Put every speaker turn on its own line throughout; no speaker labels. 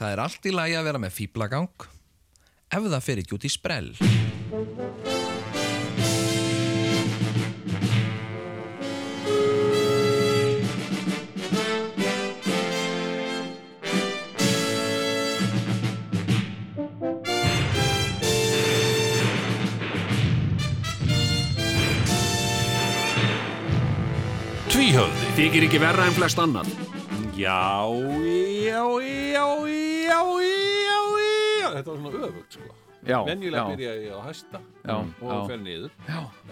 Það er allt í lagi að vera með fýblagang ef það fer ekki út í sprell.
Tvíhöfði
Þykir ekki verra en flest annan Já, já, já, já, já, já
Þetta var svona öfugt sko
Já,
Venjulega
já.
byrja ég á hæsta
Já,
og
já.
fer niður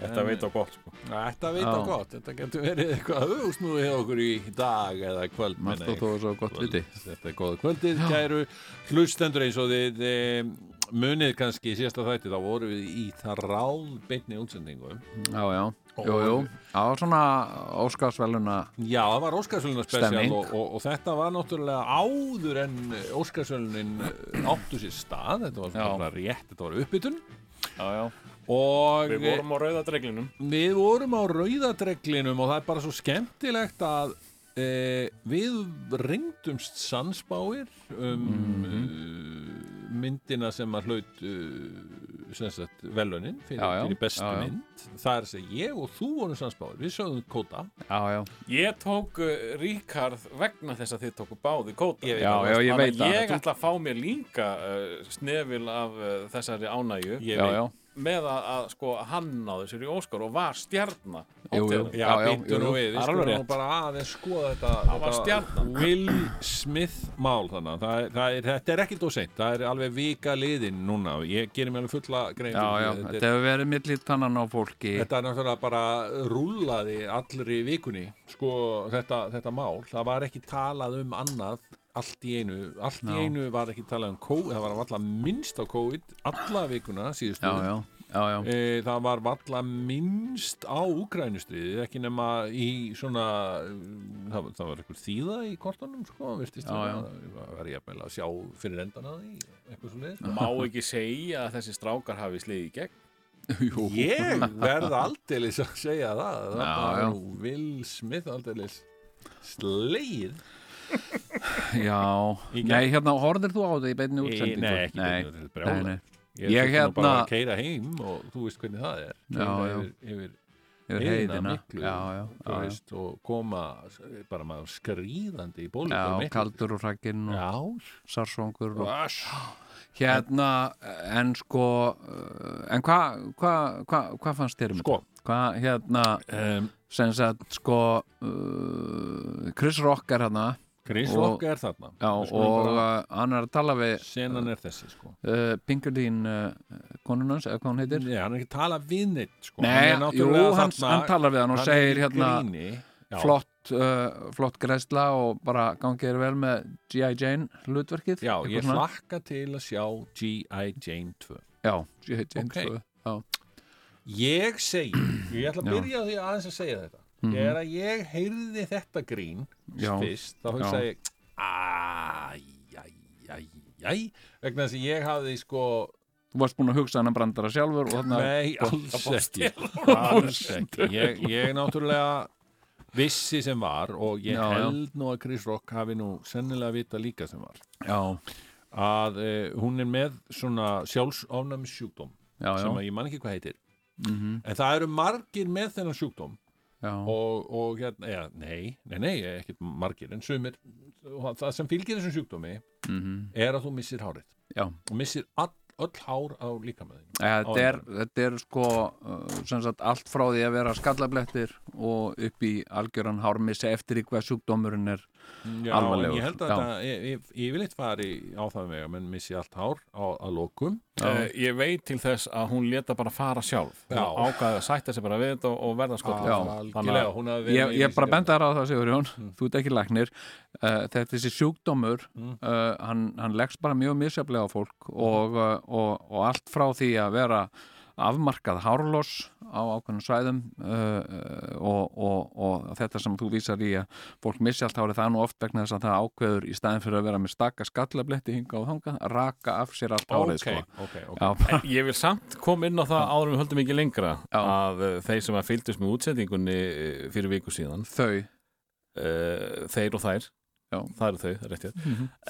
Þetta veit á gott sko.
Þetta veit það
Já.
gott, þetta getur verið eitthvað öfugsnúið hjá okkur í dag eða kvöld
Margt
meina
og
ég.
þó er svo gott viti
Þetta er góða kvöldið, kæru hlustendur eins og þið e, munið kannski í síðasta þætti þá voru við í það ráð beinni útsendingu
Já, já, jú, jú Já, svona óskarsveluna
Já, það var Óskarsvöluna spesial
Stemming.
og, og, og þetta var náttúrulega áður en Óskarsvölunin áttu sér stað þetta var svona rétt, þetta var uppbytun
Já, já.
og eh,
Við vorum á rauða dreglinum
Við vorum á rauðadreglinum og það er bara svo skemmtilegt að e, við reyndumst sannspáir um
Mhm.
e, myndina sem að hlaut e, sem sagt velunin fyrir,
Já, já,
fyrir bestu
já, já.
mynd það er að segja ég og þú vorum sannspáir við sögum kóta
Já, já,
Ég tók uh, Ríkard vegna þess að þið tóku báði kóta
Ég veit
Já, það. já, ég veit
Þannig að
það.
Ég ætla að fá mér líka uh, snefil af uh, þessari ánægju
Ég
já,
veit.
já
með að, að sko, hann náði sér í Óskar og var stjarnar
Jú, jú.
Já,
Já, já,
býttu
jú,
nú
jú.
við, við
Það er
skulum
alveg
nú
rétt.
bara aðeins skoða þetta,
var
þetta
stjarnan.
Will Smith mál þannig, að það, er- það er, þetta er ekkert óseint, það er alveg vika liðin núna, ég gerir mér alveg fulla grein
Já,
fyrir
já,
því. þetta,
þetta hefur verið milli tannan á fólki
Þetta er náttúrulega bara rúllaði allri vikunni, sko, þetta, þetta mál. Það var ekki talað um annað allt í einu. Allt
Já.
í einu var ekki talað um COVID, það var alltaf minnst á COVID, alla vikuna síðustu.
Já, já, já, já
E, það var valla minnst á Ukrænustriðið, ekki nema í svona, mm, það, var- það var eitthvað þýða í kortanum, sko, virtist
Já, já.
Það var ég að sjá fyrir endan að því, eitthvað svo leiðis.
Má ekki segja að þessi strákar hafi sliði í gegn
Jú,
Ég verð aldeilis að segja það Það
Já,
var
já.
nú Will Smith aldeilis Sleið
já
Í
Nei, hérna, horfðir þú á þetta í beinni útsendingu?
Nei, ekki
Nei,
beinni, þetta er
nei,
brjálæði.
nei.
Ég,
Ég
er hérna
hérna-
bara að keira heim og þú veist hvernig það er
Já,
Keyra
já.
Yfir,
Yfir
yfir heiðina
heiðina.
miklu
Já, já,
þú
já, já.
veist, Og koma s- bara maður skrýðandi í bólu
Já, kaldur og rakkinn og
Já,
sarsvangur og
vass
Hérna, en sko, eh, en hvað hva, hva, hva fannst þér um
Sko.
þetta? Hvað, hérna,
um,
sem sagt, sko, uh, Chris Rock er hérna,
Chris
Og-
Rock er þarna
já,
Við skulum
og
sko, bara-
uh, hann er að tala við
Senan er þessi sko
uh, Pinkerdín uh, konunans, eða hvað hún heitir?
Nei, hann er ekki að tala við neitt sko
Nei,
hann er
jú,
náttúrulega
hann,
þarna-
hann talar við hann og
hann er
segir
í
hérna
gríni. Já.
flott, uh, flott græsla og bara gangi þér vel með G.I. Jane hlutverkið.
Já,
eitthvað
ég
svona.
hlakka til að sjá G.I. Jane 2
Já, G.I. Jane, sko.
Ok.
svo, já.
Ég segi, ég ætla að
Já. Mhm.
byrja á því aðeins að segja þetta Þegar að ég heyrði þetta grín
Já.
fyrst, þá hugsa
Já.
ég Æjæjæjæj vegna þess að ég hafði sko
Þú varst búin að hugsa hann að brandara sjálfur og þarna
Nei, alls ekki Alls ekki Ég, ég náttúrulega vissi sem var og ég
Já, já.
held nú að Chris Rock hafi nú sennilega vita líka sem var
Já,
að eh, hún er með svona sjálfsofnæmi sjúkdóm
já, já,
sem að ég man ekki hvað heitir en það eru margir með þennan sjúkdóm
já,
og, og hérna, ja, nei, nei, nei ekkert margir, en sumir og það sem fylgir þessum sjúkdómi
Mhm.
er að þú missir hárið
já.
og missir all, öll hár á líkamæðinu
Eh, Þetta
Já,
er, þetta er sko uh, sem sagt allt frá því að vera skallablettir og upp í algjöran hármissi eftir í hvað sjúkdómurinn er
Já,
Mm,
en
Alvarlegur,
ég held að
já.
þetta, ég, ég, ég vil eitt fari á það vega, menn missi allt hár á, að lokum
uh, Ég veit til þess að hún leta bara fara sjálf
Já.
og ákvaði að sætta sig bara við þetta og verða skoð
Já.
algjörlega, hún hafi verið
Ég,
með
ég bara
vísindavefnum.
benda þar á það Sigurjón,
Mm.
þú ert ekki læknir uh, þetta er þessi sjúkdómur
Mm.
uh, hann, hann leggst bara mjög misjaflega á fólk og, uh, og, og allt frá því að vera afmarkað hárloss á ákveðnum svæðum uh, uh, og, og, og þetta sem þú vísar í að fólk missi allt hárið það er nú oft vegna þess að það ákveður í staðin fyrir að vera með stakka skallabletti hinga og þanga að raka af sér allt
Ok,
hárið sko.
ok, ok
Já, bara,
Ég vil samt koma inn á það áður en við höldum ekki lengra
Já.
að eh, þeir sem að fylgdust með útsendingunni eh, fyrir viku síðan
þau
uh, þeir og þær
Já. Mhm.
það eru þau, rétt ég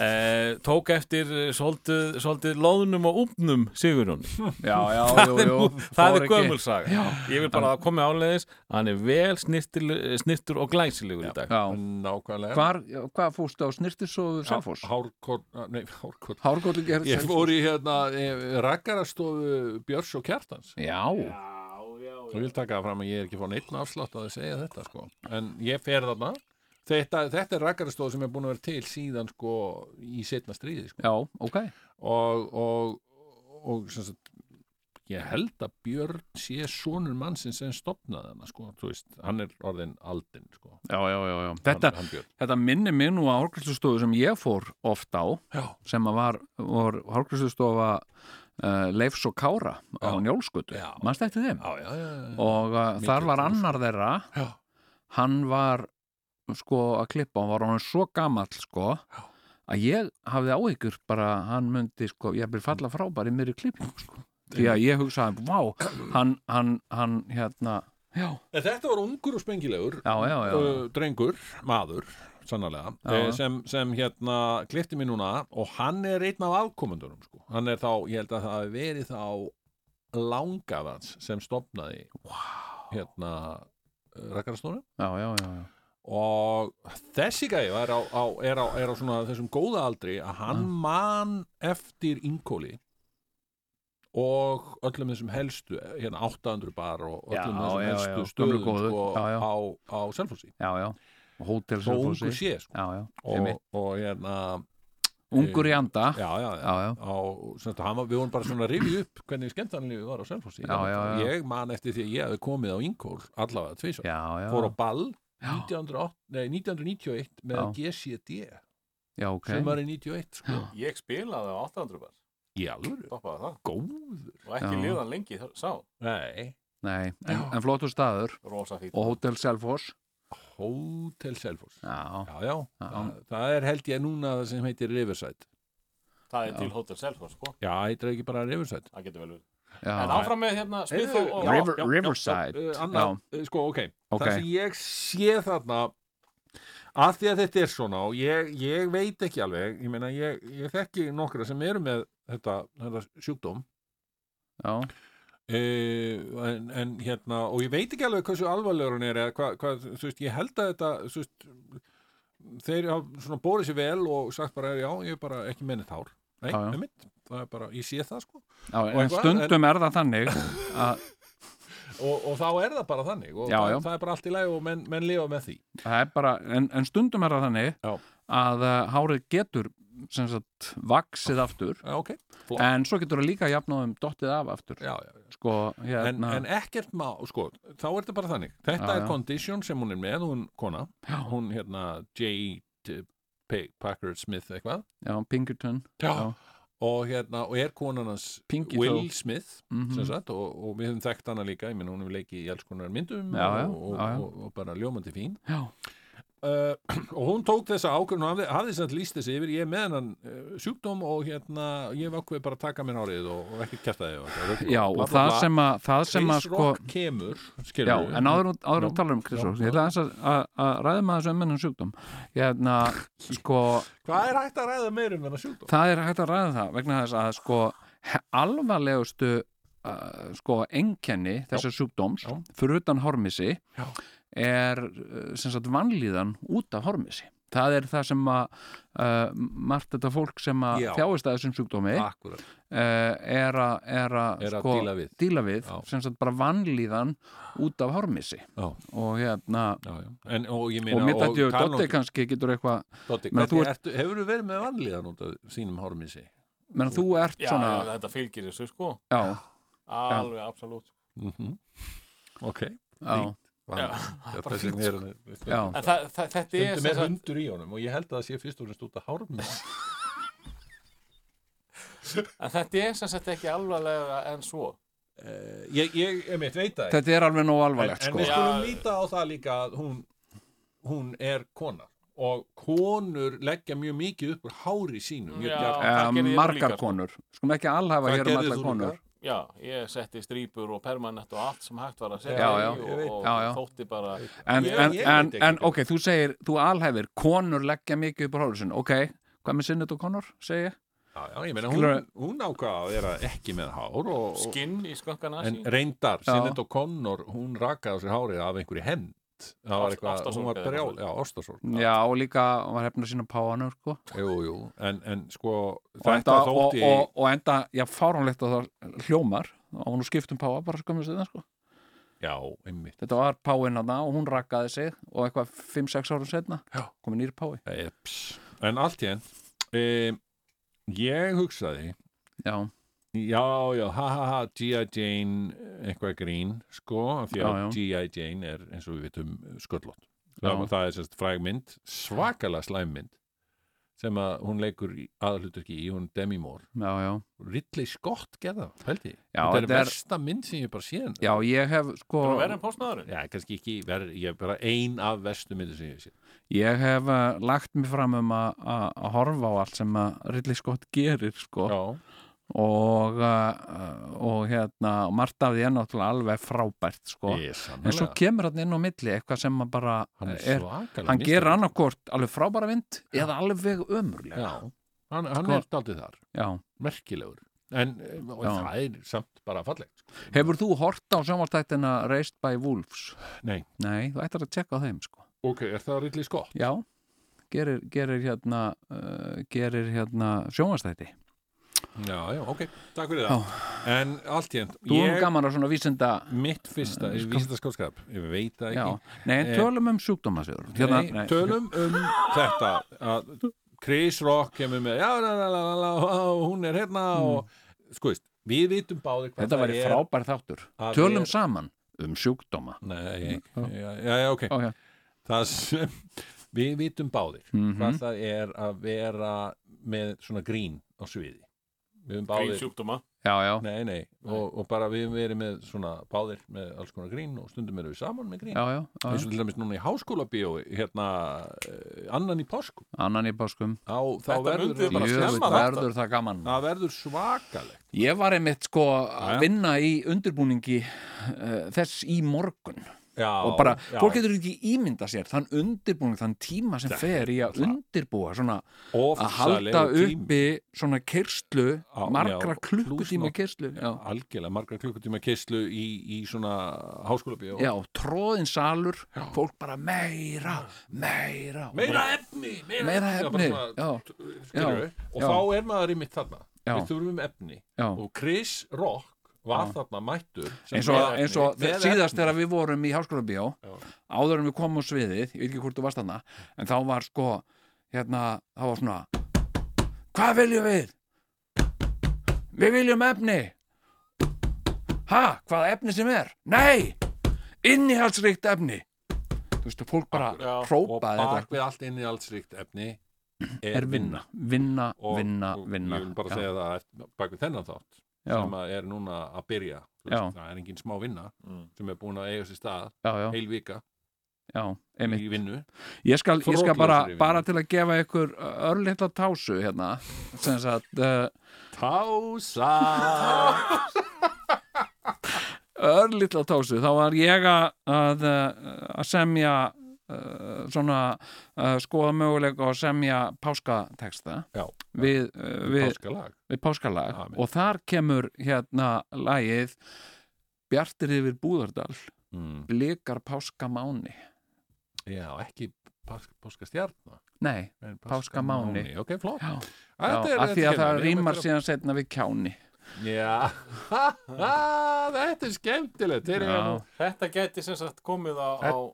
eh, Tók eftir eh, svolítið, svolítið loðnum og úpnum Sigurjón
já, já, jú,
Það er,
jú,
nú- það
fór
er
ekki-
gömulsaga Ég vil bara að það komi áleiðis að Hann er vel snirtil- snirtur og glæsilegur í dag
Já,
nákvæmlega
hvar, já, hvað fórstu á snirtisóðu Selfoss?
Hárkot, nei, hárkot
Hárgóðli gerð
Ég fór í hérna eh, rakkarastofu Björns og Kjartans
Já,
og vil taka það fram að ég er ekki fór neitt afslátt að þið segja þetta sko en ég fer þarna þetta, þetta er rakkarastofu sem er búin að vera til síðan sko í setna stríði sko.
já, ok
og, og, og sem sagt, ég held að Björn sé sonur mannsinn sem stopnaði hana sko, þú veist, hann er orðin aldinn sko,
Já, já, já, já. Þetta,
hann, hann Björn
þetta minni minn nú á hárgræslustofu sem ég fór oft á
Já.
sem að var, var hárgræslustofa uh, Leifs og Kára á Njólskutu,
Já.
mannst eftir þeim
já, já, já, já.
og uh, þar
Mikið
var
hús.
annar þeirra
Já.
hann var sko að klippa, hann var hann svo gamall sko
Já.
að ég hafði áhyggjur bara að hann myndi sko, ég byrði falla frá bara í mér í klippingu sko því að ég hugsaði, vá, hann, hann, hann hérna, já,
En þetta var ungur og spengilegur
já, já, já,
uh, drengur, maður sannarlega,
Já,
eh,
já.
sem, sem hérna klifti mér núna og hann er einn af afkomendunum sko. hann er þá, ég held að það hafi verið þá langafans sem stopnaði wow. hérna rakkarastónu
já, já, já, já.
og þessi gæði er á, á, er á, er á svona, þessum góða aldri að hann man eftir inkóli og öllum þessum helstu hérna 800 bar og
Já,
öllum
já,
þessum
já,
helstu
gömlu
stöðum
góðu.
sko,
Já, já.
á, á Selfossi
já, já. Hótel
svo ungu
Selfossi
sé sko.
já, já,
og,
einmitt.
og hérna eh,
ungur í anda já,
já, já, já,
já,
Á, sem þetta, hann var, við vorum bara svona að rifja upp hvernig skemmtanlífið var á Selfossi
Já, já, já.
ég man eftir því að ég hefði komið á Inkól allavega tvisvar,
já, já,
fór á ball
Já.
1908, nei, 1991 með GCD
já, ok
sem var í 91 sko.
Ég spilaði á 800 bar
í alvöru,
Stoppaði það
góður
Og ekki
Já.
líðan lengi þar- sá
nei,
Nei, en,
Já.
en flottur staður
Rosa fínt
og Hótel Selfoss
Hotel Selfoss já,
já,
já, Það, það er held ég núna það sem heitir Riverside
Það er til Hotel Selfoss sko
já, heitir það ekki bara Riverside
Það getur vel verið
já,
En áfram með hérna Smith og og-
River,
já, já, já.
Riverside
uh,
já,
annað, uh, sko, ok
ok,
það sem ég sé þarna að því að þetta er svona og ég, ég veit ekki alveg ég meina ég, ég þekki nokkra sem eru með þetta, þetta sjúkdóm
já,
e, en, en hérna og ég veit ekki alveg hversu alvarlegur hún er eða hvað, hva, þú veist, ég held að þetta þú veist, þeir hafa svona bórið sér vel og sagt bara, já, ég er bara ekki mennið þár nei,
Já, já.
einmitt, það er bara, ég sé það sko
já
Og
en
eitthvað,
stundum er það þannig að
og, og þá er það bara þannig og
Já,
það,
já.
það er bara allt í lagi og menn, menn lifa með því
það er bara, en, en stundum er það þannig
Já.
að uh, hárið getur sem sagt vaksið aftur
já, ok, flott,
en svo getur það líka jafnáðum dottið af aftur
já, já
sko,
en,
hérna
en ekkert má, sko, þá er þetta bara þannig þetta
Já,
er
já.
condition sem hún er með hún kona,
Já.
hún hérna J. T- P- Packard Smith eitthvað
já, Pinkerton Já.
og hérna, og er konan hans
Pinky
Will
Toe.
Smith
Mhm.
sem sagt, og, og við höfum þekkt hana líka ég minn hún hefur leikið í alls konar myndum
Já, já,
og, og,
já, já.
Og, og bara ljómandi fín
já,
uh, og hún tók þessa ákvörðun og hafði, hafði samt líst þessi yfir, ég er með hennan uh, sjúkdóm og hérna, ég hef ákveð bara að taka mér árið og, og ekki kæfta þig
já og það sem að það sem að sko
Rock kemur, skilur
Já, en áður en- áður
Já.
að tala um Chris
Já.
Rock, ég ætla aðeins að- að að ræðum að þessu um ennum sjúkdóm hérna, sko,
Hvað er hægt að ræða meir um þennan sjúkdóm?
það er hægt að ræða það vegna þess að sko he- alvarlegustu uh, sko enkenni þessa sjúkdóms
Já.
fyrir utan hormisi
Já.
er uh, sem sagt vanlíðan út af hormisi það er það sem að uh, margt þetta fólk sem að
Já.
þjáist að þessum sjúkdómi uh,
Akkurat.
er að er að
Er að
sko,
díla við.
díla við
Já.
sem sagt bara vanlíðan út af hormisi
Já,
og hérna
já, já. En, og ég
og
meina,
mér dætti
tala nú
Dotti
ekki-
kannski getur eitthvað
Doddi,
Meina, þú
hvernig ertu, hefur þú verið með vanlíðan út af þínum hormisi?
menn þú ert
Já,
svona
já, þetta fylgir þessu sko
já,
Alveg, absolutt
Mm -hmm. Ok.
já,
Þetta sem er sko.
já,
stundum
En það, það, þetta er sem
er
sagt-
hundur í honum og ég held að það sé fyrst og fremst út af hormisi.
en þetta er sem sagt ekki alvarlega en svo
Uh, ég, ég, ég meitt, veit það. ekki.
þetta er alveg nóg
En,
alvarlegt
en
sko
við
Já.
skulum líta á það líka að hún, hún er kona og konur leggja mjög mikið upp úr hári sínu mjög
Já.
gjarnan.
það
Eh,
gerði ég nú
margar
líka, sko.
konur, skulum ekki
Það
alhafa hér um
gerðir
allar
þú
konur
líka.
já, ég setti strýpur og permanent og allt sem hægt var að
Já,
segja
já.
Ég
og,
veit.
og
Já, já.
þótti bara
en,
Ég-
en,
ég
en,
veit ekki
en
betur.
ok, þú segir, þú alhæfir konur leggja mikið upp á hálfusinn, ok hvað með sinnet og konur, segi ég
Já, já, ég meina, hún,
Skilurðu?
hún ákvað að vera ekki með hár og, og
skinn í skönkan
en
asi
reyndar,
Já.
Sinnet og Connor, hún rakaði á sér hárið af einhverju hend. Það var
Ást-
eitthvað, hún var
ástarsorg eða
brjál,
eitthvað.
já, ástasorg.
já, og líka, hún var hefna sína páanur sko.
Jú, jú, en, en sko,
og, enda,
þetta
og,
þótti...
og, og enda, já, fáránlegt að það hljómar og hún skiptum páa bara skömmu stöðna sko.
Já, einmitt.
þetta var páin hana og hún rakkaði sig og eitthvað 5-6 árum setna
Já.
komið nýri pái
Eps. En allt í enn, um, ég hugsaði,
já,
já, já, ha, ha, ha, G.I. Jane, eh, eitthvað grín, sko, af því
Já, já.
að G.I. Jane er, eins og við vitum, sköllótt.
Já.
Það, það er sérst frægmynd, svakalega slæmmynd, sem að hún leikur aðalhuturki í, hún Demi Moore.
já, já,
Ridley Scott gerða, held ég.
Já,
þetta er
þetta er-
versta mynd sem ég bara séð.
já, ég hef sko,
og verðin postnaðurinn
Já, kannski ekki, ver, ég er bara ein af verstu myndir sem ég hef séð.
ég hef uh, lagt mig fram um að- að að horfa á allt sem að Ridley Scott gerir sko
Já,
og, uh, og hérna og margt af því er náttúrulega alveg frábært sko,
ég er
en svo
sannlega.
kemur hann inn á milli eitthvað sem að bara
Hann er
er,
svakalega.
hann gerir
mistökum.
annarkort alveg frábæra vind eða alveg ömurlega
Já, hann, hann
Sko-
er daldið þar,
Já.
merkilegur. En eh, og
Já.
það er samt bara fallegt. Sko.
Hefur þú hort á sjónvartættina Raised by Wolves?
Nei.
Nei, þú ættir að tjekka á þeim sko.
Ok, er það Ridley Scott?
Já, gerir, gerir hérna uh, gerir hérna sjónvartætti
Já, já, ok, takk fyrir
Já.
það. En allt í enn,
Þú erum gaman að svona vísinda
mitt fyrsta,
Eh,
ég
sko-
vísi þetta skótskap, ég veit það
Já,
ekki.
nei, en
Eh,
tölum um sjúkdóma sigur
nei, tölum um þetta, að Chris Rock kemur með, já, la, la, la, la, la, hún er hérna og, sko veist, við vitum báðir hvað
Mm. Þetta væri
er.
frábær þáttur
að
Tölum
vera-
saman um sjúkdóma
Nei, já, já, já, ok.
okay.
það sem við vitum báðir
Mhm.
hvað það er að vera með svona grín á sviði við höfum
grín
báðir
sjúkdóma
Já, já,
nei, nei, og, og bara við höfum verið með svona báðir með alls konar grín og stundum erum við saman með grín
já, já, já,
eins
já.
og til dæmis núna í háskóla bíó hérna eh, annan í páskum
Annan í báskum
á, þá
Þetta
verður
myndum við bara
þetta-
snemma
Jöfull
þetta.
verður það gaman
það verður svakalegt
Ég var einmitt sko
Já, já.
að vinna í undirbúningi uh, þess í morgun
já,
og bara,
já.
fólk getur ekki ímynda sér þann undirbúning, þann tíma sem fer í að undirbúa svona að
Ofsalegu
halda
tími.
uppi svona kyrslu,
Á,
margra
já,
klukkutíma
plús
kyrslu, já,
algjörlega margra klukkutíma kistlu í, í svona háskóla bíó
já tróðin salur, fólk bara meira meira, og
meira
bara,
efni meira,
meira
Já, bara
efni
svona-
já,
Skilurðu? og
já.
þá er maður í mitt þarna
Já.
við þurfum efni
já
og Chris Rock var þarna mættur sem
eins og,
með
eins og
efni. Með
síðast
efni.
þegar við vorum í háskóla bíó
Já.
áður en við komum á sviðið, ég veit ekki hvort þú varst hana en þá var sko hérna, þá var svona hvað viljum við? við viljum efni ha, hvaða efni sem er? nei, innihaldsríkt efni þú veist, fólk bara
Já,
og
hrópaði
bak
þetta
við allt inn í allsrikt efni er,
er vinna, vinna,
og,
vinna,
og
vinna
ég vil bara
já,
segja það að bak við þennan þátt
já,
sem að er núna að byrja Þú
Já.
veist, það er engin smá vinna
Mm.
sem er búin að eiga sér stað
já, já,
heil vika
já, einmitt
í vinnu
Ég skal, ég skal bara,
Þrótlausri vinnu.
bara til að gefa ykkur örlítla tásu hérna sem sagt uh,
Tása
örlítla tásu, þá var ég að, að, uh, að semja uh, svona uh, skoða möguleika og semja páskateksta
Já.
við, uh, við,
Páskalag
við páskalag
Amen.
og þar kemur hérna lagið Bjartir yfir Búðardal
mm.
blikar páskamáni
Já, ekki páskastjarna
Nei,
En
Páskamáni.
Páskamáni, ok, flott
já,
Æ,
já,
þetta er-
að því
þetta hérna,
að það
kemur, ég
rýmar
veit
síðan setna við kjáni
að- Já, Ha, ha, þetta er skemmtilegt Þeir eru
Já.
nú-
þetta geti sem sagt komið á, á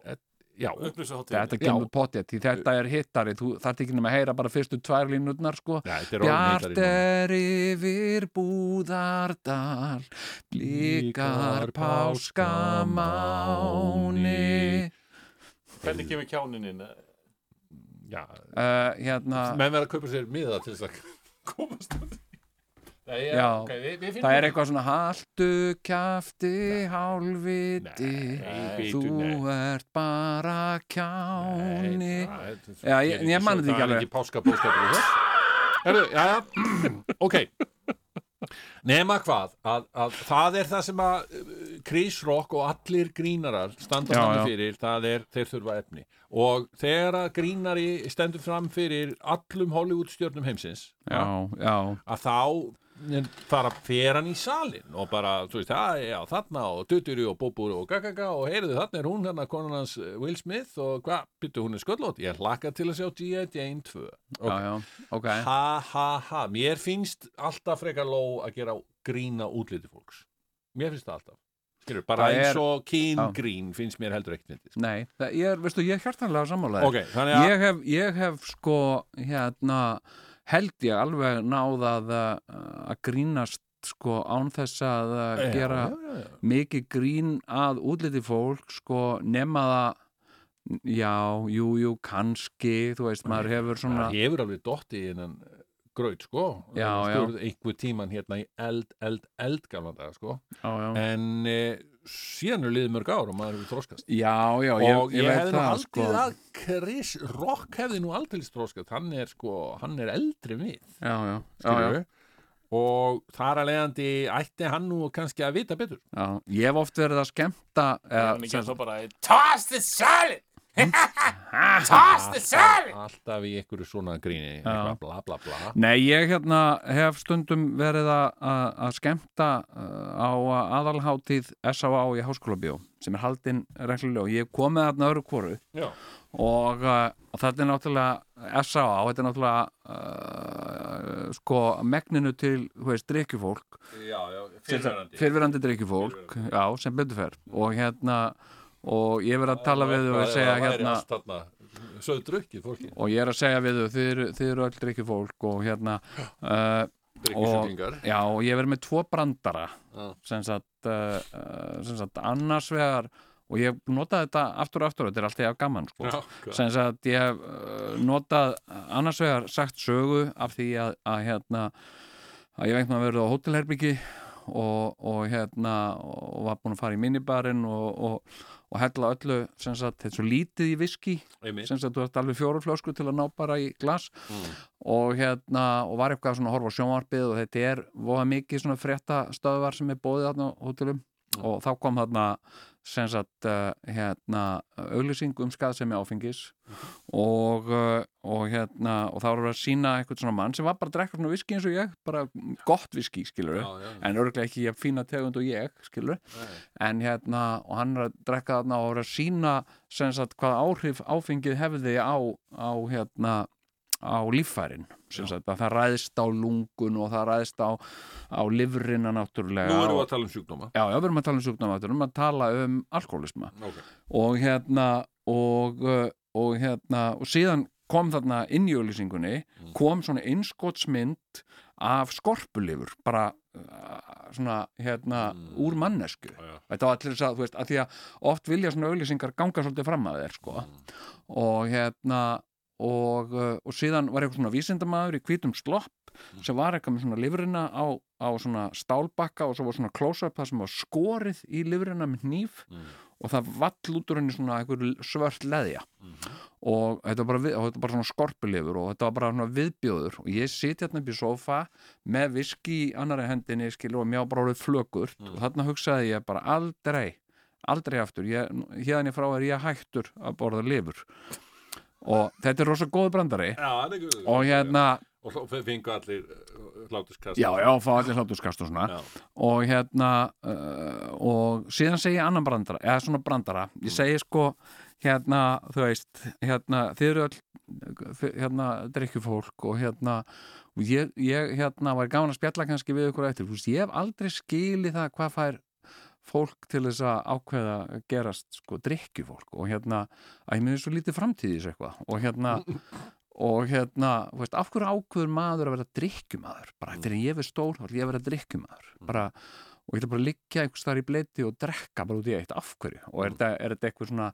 Þetta- Já,
upplýsuháttíðinni
Þetta
Já.
kemur potið, því þetta er hittari þú þarft ekki nema að heyra bara fyrstu tvær línurnar sko.
Já, þetta er
Bjart
orðnýtari
er yfir búðardal Líkar
Blikar páskamáni.
páskamáni
hvernig kemur kjánin inn
Já,
uh, Hérna,
menn verða að kaupa sér miða til þess að komast að því. Nei, já,
Já.
ok, við, við
það er
finnum
eitthvað svona Haltu kjafti hálfviti
Nei,
Þú
bíddu, nei.
ert bara kjáni
Nei, það er-
Já, ég- ég man þetta ekki
Það er
alveg.
ekki páskabóðskapur í þess Herru, já, já, ok Nema hvað, að, að það er það sem að uh, Chris Rock og allir grínarar standa
Já,
fram
já.
fyrir, það er þeir þurfa efni. Og þegar að grínari stendur fram fyrir allum Hollywood-stjörnum heimsins,
já, já,
að þá fara fyrir hann í salin og bara, þú veist, að, já, þarna og duturi og búbúri og gagaga og heyrðu, þarna er hún hérna konan hans eh, Will Smith og hvað, byttu hún er sköllótt, ég hlakka til að sjá G.I. Jane 2.
já, já, ok
Ha, ha, ha, mér finnst alltaf frekar ló að gera grína útliti fólks. Mér finnst það alltaf. Skilur, bara
Það er-
eins og
Já.
kyngrín finnst mér heldur ekkert nýttist.
Nei, það, ég er, veistu, ég er hjartanlega sammálaðið
Ok, þannig að,
ég hef, ég hef sko hérna held ég alveg náðað að, eh, að grínast sko án þess að að
Já,
gera
já, já, já.
mikið grín að útliti fólk sko nema það já, jú, jú, kannski þú veist, maður hefur svona
Það hefur alveg dotti innan gröð, sko.
Já,
Skur, Einhver tíman hérna í eld, eld, eld gamla daga, sko.
já, já,
En e, síðan er liðið mörg ár og maður hefur þróskast.
já, já
Og
ég,
ég,
ég
hefði
veit
nú
það
haldið
sko
að Chris Rock hefði nú aldrei þróskast. Hann er, sko, hann er eldri en við,
já, já, já, já,
skilju. Og þar að leiðandi ætti hann nú kannski að vita betur.
já ég hef oft verið að skemmta eða,
Hann ekki
sem,
þá bara Toss the salad Toss the salad
Alltaf í einhverju svona gríni,
Já.
eitthvað bla bla bla.
Nei, ég hérna hef stundum verið að- að að skemmta uh, á aðalháttíð S.A.A. í Háskólabíó sem er haldin reglulega og ég hef komið þarna öru kvoru
Já.
og, uh, og þetta er náttúrulega uh, S.A.A. þetta er náttúrulega uh, sko megninu til, þú veist, drikkjufólk
Já, já,
fyrirverandi drikkjufólk, já, sem betur fer og hérna, og ég hef verið að tala við þau og segja hérna
hérna Söðu drukkið fólki,
og ég er að segja við þau, þið eru, þið eru öll drikkjufólk og hérna uh,
drikkisjúklingar
Já, og ég verið með tvo brandara
Já.
sem sagt, uh, uh, sem sagt annars vegar og ég notaði þetta aftur og aftur, þetta er alltaf jafn gaman sko.
Já,
sem sagt, ég hef uh, notað annars vegar sagt sögu af því að, að hérna að ég vengt maður verið á hótelherbyggi og, og hérna og var búin að fara í minibarinn og, og, og hella öllu, sem sagt, þetta er svo lítið í viski
einmitt Mm.
sem sagt, þú ert alveg fjóru flösku til að ná bara í glas og hérna, og var eitthvað svona að horfa á sjónvarpið og þetta er voða mikið svona frétta stöðvar sem er bóðið þarna á hótelum og þá kom þarna sem sagt, uh, hérna auglýsing um skað sem er áfengis og, uh, og hérna og þá voru að sína eitthvað svona mann sem var bara að drekka svona viski eins og ég, bara gott viski skilur
Já, já,
en örglega ekki ég fína tegund og ég, skilur en hérna, og hann er að drekka þarna og er að sína sem sagt hvað áhrif áfengið hefði á, á hérna á líffærin, sem sagt að það ræðist á lungun og það ræðist á, á lifrina náttúrulega
Nú erum við
og,
að tala um sjúkdóma
Já, já, við erum að tala um sjúkdóma, við erum að tala um alkoholisma
okay.
og hérna og, uh, og hérna og síðan kom þarna inn í auðlýsingunni
Mm.
kom svona innskotsmynd af skorpulifur bara uh, svona hérna úr mannesku
Mm. Já, já.
þetta var allir þess að þú veist að því að oft vilja svona auðlýsingar ganga svolítið fram að þér sko
Mm.
og hérna og, uh, og síðan var eitthvað svona vísindamaður í hvítum slopp sem var eitthvað með svona lifrina á, á svona stálbakka og svo var svona close-up það sem var skorið í lifrina með hníf og það vall út úr henni svona eitthvað svört leðja og þetta var bara, við, og þetta var bara svona skorpulifur og þetta var bara svona viðbjóður og ég siti hérna upp í sofa með viski í annari hendinni skilur og mjá bara orðið flökurt og þarna hugsaði ég bara aldrei aldrei aftur, ég, hérna ég frá er ég hættur að borða lifur og þetta er rosa góð brandari
Já, það er ekki
og hérna,
Og hló- fengu allir uh, hlátuskast
já, já, fá allir hlátuskast og svona
Já.
og hérna uh, og síðan segi ég annan brandara eða svona brandara, ég segi sko hérna, þú veist, hérna þið eru öll, hérna drikkjufólk og hérna og ég, ég hérna, var gaman að spjalla kannski við ykkur á eftir, þú veist, ég hef aldrei skilið það hvað fær fólk til þess að ákveða að gerast sko drikkjufólk og hérna að ég meður svo lítið framtíðis eitthvað og hérna og hérna, þú veist, af hverju ákveður maður að vera drikkjumadur, bara eftir en ég verð stór þá ætlum ég að vera drikkjumadur, bara og ég ætla bara að liggja einhvers þar í bleiti og drekka bara út í eitt, af hverju og er þetta, er þetta eitthvað svona,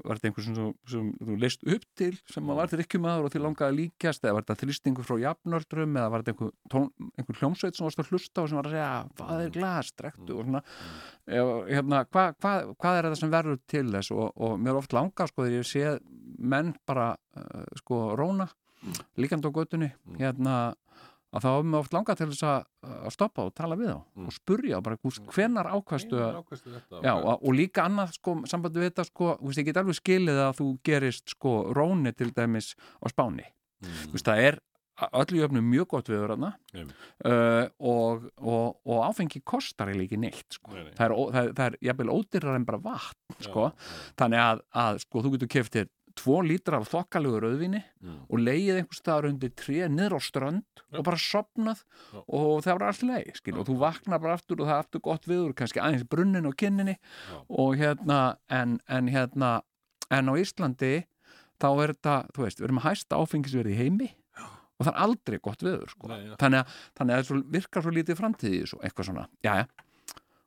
var þetta einhver sem, þú- sem þú leist upp til sem maður var drikkjumadur og því langaði að líkjast eða var þetta þrýstingur frá jafnöldrum eða var þetta einhver, tón, einhver hljómsveit sem varst að hlusta og sem var að segja, "Ah, hvað er glas, drektu og svona Ef- hérna, hva, hva, hvað er þetta sem verður til þess og, og mér er oft langa sko þegar ég sé eh, menn bara uh, sko róna líkandi á götunni hérna að þá hefum við oft langað til þess að, að stoppa og tala við þá og spurja og bara, gúst, hvenar ákvæmstu að
ákvæmstu þetta
Já,
ákvæmstu.
og, og líka annað sko, sambandi við þetta sko, þú veist, ég get alveg skilið að þú gerist sko róni til dæmis á Spáni. Þú veist, það er að öllu jöfnum mjög gott viður þarna
Einmitt.
uh, og, og, og áfengi kostar eiginlega ekki neitt sko.
Nei, nei.
það er, ó- það, er- það er jafnvel ódýrar en bara vatn sko. þannig að, að sko, þú getur keftir tvo lítra af þokkalegu rauðvinni
Mm.
og leiðið einhver staðar undir tré niður á strönd og bara sopnað
Já.
og það var allt í leið skil,
Já.
og þú vaknar bara aftur og það er aftur gott viður kannski aðeins brunnin og kinninni og hérna en, en hérna en á Íslandi þá er þetta, þú veist, við erum að hæsta áfengisverði í heimi og það er aldrei gott viður sko.
Nei, já.
þannig að, þannig að það er svo, virkar svo lítið framtíði svo, eitthvað svona, jæja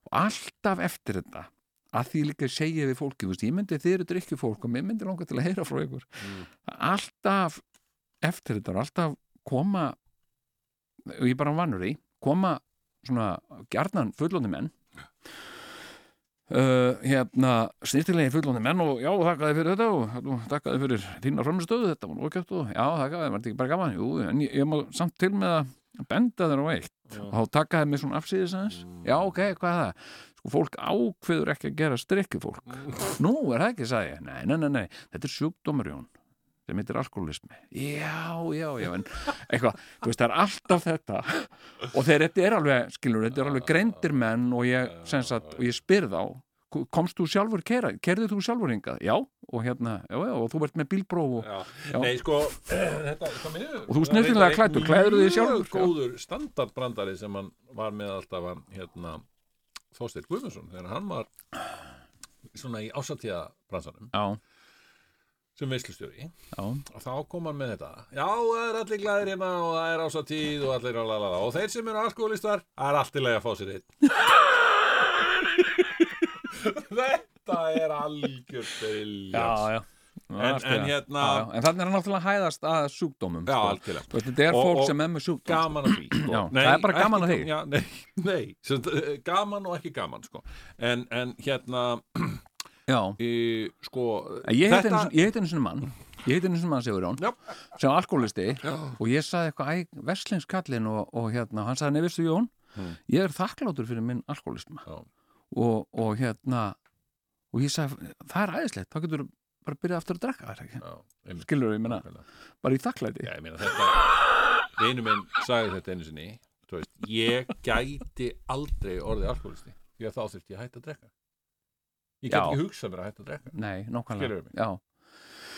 og alltaf eftir þetta að því líka segja við fólki, þú veist, ég myndi þeir eru drikkjufólk og mér myndi langa til að heyra frá ykkur
Mm.
alltaf eftir þetta og alltaf koma og ég er bara vannur í koma svona gjarnan fullóni menn Uh, hérna, snýttilegi fullóni menn og já, þakkaði fyrir þetta og þú, þakkaði fyrir þína framistöðu, þetta var lókjöft og já, þakkaði, var þetta ekki bara gaman jú, en ég, ég má samt til með að benda þér á eitt
Já.
og þá takaði mig svona afsýðis aðeins já, ok, hvað er það? Sko, fólk ákveður ekki að gera strikki fólk nú, er það ekki, sagði ég, nei, nei, nei, nei þetta er sjúkdómur, Jón sem heitir alkoholismi já, já, já, en eitthvað, þú veist, það er alltaf þetta og þeir, þetta er alveg, skilur, þetta er alveg greindir menn og ég, sem sagt, og ég spyr þá komst þú sjálfur kera, kerðið þú sjálfur hingað, já, og hérna já, já, og þú ert með bílbróf og,
Já.
Já.
Nei, sko, þetta, það minnir
Og þú snyrtilega klæddur, klæðirðu þig sjálfur, já.
Góður standardbrandari sem hann var með alltaf hann, hérna, Þósteir Guðmundsson þegar hann var svona í ásatíða bransanum
já,
sem veislustjóri
já,
og þá kom hann með þetta Já, það er allir glæðir hérna og það er ásatíð og allir lalala og þeir sem eru alkoholistar, það er allt í lagi að fá sér einn Þetta er algjör briljans
já,
En-
allt í
en
lagi.
hérna-
já, já, en þannig er hann náttúrulega að hæðast að sjúkdómum
Já,
sko.
algjörlega.
Þú veist, þetta er
Og-
fólk
og
sem er með sjúkdóm
gaman að því sko.
Já, það er bara
ekki
gaman að því.
já, nei, nei, sem, sagt, eh, gaman og ekki gaman sko. en, en hérna
já,
í, sko,
En ég heiti þetta... einu sinni mann ég heiti einu sinni mann Sigurjón
Já.
sem var alkoholisti og ég saði eitthvað æ, verslingskallin og, og hérna hann saði nefistu Jón, ég er þakklátur fyrir minn alkoholisma
Hmm. Já.
og, og hérna og ég saði, það er æðislegt, þá getur bara að byrja aftur að drekka það ekki
já, einmitt,
skilur ég menna,
nákvæmlega.
bara í þakklæti
já, ég meina þetta einu minn sagði þetta einu sinni þú veist, ég gæti aldrei orðið alkoholisti því að þá þurfti ég að hætta að drekka ég
Já.
gæti ekki hugsað mér að hætta að drekka
nei,
Skilurðu
nákvæmlega
mig?
já,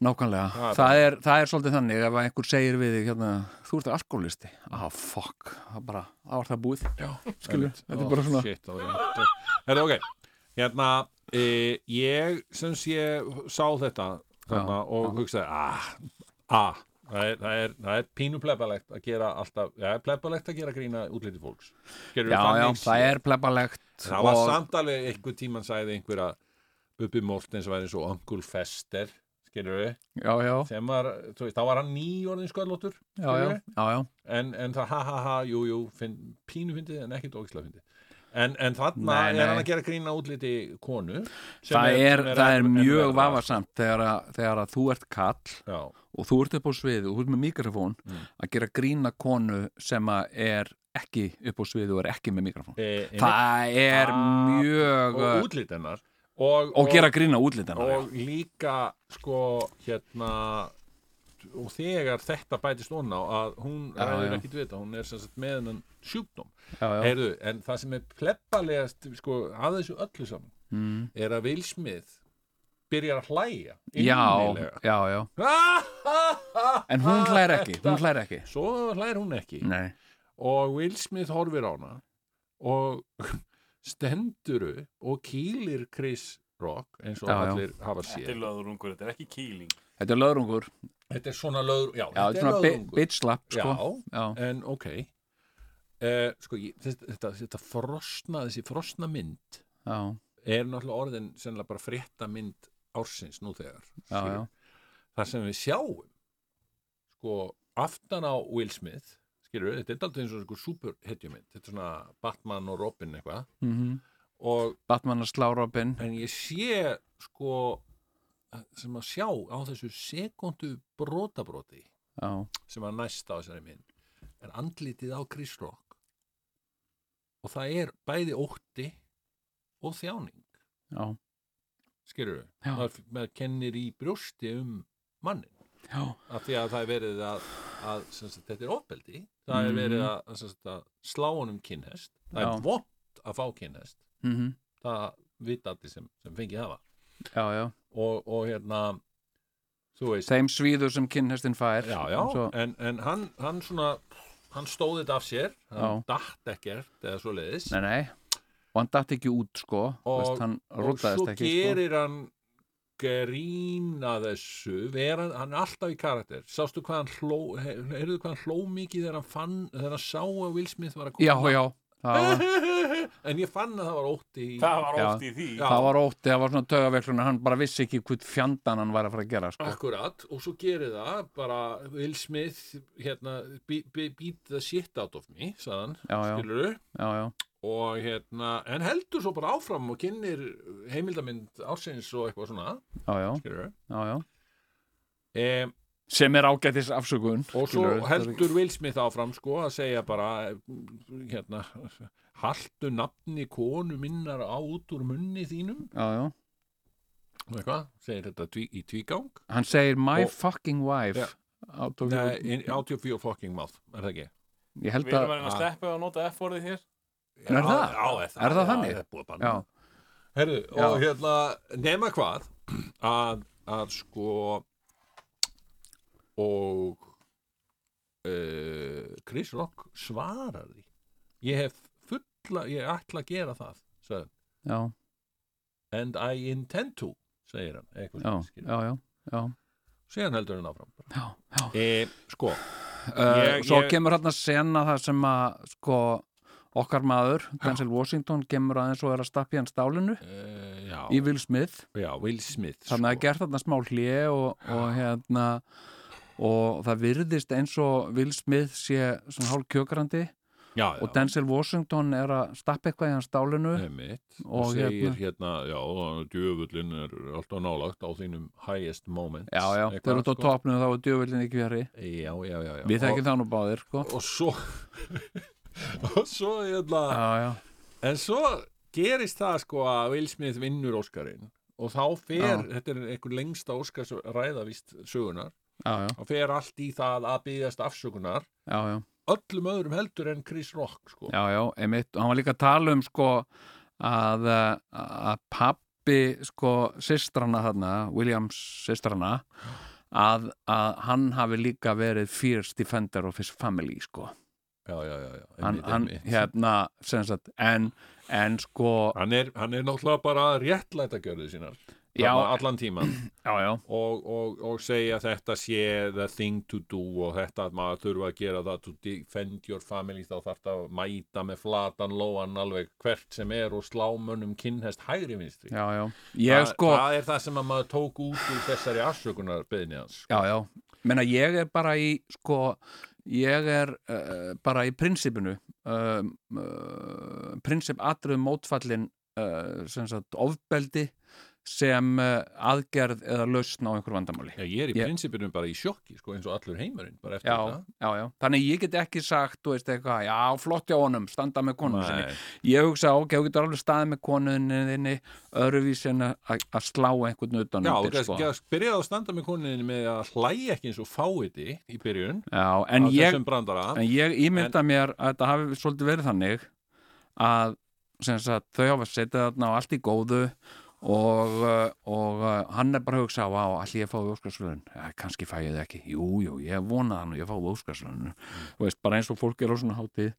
nákvæmlega,
Það er
það, er, það er svolítið þannig ef að einhver segir við þig hérna, þú ert alkoholisti, ah fuck það bara, það var það búið
já,
skilur,
einmitt. Ó,
þetta er bara svona
shit, þá er ég- Herra, ok, hérna e, ég sem sé sá þetta þarna, og hugsaði ah, ah, það er, það er, það er pínu plebalegt að gera alltaf, já, plebalegt að gera grína útliti fólks Gerðu
já, já,
þannig
það
séð.
er plebalegt
það var samt alveg einhver tíman sagði einhver að Bubbi Mortens væri svo Uncle Fester skilur við,
já, já,
sem var þú veist, þá var hann nýjórðin sköllóttur
já, já, já, já.
en, en það ha ha ha, jú jú finn, pínu fyndið en ekkert ógislega fyndið en, en þarna
Nei, nei.
er hann að gera grína útliti konu sem
það er,
sem
það er
enn- enn
mjög
verra.
vafasamt þegar að, þegar að þú ert kall
já,
og þú ert upp á sviði og þú ert með mikrofón
Mm.
að gera grína konu sem að er ekki upp á sviði og er ekki með mikrofón
e,
það er mjög
og útlit hennar og,
og gera grína útlitana já,
og líka sko hérna og þegar þetta bætist onna að hún
Já,
ræður
já.
ekkit við þetta, hún er sem sagt með hennan sjúkdóm
já, já,
Heyrðu, en það sem er pleppalegast sko, að þessu öllu saman
Mm.
er að Will Smith byrjar að hlæja
já,
innilega. Ah,
já, já.
en
en hún hlær ekki, hún hlær ekki
svo hlær hún ekki
nei,
og Will Smith horfir á hana og stenduru og kýlir Chris Rock eins og
Já, já.
allir hafa
Þetta
séð
er löðurungur, þetta er ekki kýling
þetta er löðrungur já,
þetta er svona löður já,
þetta er svona bi-
löðrungur.
bitch slap sko. já,
já, en ok uh, sko, ég, þetta, þetta, þetta frosna þessi frosna mynd
já,
er náttúrulega orðin sennilega bara frétta mynd ársins nú þegar
já, já,
það sem við sjáum sko, aftan á Will Smith skilur við, þetta er aldrei eins og sko superhetjumynd, þetta er svona Batman og Robin eitthvað
mhm
og
Batman að slá Robin
en ég sé sko sem að sjá á þessu sekundu brotabroti
já,
sem að næsta á þessari mynd er andlitið á Chris Rock og það er bæði ótti og þjáning
já,
skilur við,
Já.
maður, maður kennir í brjósti um mannin
já,
af því að það er verið að, að sem sagt, þetta er ofbeldi það er verið að, að, sem sagt, að slá honum kynhest það
Mhm. Já.
er vott að fá kynhest
mhm,
það vita allir sem, sem fengið hafa
já, já
og, og hérna þú veist
þeim svíður sem kynhestin fær
já, já,
svo,
en, en hann, hann svona hann stóði þetta af sér hann datt ekkert eða svo leiðis
nei, nei, og hann datt ekki út sko,
Og-
veist, hann
og svo
rútaðist ekki sko.
gerir hann grína þessu vera, hann er alltaf í karakter sástu hvað hann hló heyrðu hvað hann hló mikið þegar hann fann þegar hann sá að Will Smith var að
já,
koma
já, það var
en ég fann að það var ótti í
það var
Já.
oft í því
Já.
það var ótti, það var svona taugaveiklun hann bara vissi ekki hvern fjandan hann var að fara að gera sko.
Akkurat, og svo gerir það bara Will Smith hérna, be, be, beat the shit out of me sagðan,
já, já,
skilurðu
já, já,
og hérna, en heldur svo bara áfram og kynir heimildamind ársins og eitthvað svona,
já, já,
skilurðu
já, já.
e,
sem er ágætis afsökun
og svo
skilurðu, þetta er ekki-
heldur Will Smith áfram sko að segja bara hérna, haltu nafni konu minnar á út úr munni þínum
já, já.
og eitthvað, segir þetta tví, í tvígang
hann segir my
Og-
fucking wife
Já.
Out of
Nei,
your-
in- out of your fucking mouth, er það ekki?
ég held
við
að
erum að
Ah.
reyna að sleppa og nota F-orðið hér
En er
Já,
það?
Já, er það,
Er það
já,
þannig?
er búið að banna
já,
það. Herru,
Já.
og hérna, nema hvað að, að sko og uh, Chris Rock svarar því ég hef fulla, ég ætla að gera það sagði, hann.
já,
and I intend to segir hann, eitthvað
já,
skilur.
já, já, já.
síðan heldur hann áfram
já, já.
e, sko,
Uh,
Ég-
svo
ég-
kemur hann að sena það sem að sko okkar maður, Denzel Washington kemur aðeins og er að stappa í hann stálinu
uh, já, Sko.
í Will Smith,
já, Will Smith
þannig að gert þarna smá hlje og, og hérna og það virðist eins og Will Smith sé svona hálf kjökrandi
já, já,
og Denzel Washington er að stappa eitthvað í hann stálinu
Einmitt.
Og
og segir hérna, já, djöfullin er alltaf nálagt á þínum highest moments
já, já, þeir eru út á
sko.
topnum þá er djöfullin ekki verið
já, já, já, já.
Við
og,
þekkjum það nú báðir, sko.
og svo og svo hérna
Já, já,
en svo gerist það sko að Will Smith vinnur Óskarinn og þá fer, þetta er einhver lengsta Óskars ræðavist sögunar
já, já,
þá fer allt í það að byggjast afsökunar
já, já,
öllum öðrum heldur en Chris Rock sko
já, já, einmitt. Og hann var líka að tala um, sko, að, eh, að pappi, sko, sistrana þarna, Williams sistrana, að, að hann hafi líka verið fierce defender of his family, sko.
já, já, já, já.
Hann,
einmitt,
hann
einmitt.
hérna, sem sagt, en, en, sko,
hann, er, hann er náttúrulega bara að réttlæta gjörðu sínar
Já.
Þarna allan tíman
já, já,
og, og, og segja þetta sé the thing to do og þetta að maður þurfa að gera það to defend your family þá þarf það að mæta með flatan lóan alveg hvert sem er og slá mönnum kynhest hægri vinstri
já, já. Ég,
Þa-
sko,
það er það sem að maður tók út úr þessari afsökunar beðni hans
já, já, menna ég er bara í sko, ég er uh, bara í prinsipinu um, uh, prinsip atriðum mótfallin uh, sem sagt ofbeldi sem uh, aðgerð eða lausn á einhver vandamáli
Já, ég er í
Ég-
prinsipinu bara í sjokki, sko, eins og allur heimurinn, bara eftir
Já, já, já, þannig ég get ekki sagt, þú veist eitthvað, já, flott hjá honum, standa með konu
þetta.
sinni.
Nei,
Ég hugsa, ok, þú getur alveg staðið með konuðinni þinni, öðruvísi en að- að að slá einhvern utan
Já,
undir, sko.
þú gæst byrjaði að standa með koninni með að hlæja ekki eins og fáiði í byrjun
Já, en
af
ég,
þessum brandara.
En ég ímynda mér að þetta hafi svolítið verið þannig að, sem sagt, þau hafa setið þarna á allt í góðu og, uh, og uh, hann er bara að hugsa á að allir ég fáið óskarsvölun ja, kannski fæ ég það ekki, jú, jú, ég vonaði hann og ég fáið óskarsvölun
Mm.
þú veist, bara eins og fólk er á svona hátíð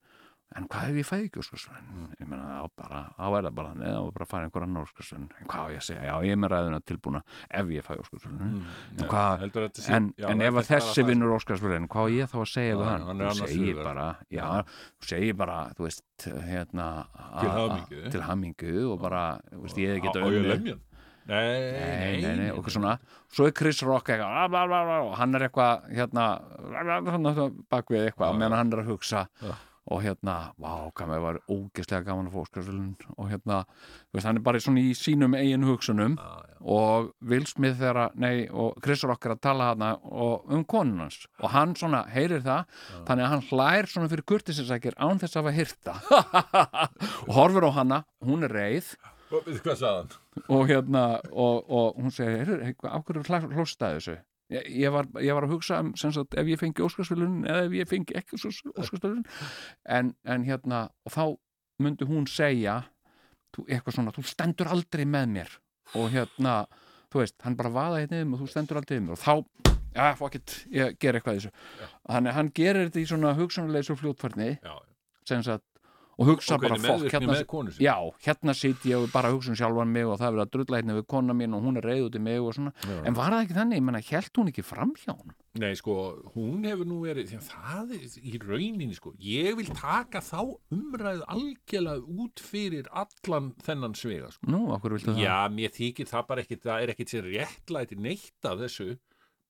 en hvað ef ég fæði ekki óskarsvölun ég meina, þá bara, þá er það bara þannig þá er bara að fæða einhver annar óskarsvölun en hvað á ég að segja, já, ég er með ræðuna tilbúna ef ég fæði óskarsvölun en hvað,
heldur þetta sé-
en,
Mm, já,
en
þetta er
ef að
bara
þessi
það.
vinnur Óskarsverðin hvað á ég þá að segja
Já,
við hann,
hann er
þú
annars
segir
hugar.
bara já, þú segir bara, þú veist hérna,
Til
a- a-
hamingju.
til hamingu og bara, þú veist, ég
Á-
hef ekki
á ég lemja hann? Nei,
nei, nei, nei, og svona svo er Chris Rock eitthvað "Ah, bla, bla, bla, bla, og hann er eitthvað hérna bla, bla, bla, bla, bak við
Já,
eitthvað,
já.
meðan hann er að hugsa
Já.
og hérna, vá, hvað mér var ógeðslega gaman að fá Óskarsvölun og hérna, þú veist, hann er bara svona í sínum eigin hugsunum og Will Smith þegar að, nei, og Chris Rock er að tala hana og, um konun hans og hann svona heyrir það, þannig að hann hlær svona fyrir kurtisinsækir án þess að hafa hýrta og horfir á hana, hún er reið
Hvað sagði hann?
og hérna, og, og hún segir "Heyrðu, hey, hvað- af hverju hlostaði þessu ég, ég, var, ég var að hugsa um sem sagt, ef ég fengi óskarsvölun eða ef ég fengi ekki óskarsvölun en, en hérna, og þá myndi hún segja þú, eitthvað svona, þú stendur aldrei með mér og hérna, þú veist, hann bara vaða hérna um og þú stendur aldrei með mér og þá, já, fuck it, ég ger eitthvað í þessu þannig að hann gerir þetta í svona hugsanleis og fljótfarni
Já,
sem sagt, og hugsa
Ákveðinni
bara fokk,
meðvirkni
hérna,
með konu sinni.
já, hérna sit ég og bara hugsa um sjálfan mig og það er verið að drulla hérna við kona mín og hún er reið út í mig og svona,
Já.
en var það ekki þannig, ég menna, held hún ekki fram hjá hún
Nei, sko, hún hefur nú verið, því að það er í rauninni, sko, ég vil taka þá umræðu algjörlega út fyrir allan þennan svega, sko.
nú, okkur viltu það,
Já, mér þykir það bara ekkit, það er ekkit sem réttlæti neitt af þessu,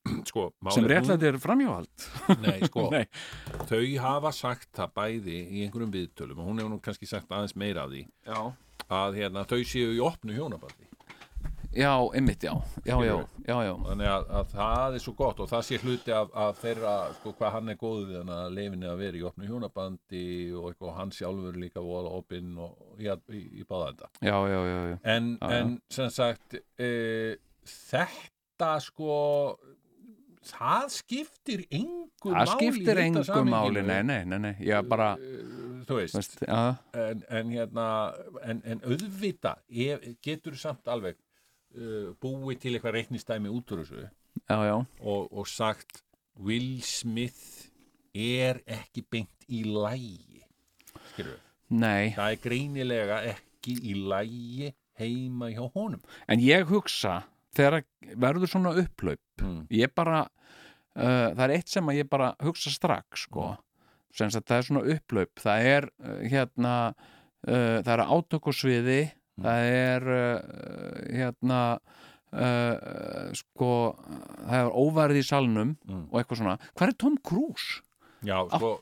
sko, málið
sem
er
réttlega þetta er framhjáhald
hún, nei, sko,
Nei.
þau hafa sagt það bæði í einhverjum viðtölum og hún hefur nú kannski sagt aðeins meira af því
já,
að hérna, þau séu í opnu hjónabandi
já, einmitt, já já, já,
Skilurðu?
já, já,
þannig að, að það er svo gott og það sé hluti af, af þeirra, sko, hvað hann er góð við hann að lefinni að vera í opnu hjónabandi og eitthvað, hann sjálfur líka vola opinn og í, í, í báða þetta
já, já, já, já.
en,
Já, já.
en sem sagt e, þetta sko það skiptir engu
það
máli í
skiptir
þetta
engu
samhenginu.
máli, nei, nei, nei, nei já, bara,
Eh, þú veist,
veist, já,
en, en hérna en, en auðvita ef, getur samt alveg uh, búið til eitthvað reiknistæmi út úr þessu
já, já
og, og sagt Will Smith er ekki beint í lægi skilur við,
nei,
það er greinilega ekki í lægi heima hjá honum
en ég hugsa þegar verður svona upplaup
mm.
ég bara uh, það er eitt sem að ég bara hugsa strax sko,
Mm.
sem sagt það er svona upplaup það er uh, hérna uh, það er átökusviði
Mm.
það er uh, hérna uh, sko það er óværið í salnum
Mm.
og eitthvað svona, hvað er Tom Cruise?
Já,
Ah.
sko,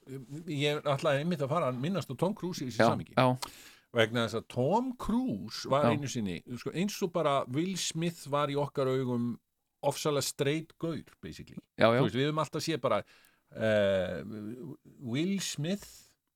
ég ætlaði einmitt að fara að minnast á Tom Cruise í þessi
Já,
samingi
já,
vegna þess að Tom Cruise var
Já.
einu sinni, sko, eins og bara Will Smith var í okkar augum ofsalega straight gaur, basically
já, já,
Þú veist, við höfum alltaf séð bara uh, Will Smith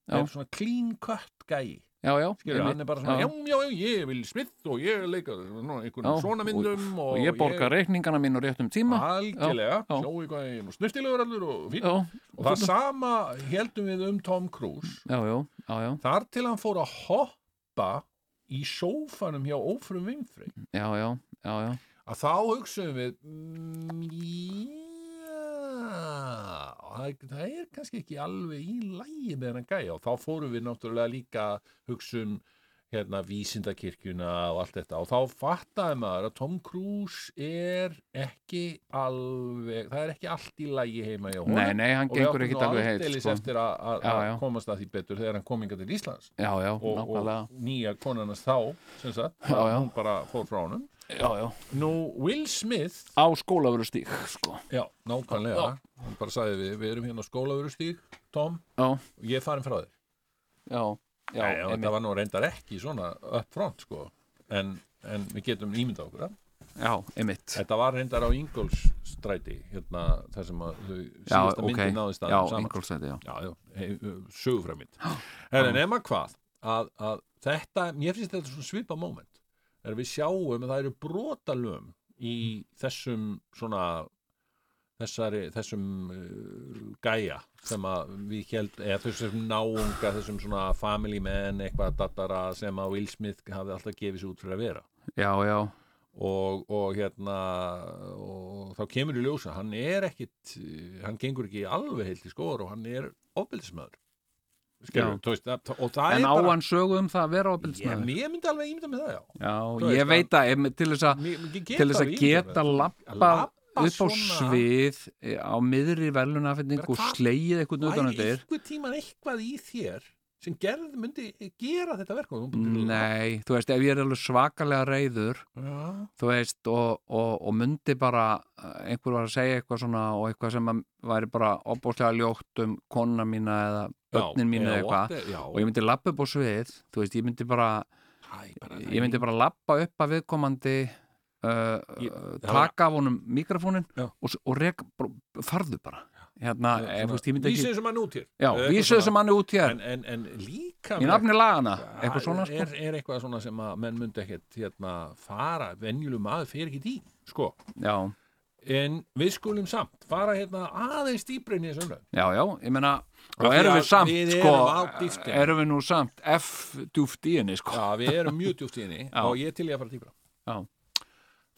Já.
er svona clean cut gæi
já, já,
Skilur,
einmitt,
hann er bara svona, já,
já.
já, já, ég er Will Smith og ég er leikar nú, einhvern
Já,
svona
og-
myndum og,
og ég borga reikningana mín á réttum tíma
algjörlega,
Já, já.
sjóu hvað ég er nú snurstilegur allur og fín
já,
og það sama heldum við um Tom Cruise
já, já, já, já,
þar til hann fór að hoppa í sófanum hjá ófrum Winfrey
já, já, já, já.
að þá hugsaum við mm, já það, það er kannski ekki alveg í lægi með hennan gæja og þá fórum við náttúrulega líka hugsa um hérna vísindakirkjuna og allt þetta og þá fattaði maður að Tom Cruise er ekki alveg, það er ekki allt í lægi heima hjá honum
Nei, nei, hann
og við
gengur
áttum
ekkit
nú
alveg heilt
aldeilis
sko.
eftir að- að
Já,
að
já.
komast að því betur þegar hann kom inga til Íslands
Já, já,
og,
nákvæmlega
og nýja konarnas þá sem sagt,
Já, já.
hún bara fór frá honum
Já, já
Nú, Will Smith
á skólavörustík sko.
Já, nákvæmlega Hann bara sagði við, við erum hérna á skólaverustík Tom,
já,
og ég er farin frá þér
já, já,
Nei, og
einmitt.
Þetta var nú reyndar ekki svona upp front sko. en, en við getum ímynda okkur það.
já, einmitt
Þetta var reyndar á Ingolstræti hérna, þar sem að þau síðasta okay. myndi náðist að
já,
saman.
Ingolstæti, já,
Já, já, hei, sögufræmynd En nema hvað að, að þetta, mér finnst þetta svona svipa moment þegar við sjáum að það eru brotalöfum í þessum svona þessari, þessum uh, gæja sem að við held, eða þessum náunga þessum svona family men eitthvað dattara sem að Will Smith hafði alltaf gefið sér út fyrir að vera
já, já,
og, og hérna og þá kemur í ljósa hann er ekkit, eh, hann gengur ekki alveg heilt í skóður og hann er ofbeldismöður
Já.
og það er
en á
bara
hann sögu um það að vera
ég,
ábyrðsmaður
ég myndi alveg ímynda með það já
já,
þú veist,
ég veit að einmitt, til þess að
Mér- ég get
til þess að
alveg ímyndað mér
geta
það. Að
lappa
labba
upp á
svona-
svið eh, á miðri velunafending
Vera
og
það-
slegið eitthvað
væri
nöðunandir
einhver tíman eitthvað í þér sem gerð, myndi gera þetta verkum
nei, þú veist, ef ég er alveg svakalega reyður
já,
þú veist, og, og, og myndi bara eh, einhver var að segja eitthvað svona og eitthvað sem að væri bara opbóðslega ljótt um konna mína eða börnin mín eða eitthvað
já,
og ég myndi lappa upp á svið þú veist, ég myndi bara,
Æ, bara
ég myndi bara lappa upp að viðkomandi uh,
Ég-
uh,
það var-
taka af honum mikrofónin
Já.
og, s- og rek, bara- farðu bara hérna,
Já, svona,
ef, þú veist, ég myndi
Vísið
ekki
þessum hann út hér
já,
Eitthvað
vísu
svona.
þessum manni út hér
en, en, en líka
í nafni lagana, eitthvað svona sko.
Ah, er, er eitthvað svona sem að menn myndi ekkert hérna, fara, venjuleg maður fer ekki í sko,
já,
en við skulum samt fara hérna aðeins dýbrinni í þessu umræðum
já, já, ég meina
Af
og
því
erum
að
við samt,
við
sko
erum á dýptinni.
erum við nú samt F djúft í henni, sko
Já, við erum mjög djúpt í henni
Já.
og ég er til ég að fara dýbra
Já.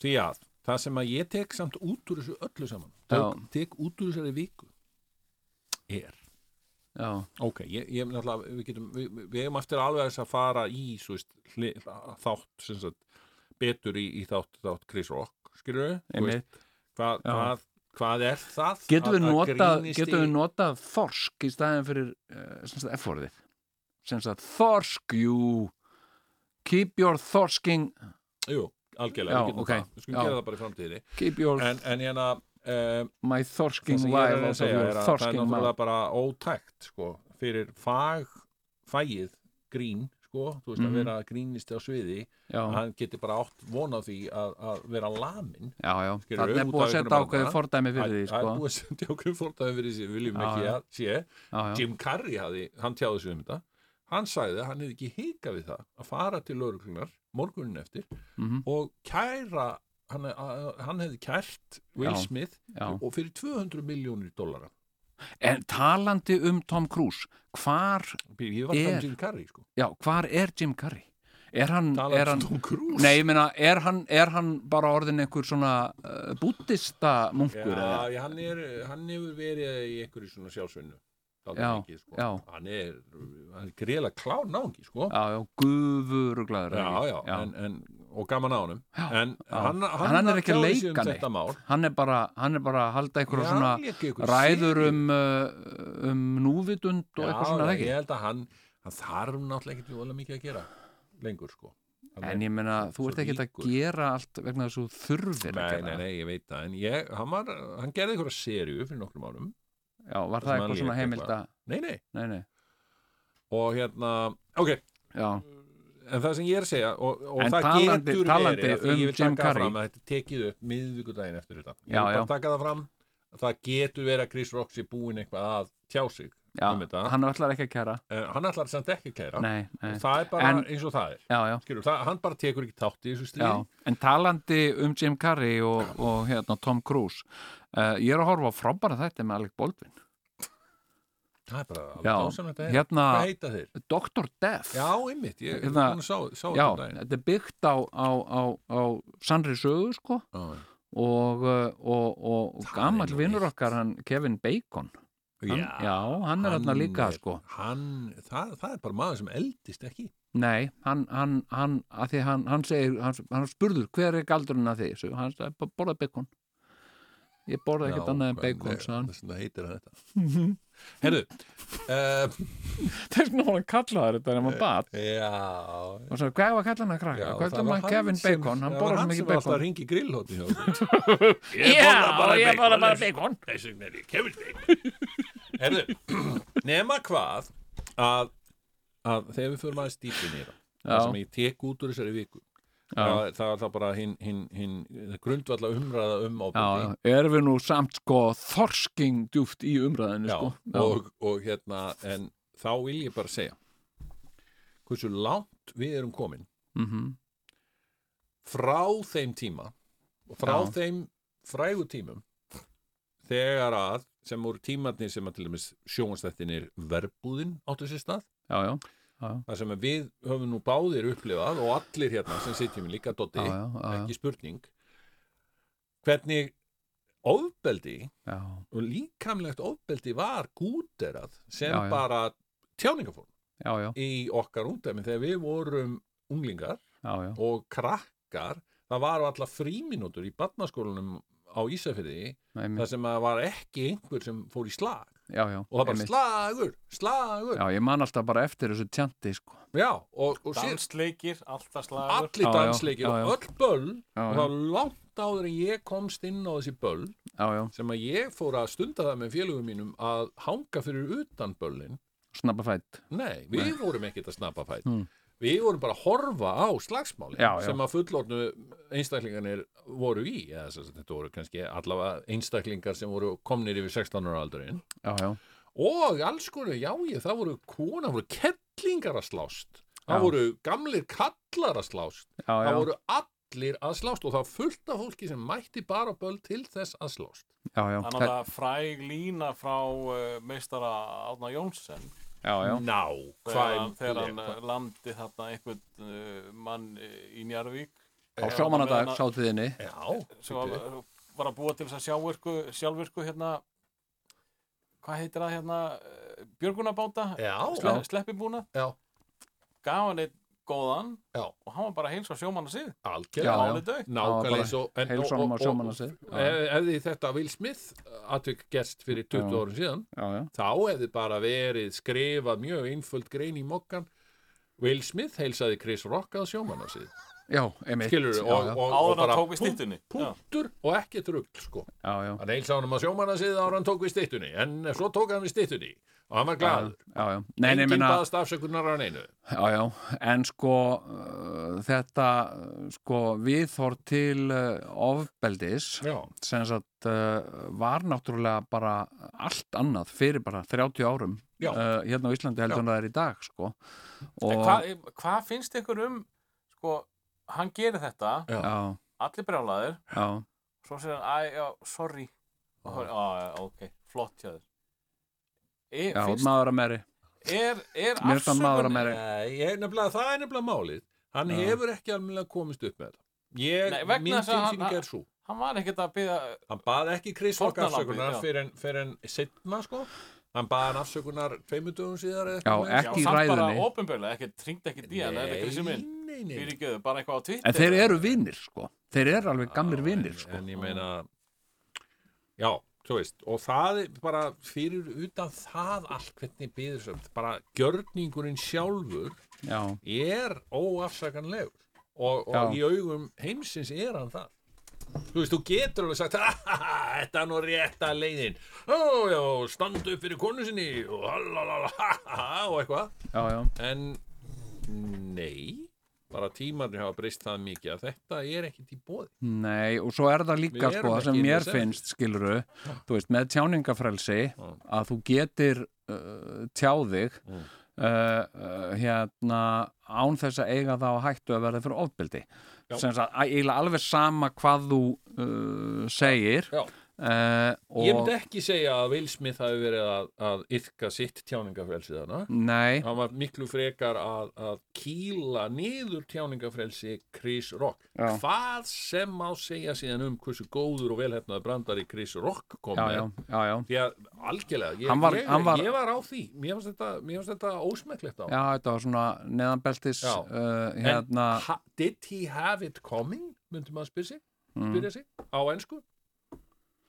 Því að það sem að ég tek samt út úr þessu öllu saman tek,
Já.
tek út úr þessari viku er
já,
Ok, ég, ég náttúrulega, við getum, við, við- við hefum eftir alveg þess að fara í, svo veist, hli, þátt, sem sagt, betur í, í þátt, þátt Chris Rock, skilur við?
einmitt
Hvað,
Já.
hvað, hvað er það?
Getum
að-
við
að
notað,
grínist
getum
í-
við notað þorsk í staðin fyrir uh, F-orðið sem sagt þorsk, jú keep your thorsking
Jú, algjörlega,
Já,
við getum
ok.
það. Við skulum
Já.
gera það bara í framtíðinni.
keep your,
En, en hérna, um,
my
það
thorsking
sem ég er að
live
reyna að
out of
segja
your
er að það er
thorsking
náttúrulega
mouth
bara ótækt, sko, fyrir fag, fagið, grín, sko, þú veist, að
Mhm.
vera grínisti á sviði,
já,
hann geti bara átt vonað því að, að vera lamin.
já, já,
Skilur,
þarna
út af
er búið að
einhverjum
setja
vanda.
ákveðið fordæmi fyrir því,
Það er
sko
búið að sendja okkur fórtaðum fyrir þessi, við viljum
Já,
ekki
já.
að sé.
já, já,
Jim Carrey hafði, hann tjáði sig um þetta, hann sagði að hann hefði ekki hikað við það að fara til lauruglunar morgunin eftir
mhm,
og kæra, hann, að, hann hefði kært Will
Já,
Smith
já
og fyrir 200 miljónir dólara.
en talandi um Tom Cruise hvar,
Ég var það
Er-
um Jim Carrey, sko.
já, hvar er Jim Carrey? er hann,
Talandi
er hann
um Tom Cruise.
Nei, ég meina, er hann, er hann bara orðin einhver svona uh, búttista munkur? eða?
Já, já, hann, er, hann hefur verið í einhverju svona sjálfsvinnu. Dálítið
Já,
mikið, sko.
já.
Hann er, hann er greiðlega klár náungi, sko.
já, já, guðuruglaður
Já, já, En, en, og gaman á honum En hann, hann,
hann er ekki að
tjáði sig
leika
um
neitt
þetta mál
hann er bara, hann er bara að halda
Já,
einhverja svona
hann lék í einhverju
ræður
seríu.
um, uh, um núvitund og
Já,
eitthvað svona
já,
ekki
Ég held að hann, hann þarf náttúrulega ekki vola mikið að gera lengur sko Hann
en
er-
ég meina, þú
svo
ert ekki að
ríkur.
gera allt vegna þessu þurfir að
Nei, nei,
gera
nei, ég veit það En ég, hann, var, hann gerði einhverja seríu fyrir nokkrum árum
já, var
Sem
það
hann
eitthvað svona
lék
heimilda
Nei, nei,
nei, nei,
og hérna, ok
já,
En það sem ég er að segja og, og
En
það
talandi-
getur
talandi
verið af því
um
ég vil
Jim
taka
Carrey.
fram að þetta er tekið upp miðvíkudaginn eftir þetta Ég
Já,
vil
já.
bara taka það fram að það getur verið að Chris Rock sé búin eitthvað að tjá sig
já
um þetta
hann ætlar ekki að kæra
en Eh, hann ætlar samt ekki að kæra
nei, nei,
það er bara
En-
eins og það er
já, já
Skilur, það, hann bara tekur ekki tátt í þessu stíði
Já, en talandi um Jim Carrey og, og hérna, Tom Cruise uh, ég er að horfa á frábæra þætti með Alec Baldwin
það er bara alveg
Já,
dásamlegt að heyra.
hérna-
hvað heita þeir?
Dr. Death
já, einmitt, ég
Hérna-
hérna, sá, sá
Já,
þetta um daginn.
þetta er byggt á, á, á, á sannri sögu sko
Já,
og, uh, og, og,
Það
og
er
gamall
nú
vinnur
eitt.
okkar hann Kevin Bacon hann,
já.
já, hann er hérna líka sko
hann, það, það er bara maður sem eldist ekki
Nei, hann, hann, hann, að því hann, hann segir, hann, hann spurður hver er galdurinn að því, svo hann sagði, "Bara borða bacon ég borða ekkert annað en bacon sagði hann. Mhm.
það, það heitir hann þetta herru uh,
þess vegna var hann kallaður þetta en hann bat
já,
og svo hvað var að kalla hann að krakka,
Eh, já
hvað
það
er
var
hann Kevin
sem-
Bacon, hann
það var
borðar svo
hann
mikið
sem var alltaf að
bacon
ringi grillhóti hjá okkur.
já, ég borða bara bacon
þess vegna er ég Kevin Bacon Herðu, nema hvað að, að þegar við förum aðeins dýpin í það það
Já.
sem ég tek út úr þessari viku það, það er það bara hinn hin, hin, grundvalla umræða um
já,
ábyrði
já, erum við nú samt sko þorsking djúft í umræðinu sko
og, og hérna en þá vil ég bara segja hversu langt við erum komin
mm -hmm.
frá þeim tíma og frá
Já.
þeim frægu tímum þegar að sem voru tímarnir sem að til dæmis sjónastættinir verbúðin áttu sér stað
já, já,
það sem að við höfum nú báðir upplifað og allir hérna sem sitjum líka Dotti,
já, já, já,
ekki spurning hvernig ofbeldi
já,
og líkamlegt ofbeldi var gúterað sem
Já, já.
bara tjáningaform
já, já,
í okkar úndæmi þegar við vorum unglingar
já, já.
og krakkar það var alltaf fríminútur í barnaskólanum á Ísafirði
Einmitt,
þar sem að var ekki einhver sem fór í slag
já, já,
og það bara
einmitt.
slagur, slagur já,
já, ég man alltaf bara eftir þessu tjanti sko
og, og sér
Dansleikir, alltaf slagur
allir
Já, já,
dansleikir
já, já.
og öll böll
Já,
og
já.
það var langt áður en ég komst inn á þessi böll
já, já,
sem að ég fór að stunda það með félögum mínum að hanga fyrir utan böllin
snabba fætt
Nei, við vorum ekkert að snappa fætt
Mm.
Við vorum bara að horfa á slagsmáli
Já, já.
sem að fullornu einstaklingarnir voru í, eða þess að þetta voru kannski allavega einstaklingar sem voru komnir yfir 16 ára aldurinn
já, já,
og alls konar, já ég, það voru kona, það voru kettlingar að slást
Já.
það voru gamlir kallar að slást
já, já,
það voru allir að slást og það var fullt af fólki sem mætti bara á böl til þess að slást
já, já,
Þannig að
já,
það fræg lína frá uh, meistara Átna Jónsson
já,
Ná,
þegar, hann-
hvað
þegar hann uh, landi þarna einhvern uh, mann uh, í Njarvík
á sjómanandag sátiðinni,
eh,
Já,
sem var, uh,
bíddu.
var að búa til þess að sjávirku, sjálfvirku hérna hvað heitir það hérna eh, björgunarbáta
já,
Sle, sleppibúna
já,
gaf hann einn góðan
já
og hann var bara að heilsa sjómanna síð
algjörlega
Já, já.
álið dög
Það var bara
Nákvæmlega eins og en- og-
heilsónum á
og- og-
sjómannasið. Já.
Ef ef þið þetta Will Smith atvik gest fyrir 20
Já.
árum síðan
já, já,
þá hefði bara verið skrifað mjög einföld grein í mokkan Will Smith heilsaði Chris Rock að sjómanna síð
já, einmitt,
skilur
já,
og,
já,
og, og
áður hann
bara
tók við
pú-
stýttunni
punktur og ekki trugg sko.
já, já,
hann heilsaði honum að sjómanna síð ára hann tók við stýttunni en svo tók hann við stýttunni og hann var
já,
glaður
já, já, nei, nei,
enginn
minna,
baðast afsökunar á neinu
Já, já, en sko uh, þetta uh, sko viðhorf til uh, ofbeldis
já,
sem sagt uh, var náttúrulega bara allt annað fyrir bara 30 árum
Já.
uh, hérna á Íslandi
Já.
heldur en það er í dag sko
En
og
hvað hva finnst ykkur um sko, hann gerir þetta
já,
allir brjálaðir,
já,
svo segir hann æ, já, sorry og það er, á, já, ok, flott hjá þér e,
já,
finnst,
maður að meiri
er, er
Mér finnst hann maður að
afsökun
meiri
Nei, ég, nefnilega, það er nefnilega málið hann
Já.
hefur ekki alveg komist upp með þetta ég,
Nei, vegna
mín
þess að hann-
tilfinning er svo
hann var ekkert að byrja
Hann bað ekki Chris Rock
Fórnarlambið,
afsökunar
já.
fyrir en, fyrir en setna sko Hann bað hann afsökunar tveimundugum síðar eða eitthvað
Já,
svoleiðis.
Ekki í
samt bara
ræðunni.
ópenbörlega, ekkert tringt ekkert í hann eða ekki sem minn,
Nei, nei, nei
fyrir göðu, bara eitthvað á Twitter
en þeir eru vinnir sko þeir eru alveg gamlir vinnir
en,
sko
En ég meina Já, þú veist Og það er bara fyrir utan það allt hvernig býður sem Bara gjörningurinn sjálfur
já,
er óafsakanlegur Og, og í
Já.
augum heimsins er hann það Þú veist, þú getur alveg sagt "Hahaha, Þetta er nú rétta leiðin Ó, já, standa upp fyrir konu sinni Og halalala, hahaha Og eitthvað
já, já,
En nei, bara tímarnir hafa breyst það mikið að þetta er ekkit í bóði.
nei og svo er það líka
Við
sko
erum
það sem
ekki
mér
í þessu.
finnst skiluru, þú veist, með tjáningafrelsi að þú getir uh, tjáðig
Mm.
uh, uh, hérna án þess að eiga það á hættu að verða fyrir ofbeldi
Já.
sem að eiginlega alveg sama hvað þú uh, segir
Já.
uh, og
Ég myndi ekki segja að Will Smith hafi verið að, að yfka sitt tjáningafrelsið hana.
nei,
Hann var miklu frekar að, að kýla niður tjáningafrelsi Chris Rock.
Já.
Hvað sem má segja síðan um hversu góður og velhefnaður brandari Chris Rock kom
já,
með.
já, já, já
Því að algjörlega, ég,
Hann var-
ég,
hann var-
ég var á því. Mér fannst þetta, mér fannst þetta ósmekklegt á.
Já, þetta var svona neðanbeltis
Já.
uh, hérna,
en ha, did he have it coming myndum að spyrja sig, spyrja sig á ennsku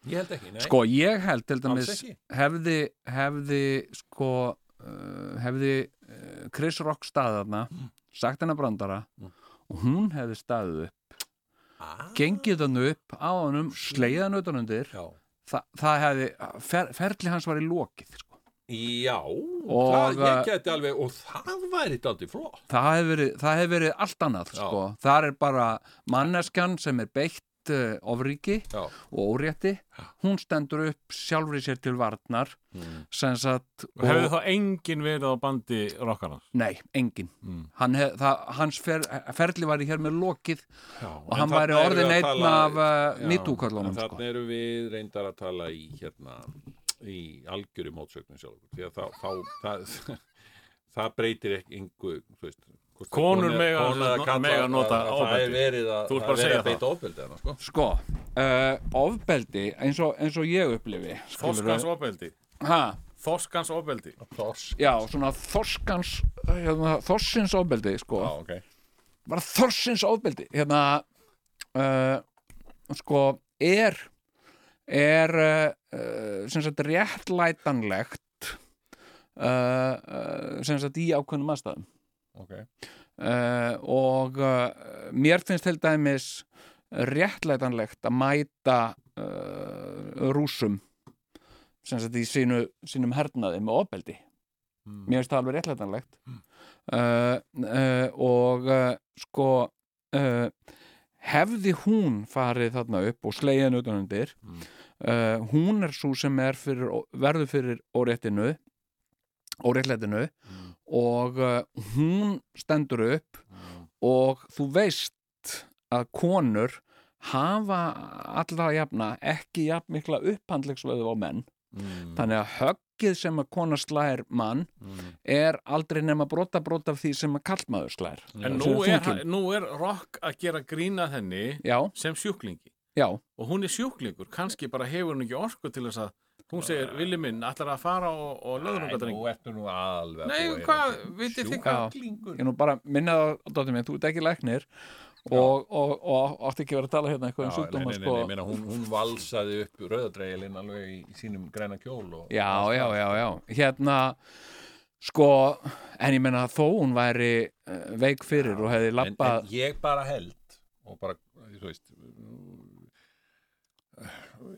ég held ekki, nei
mm. sko ég held til
Alls
dæmis
ekki.
hefði, hefði sko uh, hefði uh, Chris Rock staðarna
Mm.
sagt hennar brandara og hún hefði staðið upp
ah,
gengið hann upp á honum slegið hann utan undir
já,
Þa, það hefði, fer, ferli hans var í lokið sko.
já
Og,
það, ég
uh,
geti alveg og það væri daldi flott
það hefði verið, það hefði verið allt annað
Já.
sko. þar er bara manneskjan sem er beitt uh, ofríki
já,
og órétti hún stendur upp sjálfri sér til varnar sem sagt
Og hefði þá enginn verið á bandi rockarnas
nei, engin
Mm.
hann hef, það, hans fer, ferli var í hér með lokið
já.
og hann væri orðin einn af uh, mítúköllunum
þannig
sko.
erum við reyndar að tala í hérna í algjöru mótsögnum sjálfur því að þá, þá það, það breytir ekki engu þú veist, hvort að
Konur
kona-
mega-
kona eða karlar,
mega
að-
nota
að það er
ofbeldi.
verið að,
Þú ert
það er
bara að
verið
segja
að beita ofbeldi hana, sko.
sko, uh, ofbeldi eins og, eins og ég upplifi
Þorskans ofbeldi
ha,
Þorskans ofbeldi
Þors
já, svona þorskans hérna, þorsins ofbeldi sko.
Já, ok
bara þorsins ofbeldi hérna uh, sko er er uh, uh, sem sagt réttlætanlegt uh, uh, sem sagt í ákveðnum aðstæðum
Ok,
uh, og uh, mér finnst til dæmis réttlætanlegt að mæta eh, uh, rúsum sem sagt í sínu, sínum hernaði með ofbeldi mér finnst það alveg réttlætanlegt
Mm.
uh, uh, og uh, sko uh, hefði hún farið þarna upp og slegin utanundir
Mm.
uh, hún er svo sem er fyrir, verður fyrir óréttinu óréttlætinu
Mm.
og uh, hún stendur upp
Mm.
og þú veist að konur hafa allra jafna ekki jafn mikla upphandlegsveðu á
Mm.
menn þannig að höggið sem að kona slæðir mann er aldrei nema brota brota af því sem að kallmaður slæðir
En nú er, ha- nú er rock að gera grína henni
já,
sem sjúklingi
já,
og hún er sjúklingur, kannski bara hefur hún ekki orku til þess að hún segir, villi minn, allar að fara og, og löður hún gæta
Nú ertu nú alveg
Nei, hvað, vitið þið hvað?
Sjúklingur
ég nú bara minna það dóttir minn, þú ert ekki læknir og, og, og, átti ekki að vera að tala hérna eitthvað um
Já, nei,
sjúkdóma
nei, nei,
sko.
ég meina, hún, hún valsaði upp rauðadreigilinn alveg í, í sínum græna kjól og,
já, já, já, já, hérna sko, en ég meina þó hún væri eh, veik fyrir og hefði
en, en
labbað
ég bara held og bara, þú veist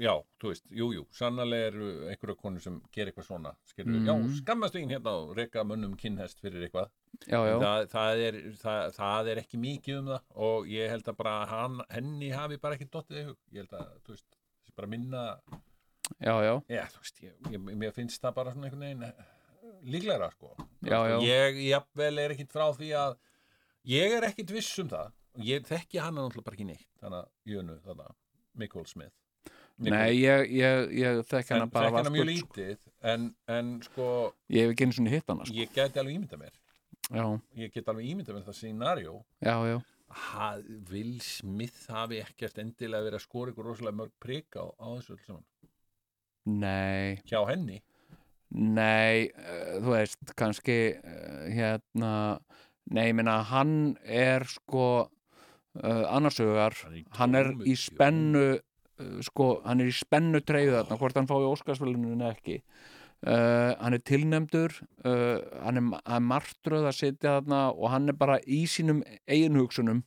já, þú veist, jú, jú sannarlega eru einhverja konur sem gerir eitthvað svona skilur,
Mhm.
já, skammast þín hérna og reka mönnum kinnhest fyrir eitthvað
já, já,
það, það, er, það, það er ekki mikið um það og ég held að bara hann, henni hafi bara ekki dottið í hug ég held að, þú veist, þessi bara minna
já, já,
já, þú veist, ég, ég, mér finnst það bara svona einhvern veginn eh, líklegra, sko
já, já,
ég jafnvel er ekkit frá því að ég er ekkit viss um það ég þekki hana náttúrulega bara ekki neitt þannig að Jönu, þannig að Mikkel Smith
nei, ég, ég, ég þekk
en,
hana bara
þekki hana mjög
vaskut, sko.
lítið en, en sko,
ég hef ekki einu sinni hitt hana sko.
ég gæti alveg ímynda mér
já,
ég get alveg ímynda mér það scenarió
já, já,
ha, Will Smith hafi ekkert endilega verið að skora ykkur rosalega mörg prik á, á þessu öllu saman
nei
hjá henni
Nei, uh, þú veist, kannski uh, hérna, nei, ég meina hann er sko uh, annarsögar,
Hann er í
hann er
tómu
í
tjóni.
spennu uh, sko, hann er í spennu treyðu þarna, hvort hann fái Óskarsveluninu en ekki uh, hann er tilnefndur uh, hann er, ma- hann er martröð að sitja þarna og hann er bara í sínum eigin hugsunum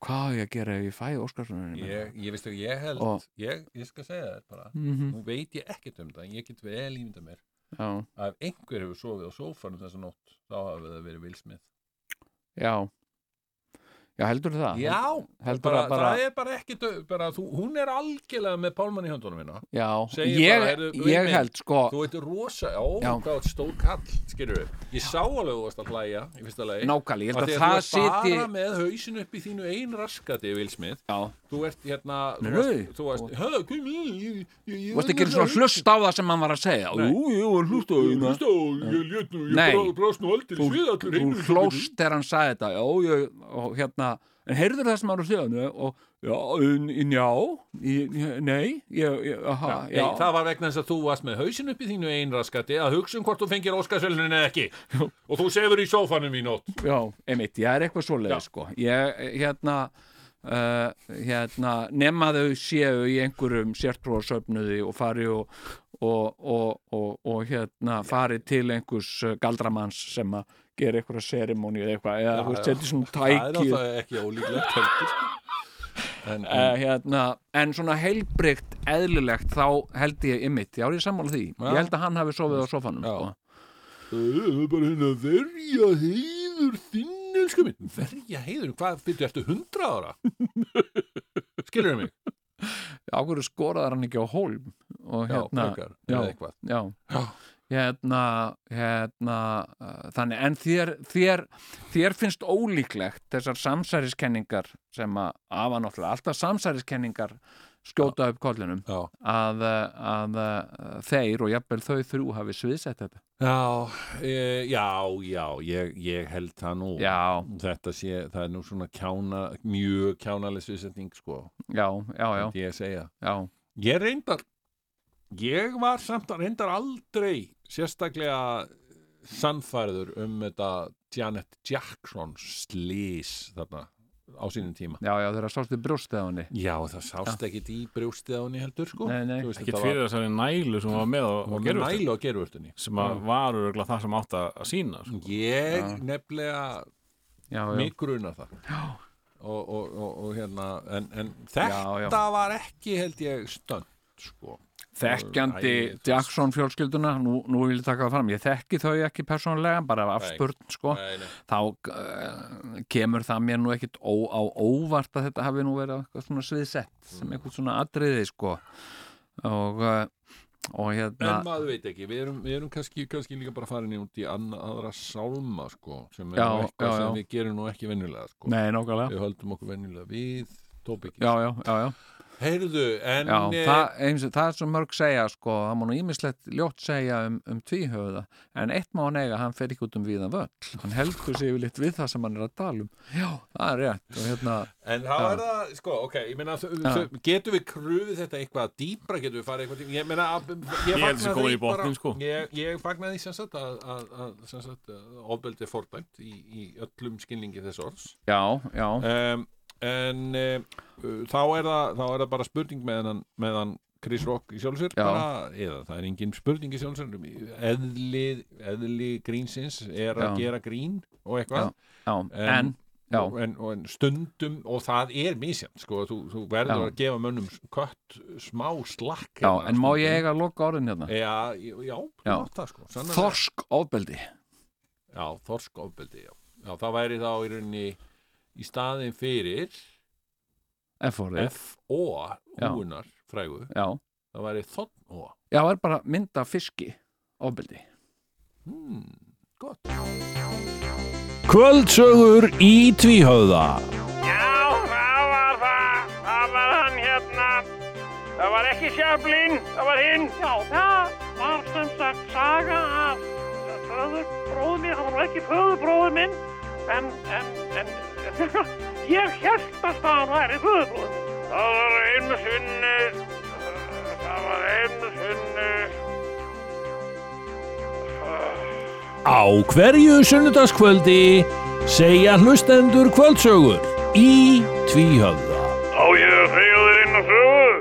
hvað á ég að gera ef ég fæ Óskarsveluninu
ég, ég veist ekki, ég held
Og-
ég, ég skal segja þér bara
Mhm,
nú veit ég ekkert um það, en ég get vel ímynda mér
já,
að ef einhver hefur sofið á sófanum þessa nótt þá hafi það verið Will Smith
já já, heldur það heldur
bara,
það bara
það er bara ekki dö- bara, þú, hún er algjörlega með pálmann í höndunum minna
Já,
Segir
ég,
bara, heyrðu,
ég
Auðun,
held sko
þú veitir rosa, ó,
Já.
hvað þú ert stór kall skilur ég sá alveg þú varst að hlæja í fyrsta lagi
nákvæmlega, ég
Af því að
held að það
þú ert
siti
bara með hausin upp í þínu ein raskati Will Smith,
Já,
þú ert hérna
Nei,
þú varst, þú varst,
nei.
hö, kom í ég- ég- ég-
þú veist ekki svona hlust á það sem hann var að segja
Nei.
Jú, jú, hann hlust á
Ég
það
hlusta og ég lét nú,
Nei.
ég brást nú aldrei
Þú-
svið allir
Þú
heimurinn.
hlóst þegar hann sagði þetta Já, ég, og hérna En heyrður það sem hann var að segja nei, og, Já, en- en já ég, ég- Nei, ég, ég aha,
Nei,
já,
það var vegna þess að þú varst með hausin upp í þínu einraskati að hugsa um hvort þú fengir Óskarsvelunin eða ekki og þú sefur í sófanum í nótt
já, einmitt, ég er eitthvað svoleiði sko Ég, hérna Uh, hérna, nema þau séu í einhverjum sértróðsöfnuði og fari og, og, og, og, og hérna fari til einhvers uh, galdramanns sem að gera einhverja serimóni eða eitthvað, eða þú veist, setja svona tæki uh,
ekki ólíklegt heldur sko. en,
hérna, en svona heilbrygt eðlilegt þá held ég ymmit, já, ég er sammála því ég held að hann hafi sofið á sofanum sko.
Það er bara hérna verja heiður þinn elsku minn Verja heiður, hvað byrju, ertu hundra ára? Skilur mig?
á hverju skoraðar hann ekki á hólm og hérna,
frekar,
já.
eða eitthvað
já hérna, hérna uh, þannig, en þér, þér þér finnst ólíklegt þessar samsæriskenningar sem að afa náttúrulega, alltaf samsæriskenningar skjóta upp kollunum
Já,
að, uh, að uh, þeir og jafnvel þau þrjú hafi sviðsett þetta
já, e, já, já ég, ég held það nú
já,
Þetta sé, það er nú svona kjána, mjög kjánalisvisetning sko,
já, já, já,
myndi ég að segja
já
Ég reyndar ég var samt að reyndar aldrei sérstaklega sannfæður um þetta Janet Jackson slís þarna á sínum tíma
já, já, þeirra sástu brjóstið á henni
Já, það sást ekki í brjóstið á henni heldur sko
Nei, nei.
Þú veist,
ekki
þetta
fyrir þessari nælu sem hún var með og,
var,
og
og
gerur
nælu á gerurvörtunni
sem að var örgulega það sem átt að að sína
Mm.
sko.
Ég nefnilega
já, já,
mig grunar það Já Og, og, og, og hérna, en, en þetta
Já, já.
var ekki held ég stönd sko.
þekkjandi
Æ, þú veist.
Jackson fjölskylduna, nú, nú vil ég taka það fram ég þekki þau ekki persónulega, bara af afspurn sko,
Nei, nei.
þá uh, kemur það mér nú ekkit ó, á óvart að þetta hafi nú verið eitthvað svona sviðsett
Mm.
sem eitthvað svona atriði sko og, uh, og
En
hérna
maður veit ekki, við erum, við erum kannski, kannski líka bara farin í út í anna, aðra sálma sko, sem er
Já,
nú eitthvað
já, já.
sem við gerum nú ekki venjulega sko.
Nei, nákvæmlega
Við höldum okkur venjulega við tópikið.
Já, já, já, já,
Heyrðu, en
já
eh,
það, eins, það er svo mörg segja sko, það má nú ímislegt ljótt segja um, um tvíhöfða, en eitt má hann eiga hann fer ekki út um víðan völl hann heldur sig yfirleitt við það sem hann er að tala um Já, það er rétt og hérna
En þá
Já.
er það, sko, ok, ég meina, þau-
Já.
þau- getum við krufið þetta eitthvað dýpra, getum við farið eitthvað dýpra, ég meina, að- ég
Ég held þessi
fagna
góð
því
í botninn,
bara-
sko.
Ég, ég fagna því sem sagt að, að, að sem sagt, ofbeldi er fordæmt í, í öllum skilningi þess orðs.
Já, já,
Um, en um, þá, er það, þá er það bara spurning meðan, meðan Chris Rock í sjálfsir,
Já.
bara, eða það er engin spurning í sjálfsir, eðli, eðli grínsins er að
Já.
gera grín og eitthvað
já, en, já
og, en, og en stundum og það er misjant sko, þú, þú verður
Já.
að gefa mönnum s- kött smá slakk
Já,
hérna
en má ég
stundum.
eiga að loka orðin hérna?
Já, já, já, þú
Já.
mátt það sko sannarlega.
Þorsk ofbeldi
Já, þorsk ofbeldi, já. já Það væri þá í rauninni í staðin fyrir
F-orðið
F.O.
Já.
húnar frægu,
Já,
það væri þonn-O
já, er bara mynda fiski ofbeldi
hmm, Gott
Kvöldsögur í tvíhöða
Já, það var það. Það var hann hérna. Það var ekki sjaflinn, það var hinn. Já, það var sem sagt saga af föðurbróðu mér. Það var nú ekki föðurbróðu minn, en, en, en ég held að hann væri föðurbróðu minn. Það var einu sinni, það var einu sinni.
Á hverju sunnudaskvöldi segja hlustendur kvöldsögur í tvíhöða
Á ég að segja þér inn á sögu?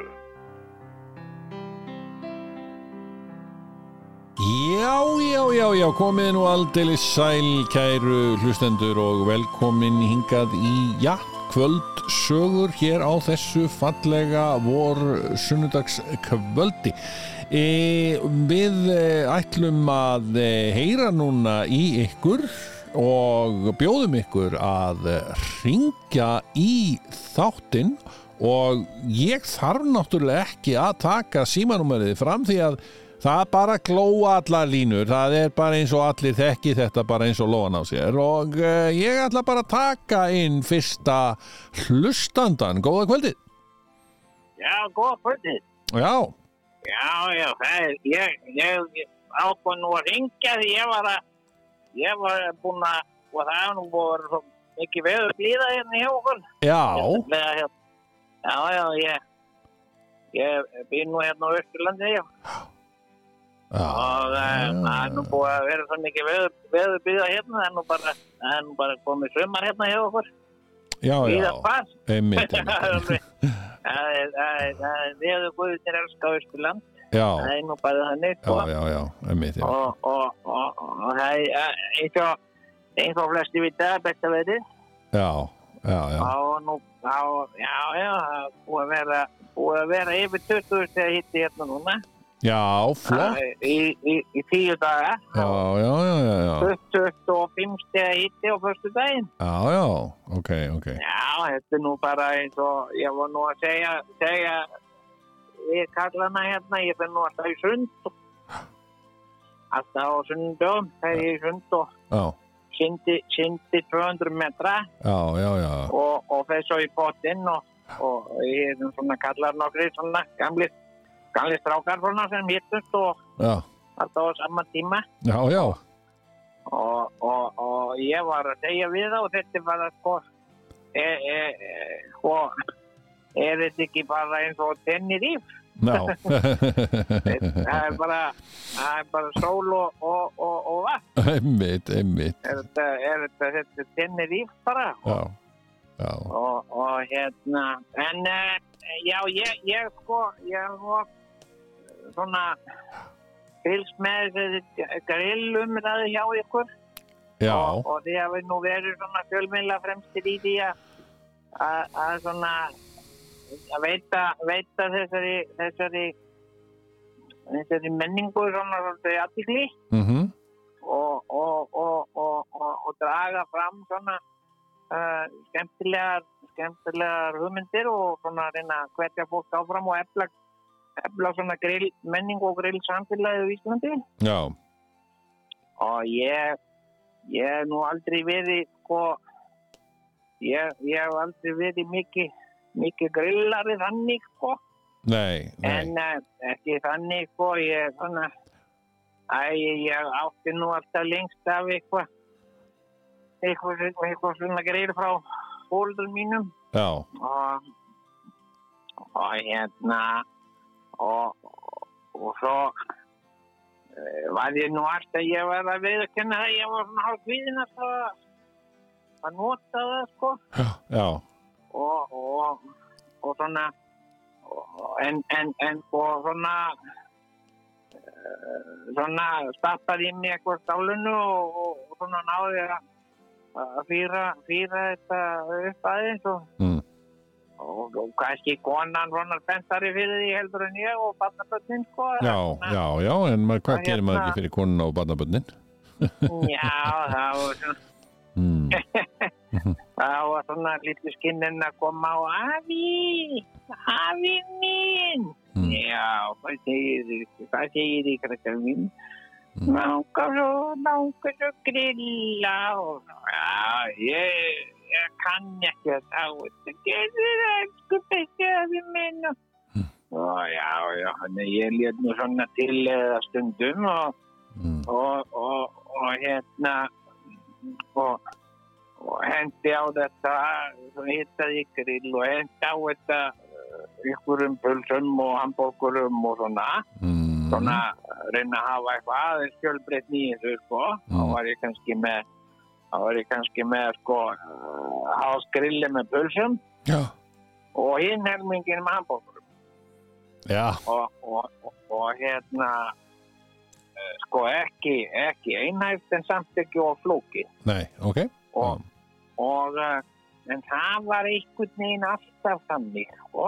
Já, já, já, já, komið nú aldeilis sæl, kæru hlustendur og velkomin hingað í, já, kvöldsögur hér á þessu fallega vor sunnudagskvöldi. E, við e, ætlum að e, heyra núna í ykkur og bjóðum ykkur að ringja í þáttinn og ég þarf náttúrulega ekki að taka símanúmerið fram því að Það er bara að glóa allar línur, það er bara eins og allir þekki þetta bara eins og lóan á sér og uh, ég ætla bara að taka inn fyrsta hlustandan, góða kvöldið.
Já, góða kvöldið.
Já,
Já, já, það er, ég, ég, ég ákvað nú að ringja því ég var að, ég var búin að, og það er nú voru svo mikið veður blíða hérna hjá okkur.
já,
Með að, hérna, já, já, ég, ég býr nú hérna á Östurlandi, já,
já,
og eh, það er nú búið að vera svo mikið veður, veður blíða hérna, það er nú bara, það er nú bara komið sömar hérna hjá okkur,
já, já,
blíða hvað?
einmitt,
Það er
einmitt,
alveg- það er- það er- það er veður guðinir elska Östurland,
já,
það er nú bara þannig,
já,
sko.
já, já, einmitt, já,
og, og, og, og það er eh, eins og, eins og flesti vita besta veitir
já, já, já,
og nú á, já, já, það er búið að vera búið að vera yfir 20 þegar hitti hérna núna
já, flott,
Eh, í, í, í tíu daga
já, já, já, já, já,
25 þegar hitti á fyrstu daginn
já, já, ok, ok,
já, þetta er nú bara eins og ég var nú að segja, segja við kallana hérna ég finn nú alltaf í sund alltaf á sundum þegar ég er í sund og
já,
syndi, syndi 200 metra
já, já, já,
og, og fer svo í potinn og, og ég er nú svona kallar nokkri svona gamli, gamli strákar svona sem hittust og
já,
alltaf á sama tíma
já, já,
og, og, og ég var að segja við það og þetta var að sko er, er, og sko, er þetta ekki bara eins og tennir í
já,
það er bara, það er bara sól og, og, og, og vatn
einmitt, einmitt,
er þetta, er þetta, þetta tennir í bara
já, já.
og, og hérna en uh, já ég, ég sko ég er sko eh, svona fylgst með þessi grillum ræði hjá ykkur
Já,
og, og því að við nú verið svona fjölmilla fremstir í því að- að að svona að veita, veita þessari, þessari
þessari menningu svona svolítið aðtikli
Mm -hmm.
og, og, og, og, og, og draga fram svona uh, skemmtilegar, skemmtilegar hugmyndir og svona reyna að hvetja fólk áfram og efla, efla svona grill, menning og grill samfélagið í Íslandi
Já,
og ég ég hef nú aldrei verið sko ég, ég hef aldrei verið mikið mikið grillari þannig sko
nei, nei.
en uh, ekki þannig sko ég er svona æ, ég átti nú alltaf lengst af eitthvað eitthvað, eitthvað, eitthvað svona greið frá fólður mínum
Já,
og, og hérna og, og, og svo eh, var ég nú alltaf ég var að viðkynna það ég var svona hálf viðin að að nota það sko
já,
og, og, og svona og- en, en, en og svona eh, svona stappaði inn í eitthvað stálinu og, og, og svona náði að- að fýra, fýra þetta upp aðeins og,
Mm.
og, og kannski konan svona spensari fyrir því heldur en ég og barnaböldin sko
já, já, já, en maður, hvað
Og
gerir maður
hérna-
ekki fyrir konuna og barnabönnin?
já það var svona
Mm.
Það var svona lítið skinninn að koma á afi, afi minn.
Mm.
Já, hvað segir þið, hvað segir þið krakkar mín? Langar svo, langar svo grilla og já, ég, ég kann ekki að þá. Það gerir það, elsku besti afi minn. Og, og já, já, þannig ég lét nú svona til eða stundum og
Mm.
og, og, og hérna og, og hendi á þetta svo hittaði ég grill og hendi á þetta eh, ykkurum pulsum og hambúrgurum og svona
Mm.
svona reyna að hafa eitthvað aðeins fjölbreytni í þessu sko þá
Mm.
var ég kannski með þá var ég kannski með sko hásgrilli með pulsum
Já,
og hinn helmingin með hambúrgur
já,
og, og, og, og hérna eh, sko ekki, ekki einhægt en samt ekki og flóki
nei, ok,
og, og eh, en það var einhvern veginn alltaf þannig sko.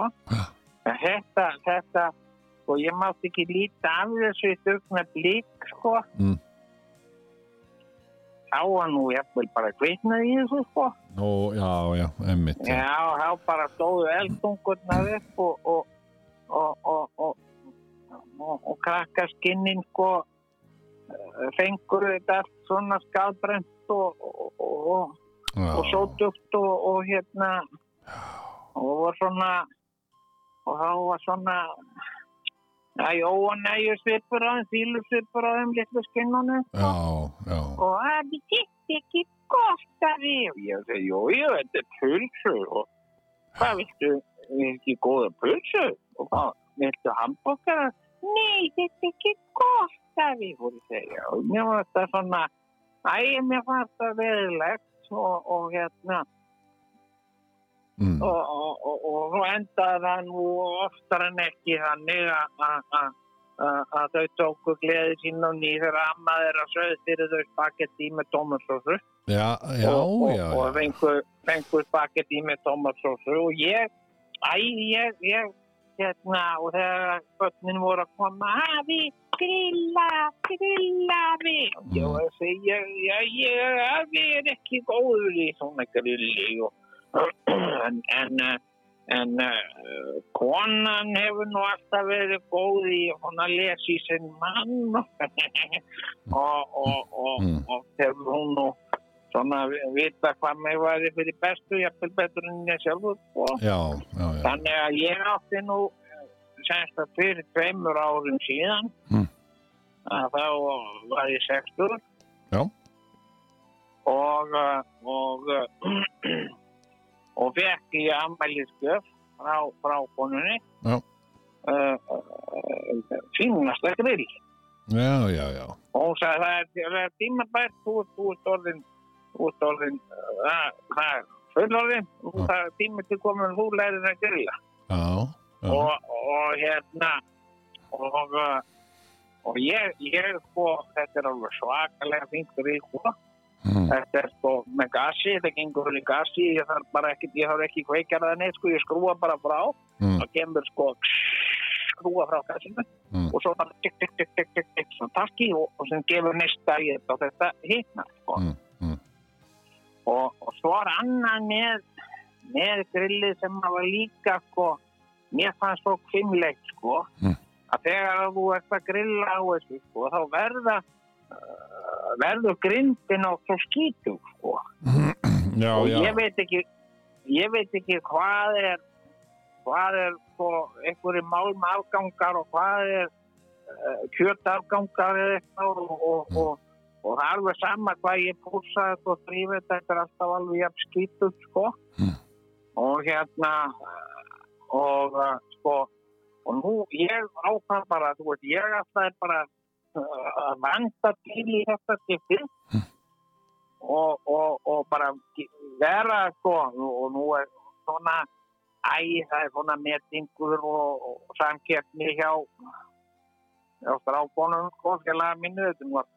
En þetta, þetta og ég mátti ekki líta af þessu í dugna blík sko
Mm.
þá var nú jafnvel bara kveitnað í þessu sko
Nú, já, já, emmitt.
Já, þá bara stóðu eldungurnar upp og, og, og, og, og, og, og krakkaskinninn sko eh, fengur þetta allt svona skadbrent og, og, og, og sótugt og, og hérna og var svona og þá var svona Æ, ó, næju svipur á þeim, fílu svipur á þeim, litlu skinnunum
Já, já,
og að við getum ekki gott að við og ég segi, jú, jú, þetta er pulsu og hvað viltu ekki góða pulsu og hvað, viltu hambúrgara nei, þetta er ekki gott að við og ég segi, já, mér var þetta svona æ, mér var þetta veðilegt og, og hérna
mm.
og, og, og, og svo endaði það nú oftar en ekki þannig að- að- að- að að þau tóku gleði sín og nýður amma þeirra sögð fyrir þau spagetti með tómatsósu
já, já,
og, og,
já,
og
já,
fengu, fengu spagetti með tómatsósu og ég, æ, ég, ég hérna, og þegar börnin voru að koma, afi, "Ah, grilla, grilla, afi og ég var að segja, já, ég, afi er ekki góður í svona grilli og en, en, eh, en uh, konan hefur nú alltaf verið góð í hún að lesa í sinn mann og, og, og,
Mm.
og hefur hún nú svona vi- vita hvað mig væri fyrir bestu, jafnvel betur en ég sjálfur sko. og
já, já, já,
þannig að ég átti nú semst að fyrir tveimur árum síðan
Mm.
að þá var ég sextur
Já.
og uh, og uh, og fekk ég ammælisgjöf frá, frá konunni
Já.
Uh, uh, fínasta grill
já, já, já,
og hún sagði það er, það er tímabært þú, þú ert orðin þú ert orðin uh, það- það er fullorðin þú-
Já.
það er tími til komin þú lærir að grilla
já, já,
og, og hérna og, uh, og ég, ég sko, þetta er alveg svakalega fínt rík sko.
Mm.
þetta er sko með gasi, þetta gengur í gasi ég þarf bara ekki, ég þarf ekki kveikjar það neitt sko, ég skrúa bara frá
Mm.
og kemur sko skrúa frá kassinu
Mm.
og svo bara tikk, tikk, tikk, tikk, tikk, tikk svona takki og, og sem gefur næsta í þetta og þetta hitna sko.
Mm, mm.
Og, og svo er annað með með grillið sem að var líka sko, mér fannst svo kvimleitt sko,
Mm.
að þegar að þú ert að grilla á þessu sko, þá verða uh, verður grindin á svo skítum sko
Já,
og ég veit ekki ég veit ekki hvað er hvað er sko einhverju málmafgangar og hvað er uh, kjötafgangar eða eitthvað og, og,
Mm.
og, og það er alveg sama hvað ég púrsaði þetta og þrýfið þetta þetta er alltaf alveg jafn skítut sko
Mm.
og hérna eh, og uh, sko og nú ég ákvað bara þú veist ég alltaf er bara eh, að vanda til í þetta skiptið og, og, og bara ge- vera sko og nú er svona æ, það er svona metingur og, og samkeppni hjá hjá strákonum sko, félaga mínu þetta er nú allt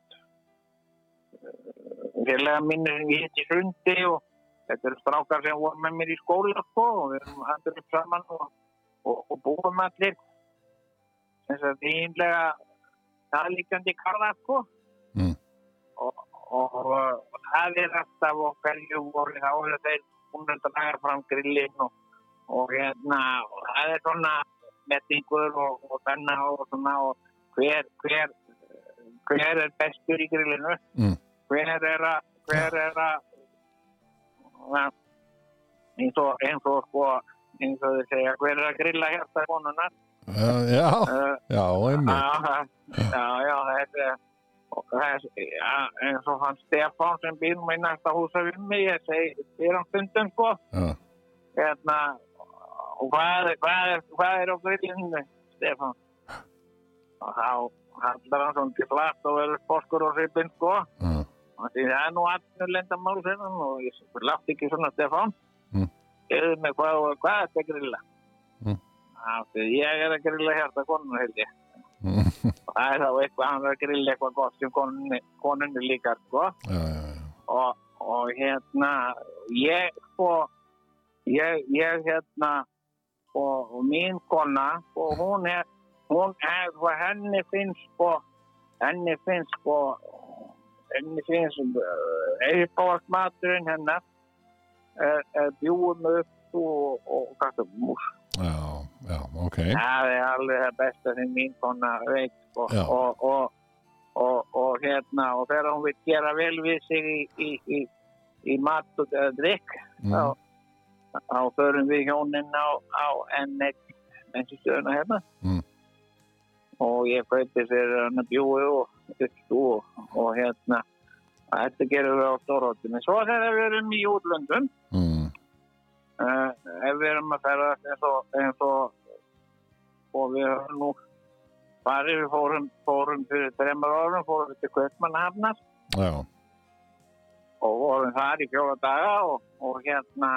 eh, félaga mínu sem ég hitt í sundi og þetta eru strákar sem voru með mér í skóla sko og við erum andur upp saman og, og, og búum allir þess að því einlega það líkjandi karða sko og, og, og það er alltaf og hverju voru þá eru þeir hún er dagar fram grillin og, og hérna og það er svona mettingur og, og þenna og svona og hver, hver, hver er bestur í grillinu
Mm.
hver er að hver er að ja, eins og eins og sko eins og þau segja hver er að grilla hérta konunar
já,
uh,
já, einmitt
Já, það- já, já, þetta er og það er, já, eins og hann Stefán sem býr með næsta húsa við mig, ég segi, býr hann stundum sko,
Já.
hérna og hvað, er- hvað, er, hvað er á grillinu, Stefán og þá hallar hann svona til flatt og verður fórskur og ripin sko,
Já.
og því það er nú allir lenda mál sinna og ég látt ekki svona Stefán
Mm.
eða með hvað, hvað er þetta að grilla
Mm.
Já, því ég er að grilla hérta konun, held ég
mm,
það er þá eitthvað, hann er að grilla eitthvað gott sem konunni, konunni líka sko.
Já, já, já.
og, og hérna ég sko ég, ég hérna og, og mín kona og hún er, hún er og henni finnst sko henni finnst sko henni finnst uh, eitthvað maturinn hennar eh, er, er bjúum upp og, og, og mús
Já, já, ok
Það er alveg það besta sem mín kona veit sko.
Já.
og, og, og, og hérna og þegar hún vil gera vel við sig í, í, í, í mat og eða drikk
Mm.
þá, þá förum við hjónin á, á N1 eins og stöðuna hérna
Mm.
og ég kaupi fyrir hann að bjúi og uppstú og, og hérna þetta gerum við á Stórhóttum en svo þegar við erum í útlöndum
Mm.
uh, ef við erum að ferðast eins og, eins og, og við höfum nú farið, við fórum, fórum fyrir þreymar árum, fórum við til Kaupmannhafnar
Já,
og vorum þar í fjóra daga og, og hérna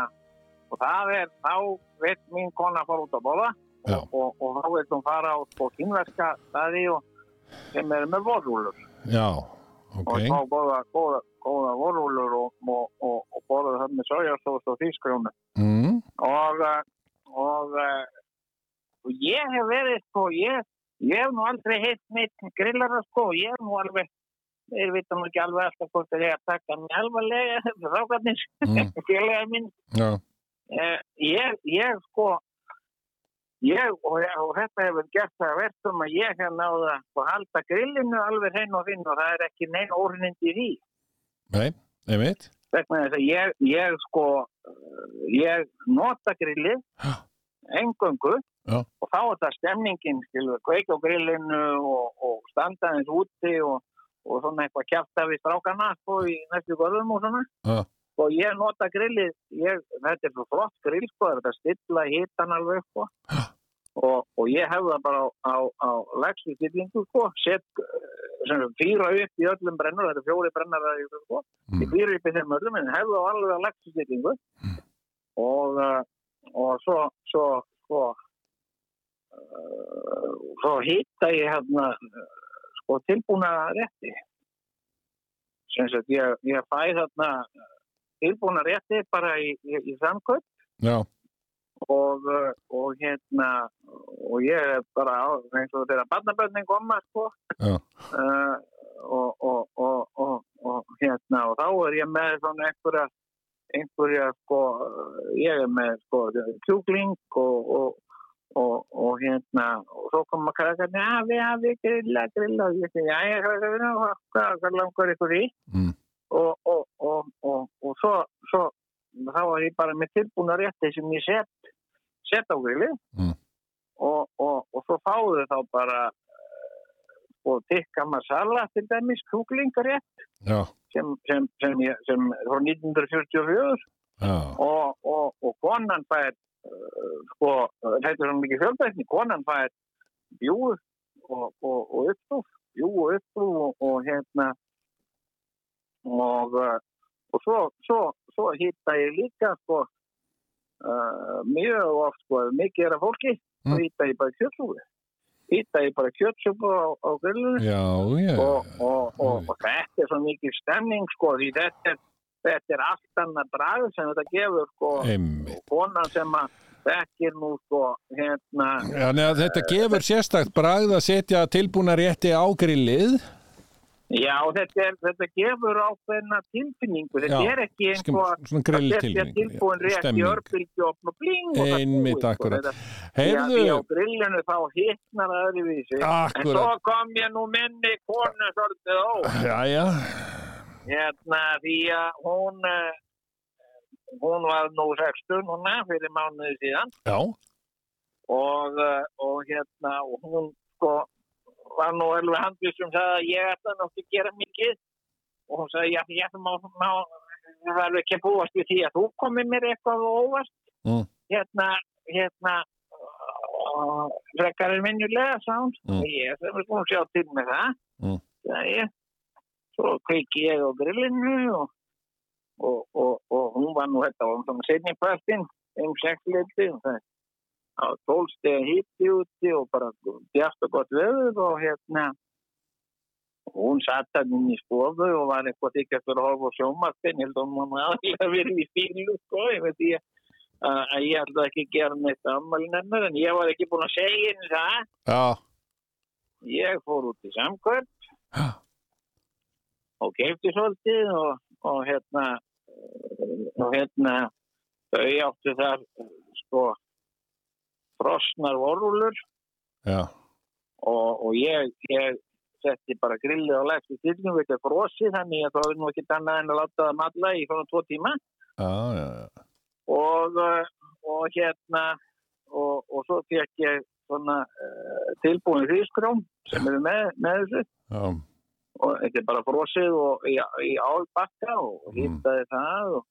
og það er, þá veit mín kona fór út að bóða
Já.
og, og, og þá veit hún fara á sko kynverska staði og sem er með vorrúlur
já,
og
ok
þá góða, góða, góða vorrúlur og, og, og, og bóða það með sojasós og fískrjónu
Mm.
og, uh, og, uh, og ég hef verið sko, ég, ég hef nú aldrei heitt neitt grillara sko, ég hef nú alveg þeir vita nú ekki alveg alltaf hvort þeir ég að taka mig alvarlega rákarnir,
Mm.
félaga mín
Já,
eh, ég, ég sko ég og, og þetta hefur gert það að verðum að ég hef náða að sko, halda grillinu alveg hrein og þinn og það er ekki neina orðnind í því
nei, einmitt
vegna þess að ég, ég sko uh, ég nota grillið
Já.
engöngu
Já.
og þá er það stemningin skilur, kveik á grillinu og, og standa eins úti og, og svona eitthvað kjæfta við strákana sko í næstu góðum og svona
Já.
og ég nota grillið ég, þetta er svo flott grill sko það er þetta stilla hitan alveg sko
Já.
og, og ég hef það bara á, á, á lagstu stillingu sko set sem sagt, fýra upp í öllum brennur þetta er fjóri brennar sko
Mm.
ég fyrir upp í þeim öllum en hefðu á alveg að lagstýringu og, uh, og svo svo, svo uh, svo hitta ég hérna uh, sko tilbúna rétti sem sagt ég, ég fæ þarna uh, tilbúna rétti bara í, í, í samkvöld
Já,
og, uh, og hérna og ég er bara á, eins og þeirra barnabönnin koma sko
Já.
uh, og, og, og, og, og hérna og þá er ég með svona einhverja einhverja sko ég er með sko kjúkling og, og, og, og hérna og svo koma krakkarni afi, afi, grilla, grilla og ég segi, jæja, krakkarni, hvað- hvað hvað langar ykkur í
Mm.
og, og, og, og, og svo, svo þá var ég bara með tilbúna rétti sem ég sett, sett á grili
Mm.
og, og, og svo fáðu þá bara eh, og tikka masala til dæmis kúklingarétt
já,
sem, sem, sem, ég, sem er frá 1944
já,
og, og, og konan fær eh, sko, eh, þetta er svo mikið fjölbreytni konan fær bjúð og, og, og uppstúf bjú og uppstúf og, og hérna og eh, og svo, svo, svo hitta ég líka sko uh, mjög oft sko, ef mikið er að fólki
Mm.
þá hitta ég bara kjötsúpu hitta ég bara kjötsúpu á, á grillinu
já, já,
og, og, og, og þetta er svo mikið stemning sko því þetta er, þetta er allt annað bragð sem þetta gefur sko
einmitt.
kona sem að þekkir nú sko hérna
Þannig að þetta gefur sérstakt bragð að setja tilbúna rétti á grillið.
já þetta, er, þetta gefur ákveðna tilfinningu þetta
Já,
er ekki eins
skim-
og að
svona
að setja
grilltilfinningu,
tilbúin
já,
rétt í
stemning.
örbylgi og opna bling og það
Einmitt,
búið, sko.
akkurat.
Þetta-
Heyrðu,
Já, því á grillinu þá hittnar það öðruvísi. En
Akkurat.
svo kom ég nú minni konu svolítið ó.
Jæja,
Hérna, því að hún, eh, hún var nú 60 núna fyrir mánuði síðan
já,
og, eh, og hérna, og hún sko var nú alveg handvist um það að ég ætla náttúrulega að gera mikið og hún sagði, já, ég ætla má, má, það er ekki að búast við því að þú komir mér eitthvað óvast
Mm.
hérna, hérna uh, frekar er minnulega sánd
Mm.
og ég sem er búin að sjá til með það
Mm.
það er svo kveiki ég á grillinu og, og, og, og hún var nú þetta var um setni partinn um sexleiti og það á tólstega hitti úti og bara bjart og gott veður og hérna og hún satt hann inn í stofu og var eitthvað ekki eftir að horfa á sjómarfinn held að hún var aðlega verið í fílu sko, ég veit ég að að ég ætlaði ekki að gera neitt ammælin hennar en ég var ekki búin að segja henni það
já,
ég fór út í samkvöld
Já.
og keipti svolítið og, og hérna eh, og hérna þau áttu þar eh, sko frosnar vorulur
já,
og, og ég, ég setti bara grillið á lægstu tilgjum við þetta frosi þannig að það var nú ekki annað en að láta það matla í svona tvo tíma
já, já, já.
og, eh, og hérna og, og svo fekk ég svona uh, tilbúin hrískróm sem eru með, með þessu
já.
og þetta er bara frosið og í, í álbakka og
Mm.
hýttaði það og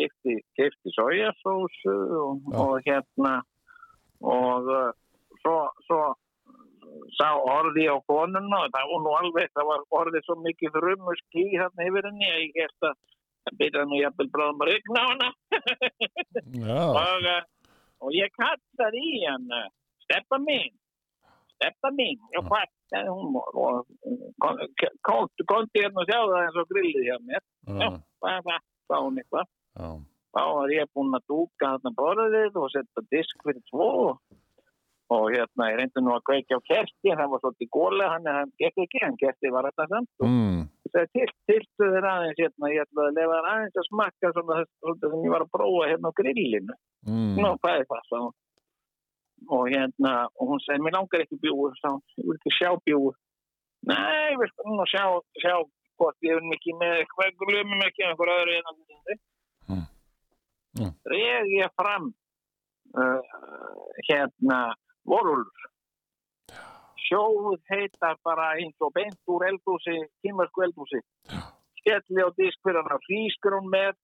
kefti, kefti sojasósu og,
Já.
og hérna og uh, svo, svo sá orði á konuna og það var nú alveg, það var orðið svo mikið þrumur ský þarna yfir henni að ég held að það byrjaði nú jafnvel bráðum að regna á hana
Já,
og, eh, og ég kallar í hann eh, steppa mín steppa mín og hvað sagði hún og- og komdi hérna og sjáðu það eins og grillið hjá mér
já,
hvað hvað, hvað hún eitthvað
já,
þá var ég búinn að dúka þarna um borðið og setja disk fyrir tvo og hérna ég reyndi nú að kveikja á kerti það var svolítið góla hann, hann gekk ekki hann kerti var þetta samt
mm,
þegar til, tiltu þér aðeins hérna ég ætlaði að lefa þér aðeins að smakka svona þess- svolítið sem ég var að prófa hérna á grillinu
mm,
Nú, hvað er það þá? Og hérna, og hún segi, mér langar ekki bjúur, þá, ég vil ekki sjá bjúur. Nei, við skulum nú sjá, sjá hvort ég vil mikið með, hvað glömum ekki einhver öðru en að
Mm. Mm.
Reg ég fram, uh, hérna, vorulur. Sjóð heitar bara eins og beint úr eldhúsi, kýmversku eldhúsi. Skelli á disk fyrir hann að frískur hún með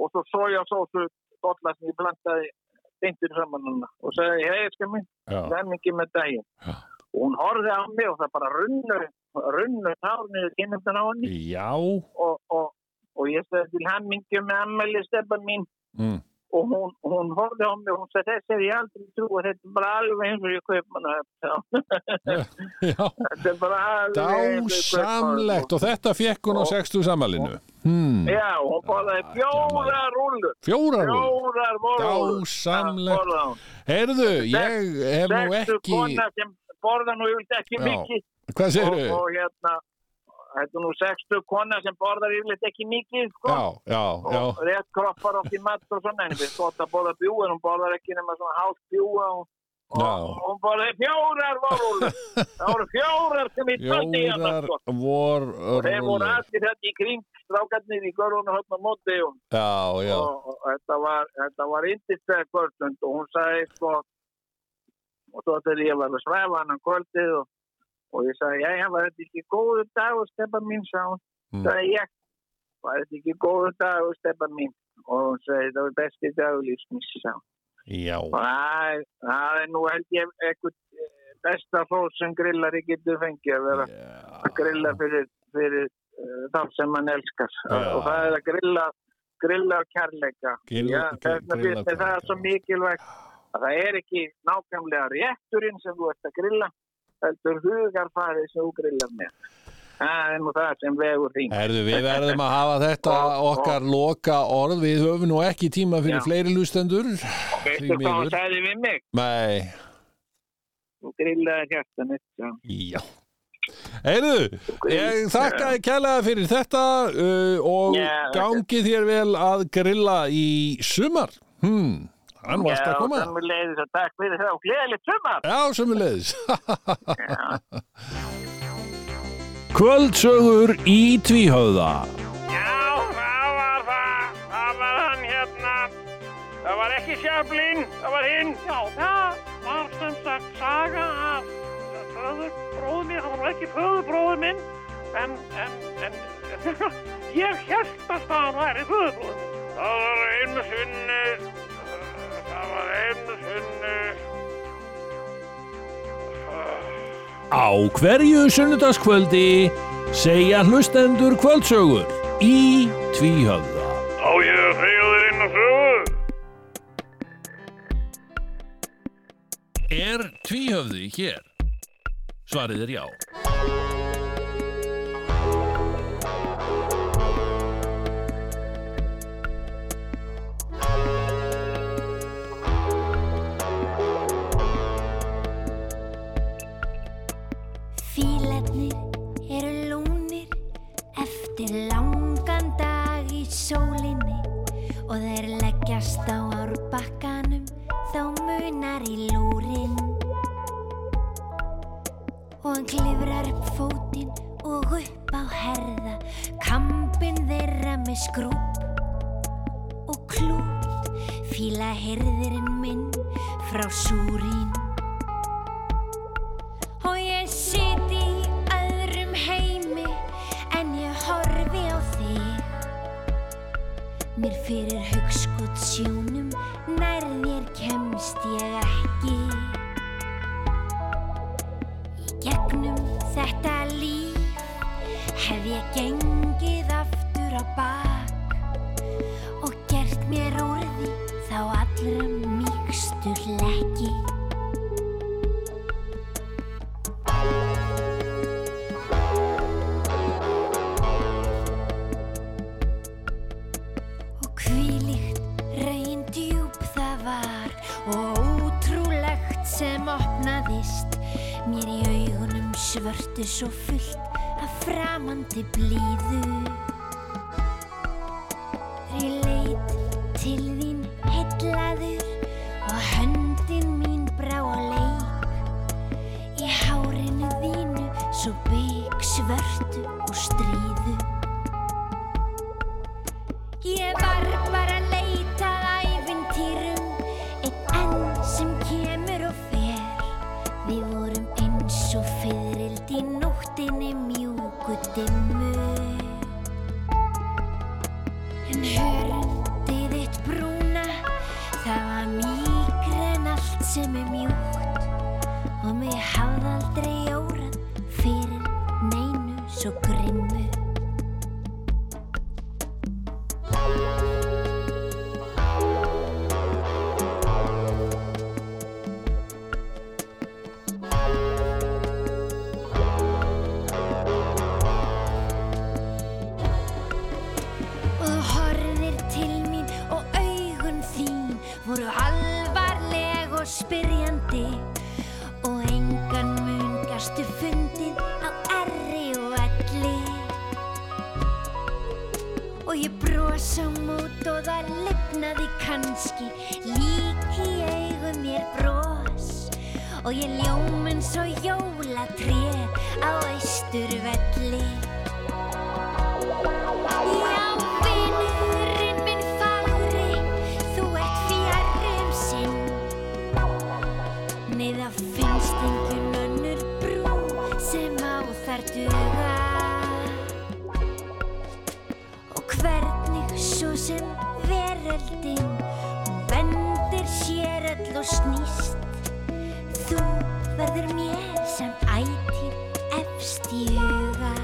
og svo sojasósu bolla sem ég plantaði beintur saman hana og sagði, hei, ég skal minn,
já,
það er mikið með daginn.
Já.
Og hún horfði á mig og það bara runnur, runnur tárnið kynnefndan á henni
já,
og, og, og ég sagði til hann mikið með ammæli stefan mín
mm,
og hún, hún horfði á mig og hún sagði, þess er ég aldrei trú og þetta er bara alveg eins og ég kaup manna
já,
þetta er bara alveg eins og ég kaup
dásamlegt og þetta fekk hún á 60 samalinu.
Hmm.
Já, hún borðaði fjórar rúllur.
Fjórar úr.
Fjórar morgurúllur.
Dásamlegt. Heyrðu, ég hef nú
Sextu
ekki...
kona sem borða nú yfirleitt ekki
Já,
mikið.
Hvað
Og,
segirðu?
og hérna, þetta er nú sextu kona sem borðar yfirleitt ekki mikið, sko.
Já, já,
og
já.
rétt kroppar átt í mat og svona en við gott að borða bjú en hún borðar ekki nema svona hálf bjú og, og
Já.
hún borðaði fjórar vorúlur það voru fjórar sem ég töldi í hann
Fjórar
sko.
vor
og þeir voru
rúllur.
allir þetta í kring strákarnir í görðunum höfn á móti og,
Já, já.
og, og þetta var þetta var yndislega kvöldund og hún sagði sko og svo þegar ég var að svæfa hann á kvöldið og, og ég sagði, já, já, var þetta ekki góðu dag og stefa mín, sá hún
Mm.
sagði ég, var þetta ekki góðu dag og stefa mín og hún sagði, það var besti dag og lífsmins, sá hún
Já.
Og það- það er nú held ég eitthvað besta fólk sem grillari getur fengið að vera að grilla fyrir, fyrir uh, þá sem mann elskar
Já.
og það er að grilla grilla á kærleika
Grill-
Já,
gr-
þess vegna
grilla
finnst mér það
kærleika,
svo
já.
mikilvægt að það er ekki nákvæmlega rétturinn sem þú ert að grilla heldur hugarfarið sem þú grillar með það er nú það sem vegur þín
Herðu, við verðum að hafa þetta okkar loka orð. Við höfum nú ekki tíma fyrir
Já.
fleiri lústendur.
veistu hvað hún sagði við mig?
Nei,
þú grillaði hjartan mitt
já. Heyrðu, ég þakka þið kælega fyrir þetta uh, og
Já,
gangi þér vel að grilla í sumar. Hmm, hann varst að koma.
þannig leiðis að takk fyrir það og gleðilegt sumar
Já, sömulegis.
Kvöldsögur í Tvíhöða
Já, það var það. Það var hann hérna. Það var ekki sjöflinn, það var hinn. Já, það var sem sagt saga af föður bróður minn. Það var ekki föður bróður minn, en, en, en ég held að það væri föður bróður minn. Það var einu sinni, það var einu sinni.
Á hverju sunnudaskvöldi segja hlustendur kvöldsögur í Tvíhöða
Á ég að segja þér einu sögur.
Er Tvíhöfði hér? Svarið er já.
Fílarnir eru lúnir eftir langan dag í sólinni og þeir leggjast á árbakkanum þá munar í lúrin og hann klifrar upp fótinn og upp á herða kampinn þeirra með skrúp og klút fíla hirðirinn minn frá súrín og ég sit í öðrum heimi en ég horfi á þig mér fyrir hugskotsjónum nær þér kemst ég ekki í gegnum þetta líf hef ég gengið aftur á bak og gert mér úr því þá allra mýgstu hlekki og kvílíkt reyn djúb það var og ótrúlegt sem opnaðist mér í augunum svörtu svo fullt af framandi blíðu Þegar ég leit til þín heillaður og höndin mín brá á leik í hárinu þínu svo bygg svörtu og stríðu Ég var bara að leita að ævintýrum Einn enn sem kemur og fer Við vorum eins og fyririldi í nóttinni mjúku dimmu En hörndi þitt brúna Það var mýgren allt sem er mjúkt Og mig hafði aldrei órað fyrir neinu svo grimmu spyrjandi og engan mun gastu fundið á erri og elli og ég bros á mót og það lifnaði kannski líki augu mér bros og ég ljóm eins og jólatré á austurvelli Já, vinurinn minn fagri, þú ert fjarri um sinn. Nei, það finnst engin önnur brú sem á þar duga. Og hvernig svo sem veröldin hún vendir sér öll og snýst, þú verður mér sem ætíð efst í huga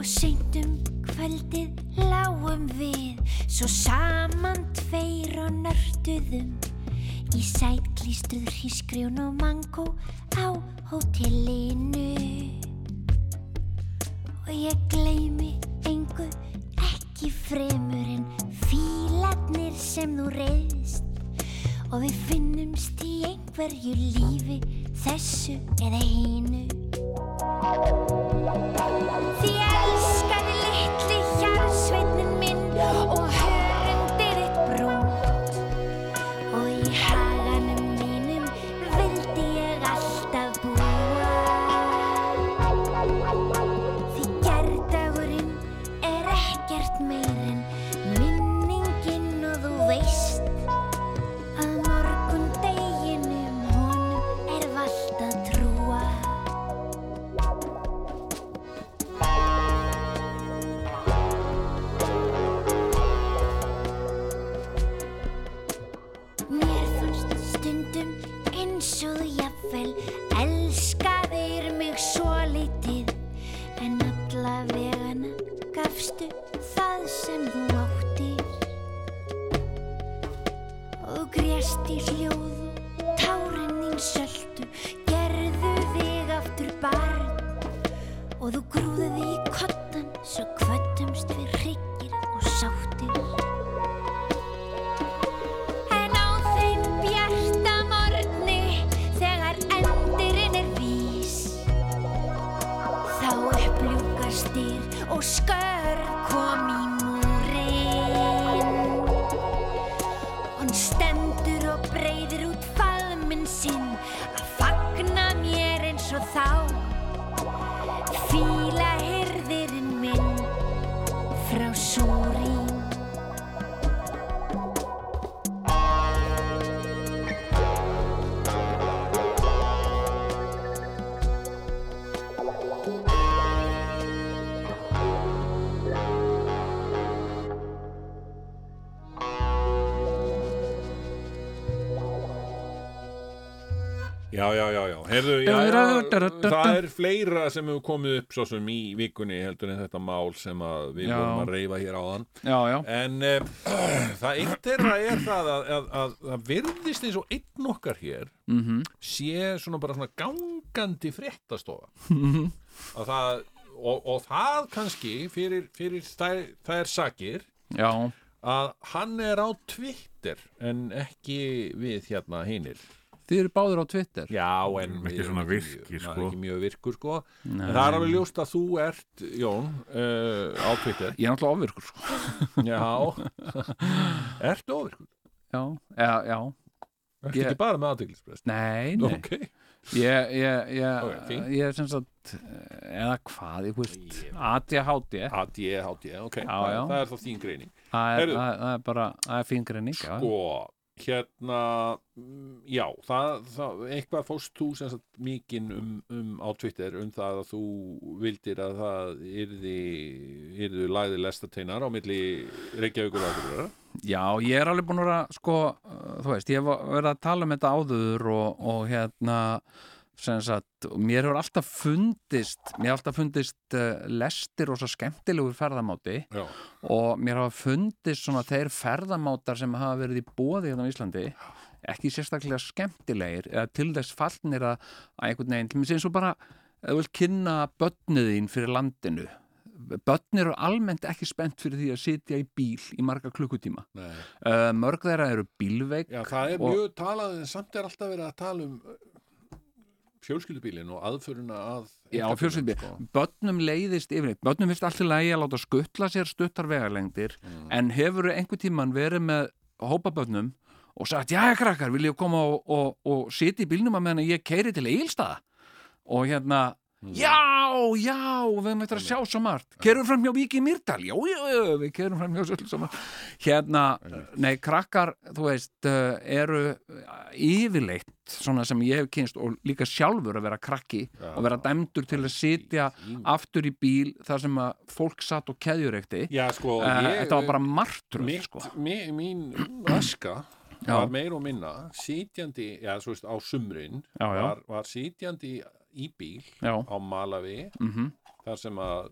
og seint um kvöldið lágum við svo saman tveir og nörduðum í sætklístruð hrísgrjón og mangó á hótelinu og ég gleymi engu ekki fremur en fílarnir sem þú reyðst og við finnumst í einhverju lífi þessu eða hinu Því elskaði litli hjarsveitnin minn og hörundir eitt brúnt og í haganum mínum vildi ég alltaf búa Því gerdagurinn er ekkert meir en minningin og þú veist að morgun deginum honum er vald að trúa Mér fannst stundum eins og þú jafnvel elskaðir mig svo lítið en alla vegana gafstu það sem þú áttir og grést í hljóð og tárin þín söldu gerðu þig aftur barn og þú grúðu þig í kottan svo kvöttumst við hryggir og sáttir En á þeim bjarta morgni, þegar endirinn er vís, þá uppljúkast dyr og skör kom í múrin. Hann stendur og breyðir út faðminn sinn að fagna mér eins og þá. Fíla hirðirinn minn frá súrín.
Já, já, já, já, heyrðu, já, já það er fleira sem hefur komið upp svo sem í vikunni heldur en þetta mál sem að við
Já.
vorum að reyfa hér áðan
já, já,
En uh, það eitt er það er það að, að, að það virðist eins og einn okkar hér
mhm,
sé svona bara svona gangandi fréttastofa
Mhm.
að það, og, og það kannski fyrir, fyrir þær, þær sakir
já
að hann er á Twitter en ekki við hérna hinnir
Þið eru báður á Twitter
Já, en
Ekki
við erum
svona
mjög-
virkir,
na,
sko.
ekki mjög virkur sko en það er alveg ljóst að þú ert, Jón uh, á Twitter
Ég er náttúrulega ofvirkur sko.
Já, ertu ofirkur
Já, já, já,
Ertu
Ég-
ekki bara með aðteglisprest
nei, nei
Ok,
Ég, ég, ég,
Ok, fínt.
ég er sem sagt eh, eða hvað, ég veist ADHD,
ADHD, ok
Já,
það,
já.
það er þá þín greining
það er,
Heyrðu.
það, það er bara það er fingrinning sko.
Sko, hérna mm, já, það, það eitthvað fórst þú sem sagt mikinn um, um á Twitter um það að þú vildir að það yrði yrðu lagði lestateinar á milli Reykjavíkur og Akureyrar
Já, ég er alveg búin að vera, sko, uh, þú veist, ég hef verið að tala um þetta áður og, og hérna sem sagt, og mér hefur alltaf fundist mér hefur alltaf fundist uh, lestir og svo skemmtilegur ferðamáti
Já.
og mér hafa fundist svona þeir ferðamátar sem hafa verið í bóði hérna á Íslandi ekki sérstaklega skemmtilegir eða til þess fallnir að, að einhvern veginn, til mér eins og bara eða þú vilt kynna börnið þín fyrir landinu börn eru almennt ekki spennt fyrir því að sitja í bíl í marga klukkutíma
Nei.
uh, mörg þeirra eru bílveik
Já, það er
Og-
mjög talað en samt er alltaf verið að tala um uh, fjölskyldubílinn og aðföruna að
Já,
einkabílnum, sko.
fjölskyldi. Bönnum leiðist yfirleitt, bönnum finnst allir lægi að láta skuttla sér stuttar vegalengdir
Mm.
en hefur einhvern tíman verið með hópa bönnum og sagt, já, krakkar, vil ég koma og, og, og sitja í bílnum að meðan ég keiri til Egilstaða og hérna,
Mm.
já, já við höfum eftir að sjá svo margt kerum fram hjá Víki Mýrdal, já, já, já við kerum fram hjá svolítið svo margt hérna, nei, krakkar, þú veist uh, eru uh, yfirleitt svona sem ég hef kynst og líka sjálfur að vera krakki og vera dæmdur til að sitja aftur í bíl þar sem að fólk satt og keðjureikti
Já, sko, ég,
Eh, þetta var bara martröð
mitt,
sko.
mi, mín öska
Já.
var meir og minna sitjandi, já, svo veist, á sumrin
Já, já.
Var, var sitjandi í bíl
já,
á Malavi
mhm,
þar sem að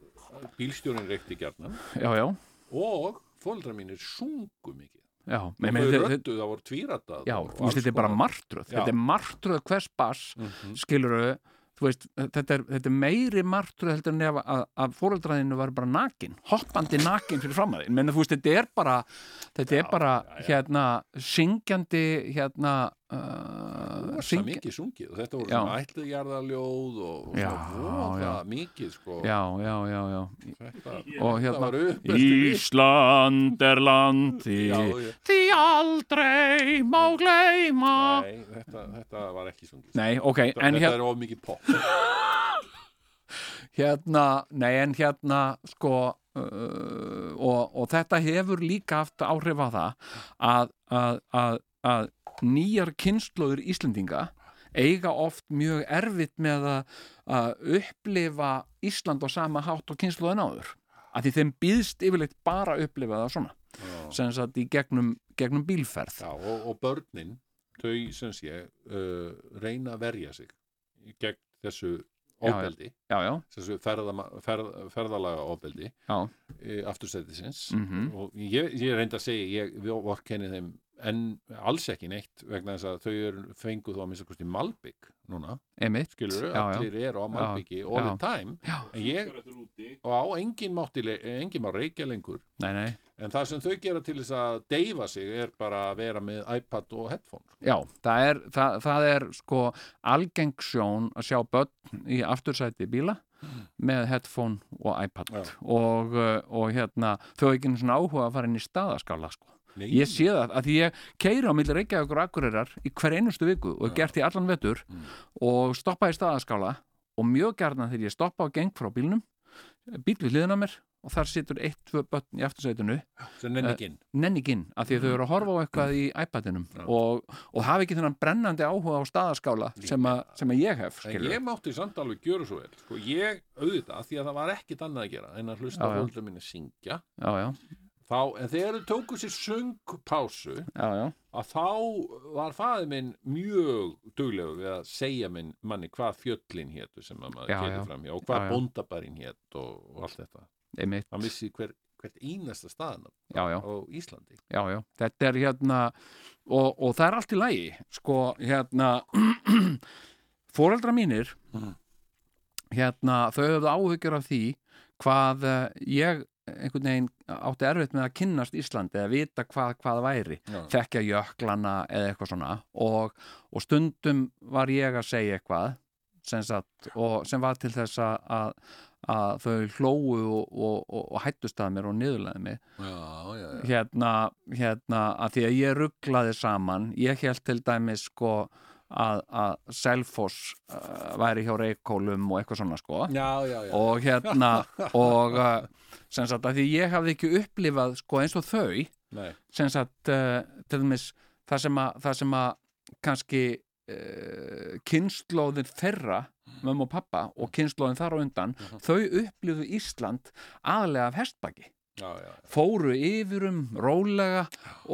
bílstjórin reykti gjarnan
já, já,
og fóldra mínir sungu mikið
já
og
Nei,
þau
meni, þau- þau-
röddu, það voru tvíratað
já,
og alls
þú veist, þetta er bara
konar.
martröð
Já.
þetta er martröð hvers bass
Mhm.
skilurðu, þú veist, þetta er, þetta er meiri martröð heldur en ef að, að fóreldraðinu var bara nakin, hoppandi nakin fyrir framæðin, menn þú veist, þetta er bara þetta er bara, hérna syngjandi, hérna uh,
rosa mikið sungið og þetta voru
Já.
svona ætlujarðaljóð og
Já,
svona voða
já.
mikið sko
já, já, já, já
þetta,
og
þetta
hérna
var uppeldi
Ísland er landi
Já, já.
því aldrei má gleyma
Nei, þetta, þetta var ekki sungið
Nei, ok,
þetta,
en
þetta
hér,
er of mikið pop
hérna nei, en hérna sko uh, og, og þetta hefur líka haft áhrif á það að, að, að, að nýjar kynnslóður Íslendinga eiga oft mjög erfitt með að, að upplifa Ísland á sama hátt og kynnslóðin áður að því þeim býðst yfirleitt bara að upplifa það svona, sem sagt í gegnum, gegnum bílferð
já, og, og börnin, þau sem sé uh, reyna að verja sig gegn þessu
Já, já.
ofbeldi
já, já,
þessu ferðama, ferð, ferðalaga ofbeldi
já,
e, aftursætisins
Mhm.
og ég, ég reyndi að segja ég vorkenni þeim en alls ekki neitt vegna þess að þau eru fenguð þá að minnst að kosti Malbygg núna,
einmitt
skilur
já, já.
allir eru á Malbyggi all
já.
the time
Já.
en ég, og á engin mátti le- engin má reykja lengur
Nei, nei,
en það sem þau gera til þess að deyfa sig er bara að vera með iPad og headphone
já, það er, það, það er sko algeng sjón að sjá börn í aftursæti bíla með headphone og iPad
Mm. Já.
og, uh, og hérna þau hafa ekki einu svona áhuga að fara inn í staðaskála sko.
Nei,
ég sé það, að því ég keiri á milli reykjaði okkur akkurirar í hver einustu viku og hef gert í allan vetur
Mm.
og stoppa í staðaskála og mjög gerna þegar ég stoppa og geng frá bílnum bíl við hliðina á mér og þar situr eitt, tvö börn í aftursætinu
sem nenni ekki inn
nenninginn af því að þau eru að horfa á eitthvað í iPadinum og, og hafa ekki þennan brennandi áhuga á staðaskála sem, að, sem að ég hef
En
skilur.
ég mátti samt alveg gjöra svo vel sko, ég auðvitað, því að það var ekkit annað að gera en að hlusta
Já, já.
fólkdra minni syngja
Já, já,
þá, en þegar þau tóku sér söngpásu
já, já,
að þá var faðið minn mjög duglegur við að segja minn manni hvað fjöllin hétu sem að maður
Já, já.
keirir fram hjá og hvað
Já, já.
bóndabærin hét og, og allt þetta
einmitt
hann vissi hver, hvert einasta staðan
já, já,
á Íslandi
já, já, þetta er hérna og, og það er allt í lagi sko, hérna foreldra mínir hérna, þau höfðu áhyggjur af því hvað eh, ég einhvern veginn átti erfitt með að kynnast Íslandi eða vita hvað, hvað væri
Já.
þekkja jöklana eða eitthvað svona og, og stundum var ég að segja eitthvað sem, sagt, og, sem var til þess að, að, að þau hlóu og, og, og, og hættust að mér og niðurlaði mig
já, já,
hérna, hérna að því að ég rugglaði saman ég held til dæmis sko að, að Selfoss uh, væri hjá Reykjólum og eitthvað svona sko
já, já, já.
og hérna og uh, sem sagt að því ég hafði ekki upplifað sko eins og þau
Nei,
sem sagt uh, til dæmis það sem að, það sem að kannski uh, kynnslóðin þeirra mömmu og pappa og kynnslóðin þar á undan þau upplifðu Ísland aðlega af hestbaki
já, já,
fóru yfirum rólega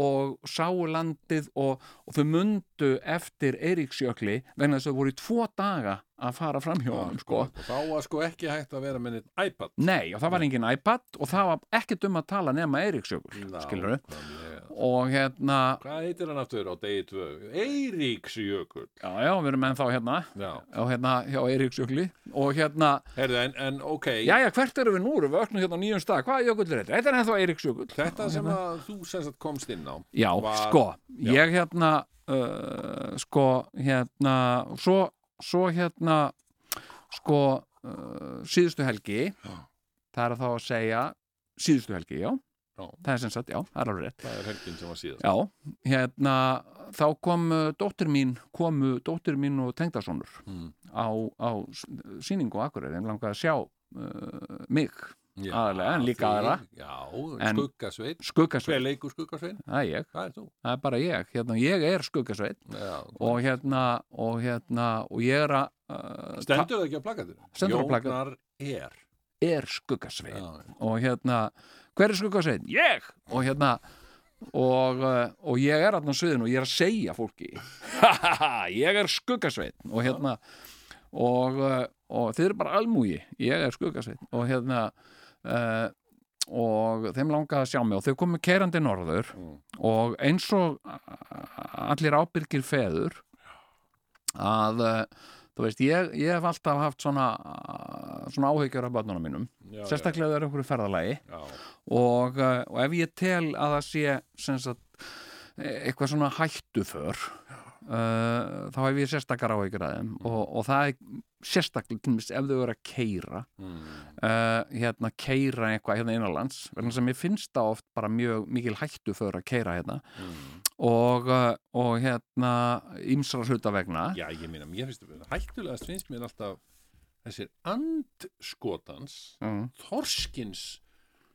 og sáu landið og, og þau mundu eftir Eiríksjökli vegna þess að þau voru í tvo daga að fara fram hjá honum sko.
Og þá var sko ekki hægt að vera með neitt iPad
Nei, og það var engin iPad og það var ekkert um að tala nema Eiríksjökul,
Ná,
skilur
nákvæmlega.
og hérna
Hvað heitir hann aftur á degi 2? Eiríksjökull.
já, já, við erum ennþá hérna
Já.
og hérna hjá Eiríksjökli og hérna,
Herðu, en, en ok,
jæja, hvert erum við nú erum við öknum hérna á nýjum stað, hvaða jökull er þetta? Þetta er ennþá Eiríksjökull
þetta sem að þú sem sagt komst inn á.
Já,
var-
sko,
já.
ég hérna uh, sko, hérna svo, svo hérna sko, uh, síðustu helgi það er þá að segja síðustu helgi, já
Já.
það er sem sagt, já, það er alveg rétt
Það er helgin sem var síðast.
Já, hérna þá kom uh, dóttir mín komu dóttir mín og tengdasonur
Mm.
á, á s- sýningu á Akureyri, þeim langaði að sjá uh, mig,
Já,
Aðallega, en líka
þig,
aðra.
Já,
En-
skuggasveit. Hver
skuggasveit
leikur skuggasveit?
það er ég,
Hvað er þú?
það er bara ég hérna, ég er skuggasveit
Já.
og hérna, og hérna og ég er að uh,
Stendur það ekki á plakatinu?
Stendur á plakatinu.
Jónar er.
ta- er skuggasveit
Já.
og hérna, hver er skuggasveit? Ég! og hérna og, uh, og ég er þarna á sviðinu og ég er að segja fólki ég er skuggasveit og hérna og, uh, og þið eru bara almúi ég er skuggasveit og hérna uh, og þeim langaði að sjá mig og þau komu keirandi norður og eins og uh, allir ábyrgir feður að uh, þú veist, ég, ég hef alltaf haft svona, uh, svona áhyggjur af börnunum mínum
Já,
sérstaklega þegar okkur er ferðalagi
Já, já.
og, uh, og ef ég tel að það sé sem sagt, e- eitthvað svona hættuför uh, þá hef ég sérstakar áhyggjur að þeim og, og það er sérstaklega til dæmis ef þau eru að keira uh, hérna keira eitthvað hérna innanlands vegna sem ég finnst það oft bara mjög mikil hættuför að keira hérna og, uh, og hérna ymsra hluta vegna
Já, ég meina, mér finnst það hættulegast finnst mér alltaf þessir andskotans
Mm.
þorskins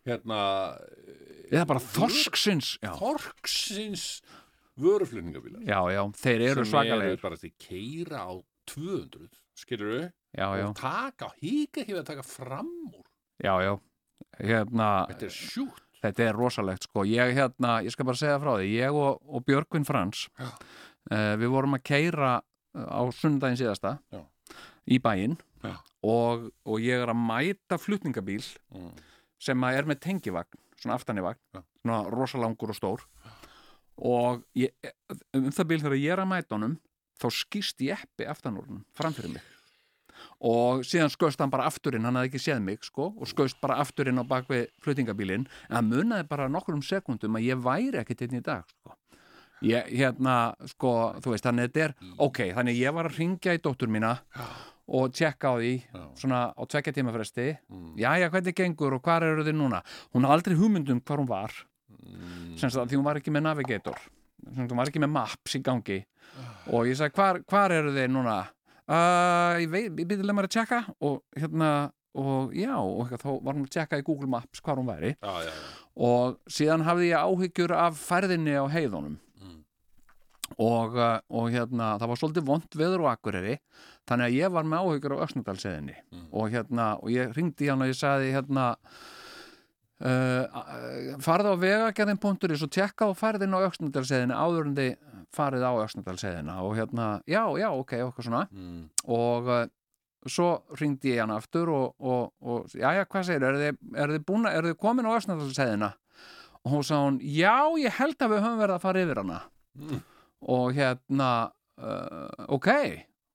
hérna eh,
eða bara þorsksins já,
þorksins vöruflutningabílar
já, já, þeir eru svakalegir
bara til keira á 200 skilur
já, já,
og taka, híka ekki við að taka fram úr
já, já hérna,
þetta er sjúkt
Þetta er rosalegt sko, ég hérna, ég skal bara segja frá því, ég og, og Björgvin Frans, uh, við vorum að keira á sundaginn síðasta
Já.
í bæinn
Já.
og, og ég er að mæta flutningabíl
Mm.
sem að er með tengivagn, svona aftanivagn,
Já.
svona rosalangur og stór og ég, um það bíl þegar ég er að mæta honum, þá skýst ég eppi aftan úr honum, framfyrir mig og síðan skauðst hann bara afturinn hann hafði ekki séð mig sko og skauðst bara afturinn á bakvið fluttingabílinn en hann munaði bara nokkrum sekundum að ég væri ekkit einn í dag sko ég, hérna sko þú veist þannig þetta er ok, þannig ég var að ringja í dóttur mína og tjekka á því svona á tvekja tíma fresti jæja hvernig gengur og hvar eru þið núna hún hafði aldrei hugmyndum hvar hún var sem sagt því hún var ekki með navigator sem sagt hún var ekki með maps í gangi og ég sagði hvar, hvar eru þið núna uh, ég veit, ég byrði lemar að tjekka og hérna og já, og eitthvað, þá var hún að tjekka í Google Maps hvar hún væri
já, já, já.
og síðan hafði ég áhyggjur af færðinni á heiðunum og, uh, og hérna það var svolítið vond veður og akkureri þannig að ég var með áhyggjur á Öxnadalseðinni og hérna, og ég ringdi í hann og ég sagði hérna uh, farð á vegagerðin.is og tjekka á færðin á Öxnadalseðinni áður en þið farið á Öxnadalseðina og hérna, já, já, ok, okkar svona
Mm.
og uh, svo ringdi ég hann aftur og, og, og já, já, hvað segir, er þið, er þið, búna, er þið komin á Ösnandalsæðina? Og hún sagði hún, já, ég held að við höfum verið að fara yfir hana og hérna, uh, ok,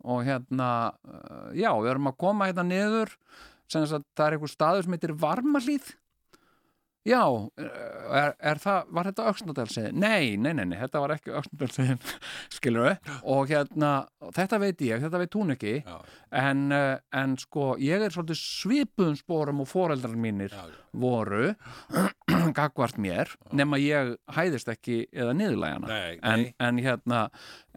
og hérna, uh, já, við erum að koma hérna niður, sem þess að það er einhver staður sem heitir Varmalíð, Já, eh, er, er það, var þetta öxnadalsiðin? Nei, nei, nei, nei, þetta var ekki öxnadalsiðin, skilur við, og hérna, þetta veit ég, þetta veit hún ekki,
Já,
en, eh, en sko, ég er svolítið svipuðum sporum og foreldrar mínir
já, já.
voru, gagvart mér, nema ég hæðist ekki eða niðurlægana.
Nei,
En,
nei.
en hérna,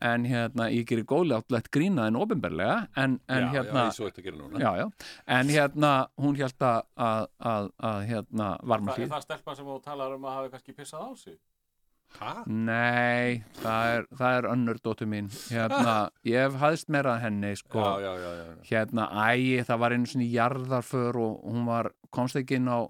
en hérna, ég gerir góðlega áttlætt grína en ofinberlega, en, en
já, já,
hérna,
ég svo þetta að gera núna
já, já, en hérna, hún held að, að, að, að hérna,
Það
varmahlýð.
er það stelpa sem þú talar um að hafi kannski pissað á sig.
ha?
Nei, það er, það er önnur dóttu mín hérna, ég hef hæðst meira að henni sko,
já, já, já, já, já.
hérna, æ, það var einu svona jarðarför og hún var, komst ekki inn á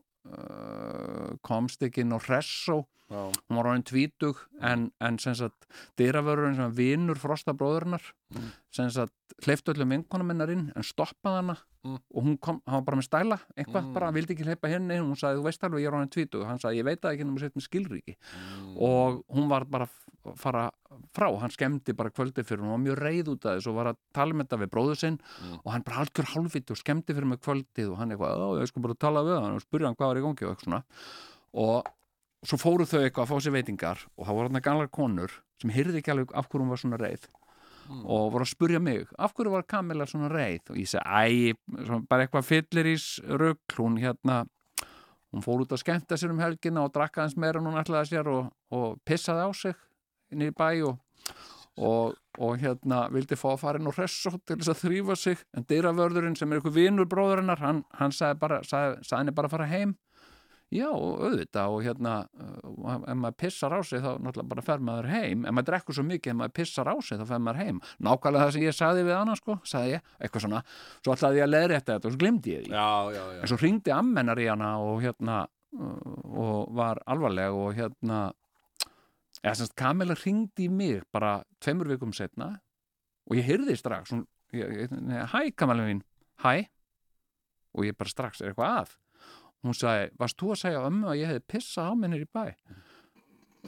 uh, komst ekki inn á Hressó
Já.
hún var orðin tvítug en, en sem sagt dyravörurinn sem var vinur frosta bróðurinnar
Mm.
sem sagt hleyftu öllum vinkonum minnar inn en stoppaði hana
Mm.
og hún kom, hann var bara með stæla eitthvað,
Mm.
bara hann vildi ekki hleypa henni inn hún sagði þú veist alveg ég er orðin tvítug hann sagði ég veit það ekki nema sett með skilríki
Mm.
og hún var bara að fara frá, hann skemmdi bara kvöldi fyrir hún var mjög reið út af þessu og var að tala með þetta við bróður sinn
Mm.
og hann bara algjör hálfitt og skemmdi fyrir mig kvöldið og hann eitthvað, "Ó, ég sko bara að tala við hann og spurði hann hvað var í gangi og eitthvað svona og svo fóru þau eitthvað að fá sér veitingar og það voru hann gamlar konur sem hyrði ekki alveg af hverju hún var svona reið og voru að spurja mig, af hverju var Kamila svona reið og ég segi, æ, svona bara eitthvað fyllirís rugl, hún hérna hún fór út að skemmta sér um helgina og drakka hans meira en hún ætlaði sér og, og pissaði á sig inn í bæ og, og, og hérna vildi fá að fara inn og hressa til þess að þrýfa sig en dyravörðurinn sem er einhver vinur bróðurinnar hann, hann sagði, bara, sagði, sagði henni bara að fara heim já, auðvitað og hérna, uh, ef maður pissar á sig þá náttúrulega bara fer maður heim ef maður drekkur svo mikið, ef maður pissar á sig þá fer maður heim nákvæmlega það sem ég sagði við annars sko sagði ég, eitthvað svona, svo ætlaði ég að leiðrétta þetta og svo glemdi ég því
Já, já, já.
en svo hringdi ammennar í hana og hérna uh, og var alvarleg og hérna eða semst Kamila hringdi í mig bara tveimur vikum setna og ég heyrði strax hún, ég, ég, nei, hæ Kamila mín, hæ og ég bara strax, er eitthvað að hún sagði, varst þú að segja ömmu að ég hefði pissað á minnir í bæ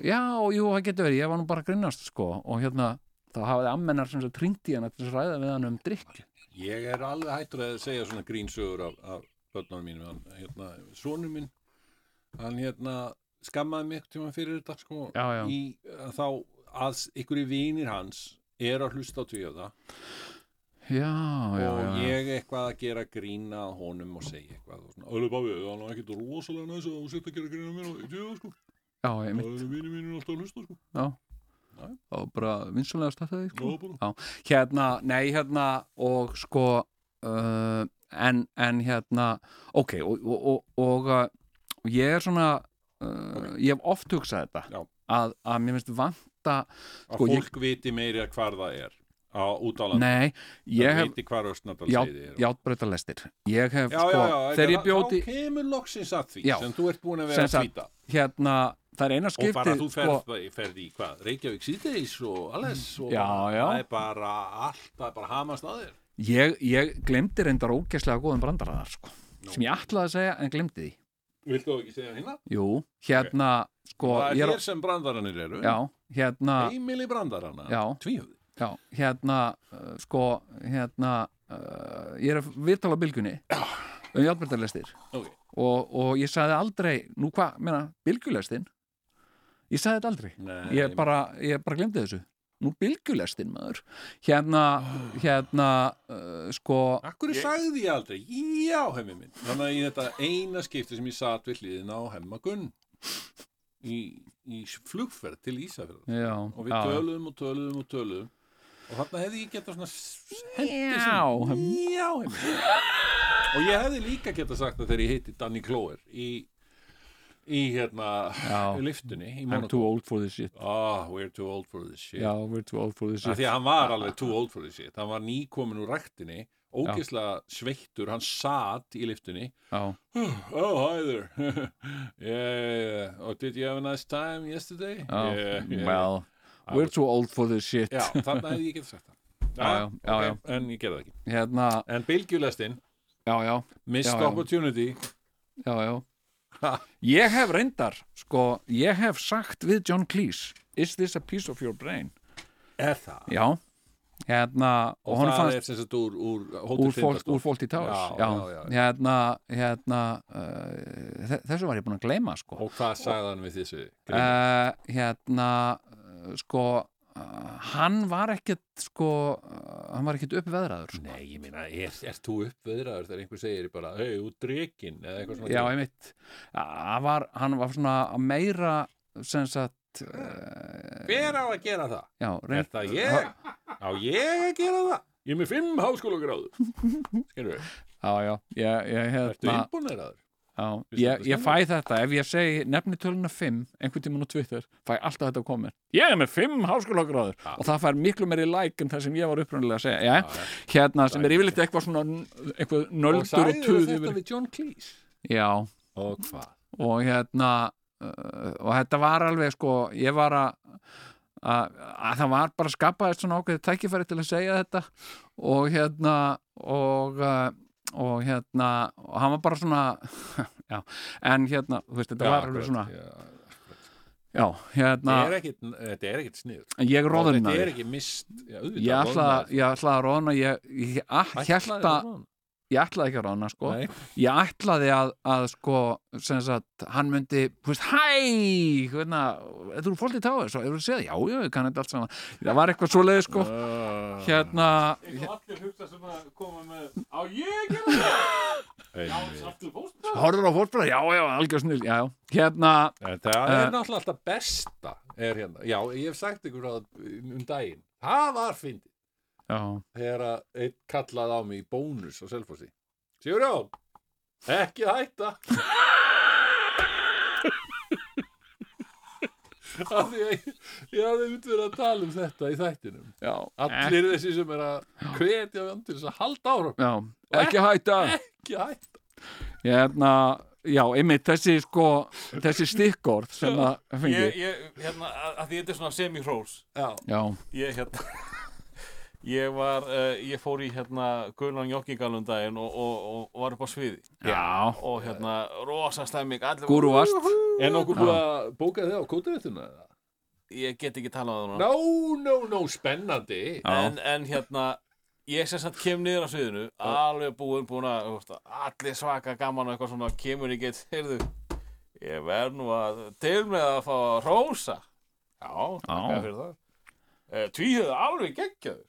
já, jú, það getur verið, ég var nú bara að grinnast sko og hérna, þá hafaði ammennar sem sagt hringdi í hana til þess að ræða við hann um drikk
Ég er alveg hættur að segja svona grínsögur af, af börnunum mínum, hann, hérna, sonur minn, hann hérna skammaði mig einhvern tíma fyrir þetta, sko,
Já, já.
í að þá að ykkur í vinir hans er að hlusta á tvíða
já, já, já,
og
já.
ég eitthvað að gera grína að honum og segja eitthvað og svona, öðru pabbi, það er ekkert rosalega næs að þú setja að gera grína að mér og tvíða, sko,
já, einmitt.
það eru vinir mínir alltaf að hlusta, sko,
og bara vinsanlega stættaði sko.
já, bara,
hérna, nei hérna og sko uh, en, en hérna ok, og, og, og, og uh, ég er svona uh, ég hef oft hugsað þetta
Já.
að, að mér finnst vanta
að
Sko, ég-
fólk viti meiri að hvar það er á út á landi,
nei, ég
það
hef
viti hvar Östnadal
já,
er og-
játbreytalestir ég hef
já,
sko,
já, já,
þegar
þá-
ég bjóti
þá kemur loksins að því
Já.
sem þú ert búin að vera
Sem
að
sagt,
tvíta
hérna, það er eina skipti
og bara þú ferð,
sko,
ferð í hvað, Reykjavík síðdeis og alles og
Já, já.
það er bara allt, það er bara hamast að þér
ég, ég glemdi reyndar ógeðslega góðum brandaræðar sko, sem ég ætlaði að segja en glemdi því
Viltu þú ekki segja hérna?
jú, hérna sko,
það er
ég
hér
er,
sem brandaranir eru
já, hérna
Heimili brandarana,
Já.
tvíhöfði
Já, hérna, uh, sko, hérna, uh, ég er að viðtala á bylgunni um játmjöldarlestir
okay.
og, og ég sagði aldrei, nú hvað, meina, bylgjulestin? Ég sagði þetta aldrei.
Nei,
Ég bara, ég bara glemdi þessu. Nú bylgjulestin, maður. Hérna,
Ah.
hérna, uh, sko,
Akkur sagði ég aldrei, já hemmi minn Þannig að í þetta eina skipti sem ég satt við hliðina á hemma Gunn í, í flugferð til Ísafjörð
já.
og við
já,
töluðum og töluðum og töluðum og þarna hefði ég getað svona s- hendi
Já.
sinni já heimli. og ég hefði líka getað sagt það þegar ég heiti Danny Clover í, í hérna
Já.
í lyftunni í
I'm
Monaco
too old for this shit.
ah, we're too old for this shit
Já, we're too old for this
Af
shit.
því að hann var alveg too old for this shit hann var nýkomin úr ræktinni ógeðslega sveittur, hann satt í lyftunni
Já,
Oh, hi there yeah, yeah, yeah. Oh, did you have a nice time yesterday?
já,
yeah, yeah.
Oh, well, we're too old for this shit.
Já, þarna hefði ég getið sagt það
Já, já, já,
ok,
já.
En ég gerði það ekki
Hérna,
En bylgjulestin,
já, já.
missed
Já, já.
opportunity
já, já
Ha.
ég hef reyndar, sko, ég hef sagt við John Cleese, is this a piece of your brain
Er það?
já, hérna
Og,
og honum
það
fannst
er sem sagt úr, úr
úr,
Hotel sko.
fólk, úr fólk í
Já,
tás já,
já, já.
hérna, hérna uh, þe- þessu var ég búin að gleyma sko.
Og hvað sagði hann við þessu? Uh,
uh, hérna uh, sko uh, hann var ekkit sko, uh, hann var ekkit uppveðraður sko.
Nei, ég meina, er, er þú uppveðraður þegar einhver segir bara, hei, þú drekin eða eitthvað svona
Já, einmitt Hann var, hann var svona meira sem sagt uh,
Hver á að gera það?
já,
Er
reynd,
það ég? Á ég að gera það? Hérna. Ég er með fimm háskólagráður Skilur við,
Já, já, ég, ég,
ertu
hérna,
innbúneraður?
já,
Finnst þér
ég,
þetta
ég fæ þetta ef ég segi nefnitöluna 5 einhvern tímann á Twitter, fæ alltaf þetta að koma ég er með 5 háskólagráður og það fær miklu meiri like en það sem ég var upprunnilega að segja já, hérna sem er yfirleitt eitthvað svona n- eitthvað
Og
nöldur og
sagði
tuð
þetta
yfir
við John Cleese
já,
Og hvað?
og hérna uh, og þetta var alveg sko ég var að að að það var bara að skapa þess svona ákveðið tækifæri til að segja þetta og hérna og, uh, og hérna og hann var bara svona já, en hérna, þú veist, þetta var alveg svona já, hérna
Þetta er ekkit, þetta er ekkit snið
ég
Þetta er
roðnaði,
ekki mist já, auðvitað, roðnaði.
ég ætla ég ætla að roðna, ég, ég, ah, ég,
Ætlaði
held að-
roðna?
ég ætlaði ekki að roðna sko,
Nei.
ég ætlaði að, að sko, sem sagt, hann myndi þú veist, hæ, hvernig þetta eru fólk í táið, svo hefur þú séð, já, já, ég kann þetta allt saman, það var eitthvað svoleiði sko,
Ah,
hérna
Eitthvað allir hugsa sem að koma með Á ég gera það? Já, sattu fóstra
horfður á fólkbræð, já, já, algjör snill já, já, hérna,
en Það er
Eh.
náttúrulega alltaf besta er hérna. Já, ég hef sagt ykkur að, um daginn Það var fyndið
já
þegar að einn kallaði á mig í bónus á Selfossi Sigurjón, ekki hætta af því að ég, ég hafði út verið að tala um þetta í þættinum
já,
allir þessi sem er að hvetja við andur þess að halda ára
já, ekki hætta
ekki hætta
hérna, já, einmitt þessi sko, þessi stikkorð sem það
Ég,
fengi,
ég, hérna, að, að því þetta er svona semi-hrós
Já,
já,
Ég, hérna Ég var, uh, ég fór í hérna Guðlan Jokkingalum daginn og, og, og, og var upp á sviði
já
og hérna rosa stemming allir
gúruvast,
en okkur búið að bóka þið á kótaréttuna eða?
Ég get ekki talað um það núna.
No, no, no, spennandi
Já.
en, en hérna ég sem sagt kem niður á sviðinu alveg búinn búinn að þú veist, allir svaka gaman og eitthvað svona kemur í gett heyrðu, ég verð nú að til með að fá að rósa já, takk fyrir það e, tvíhjöðu alveg geggjöður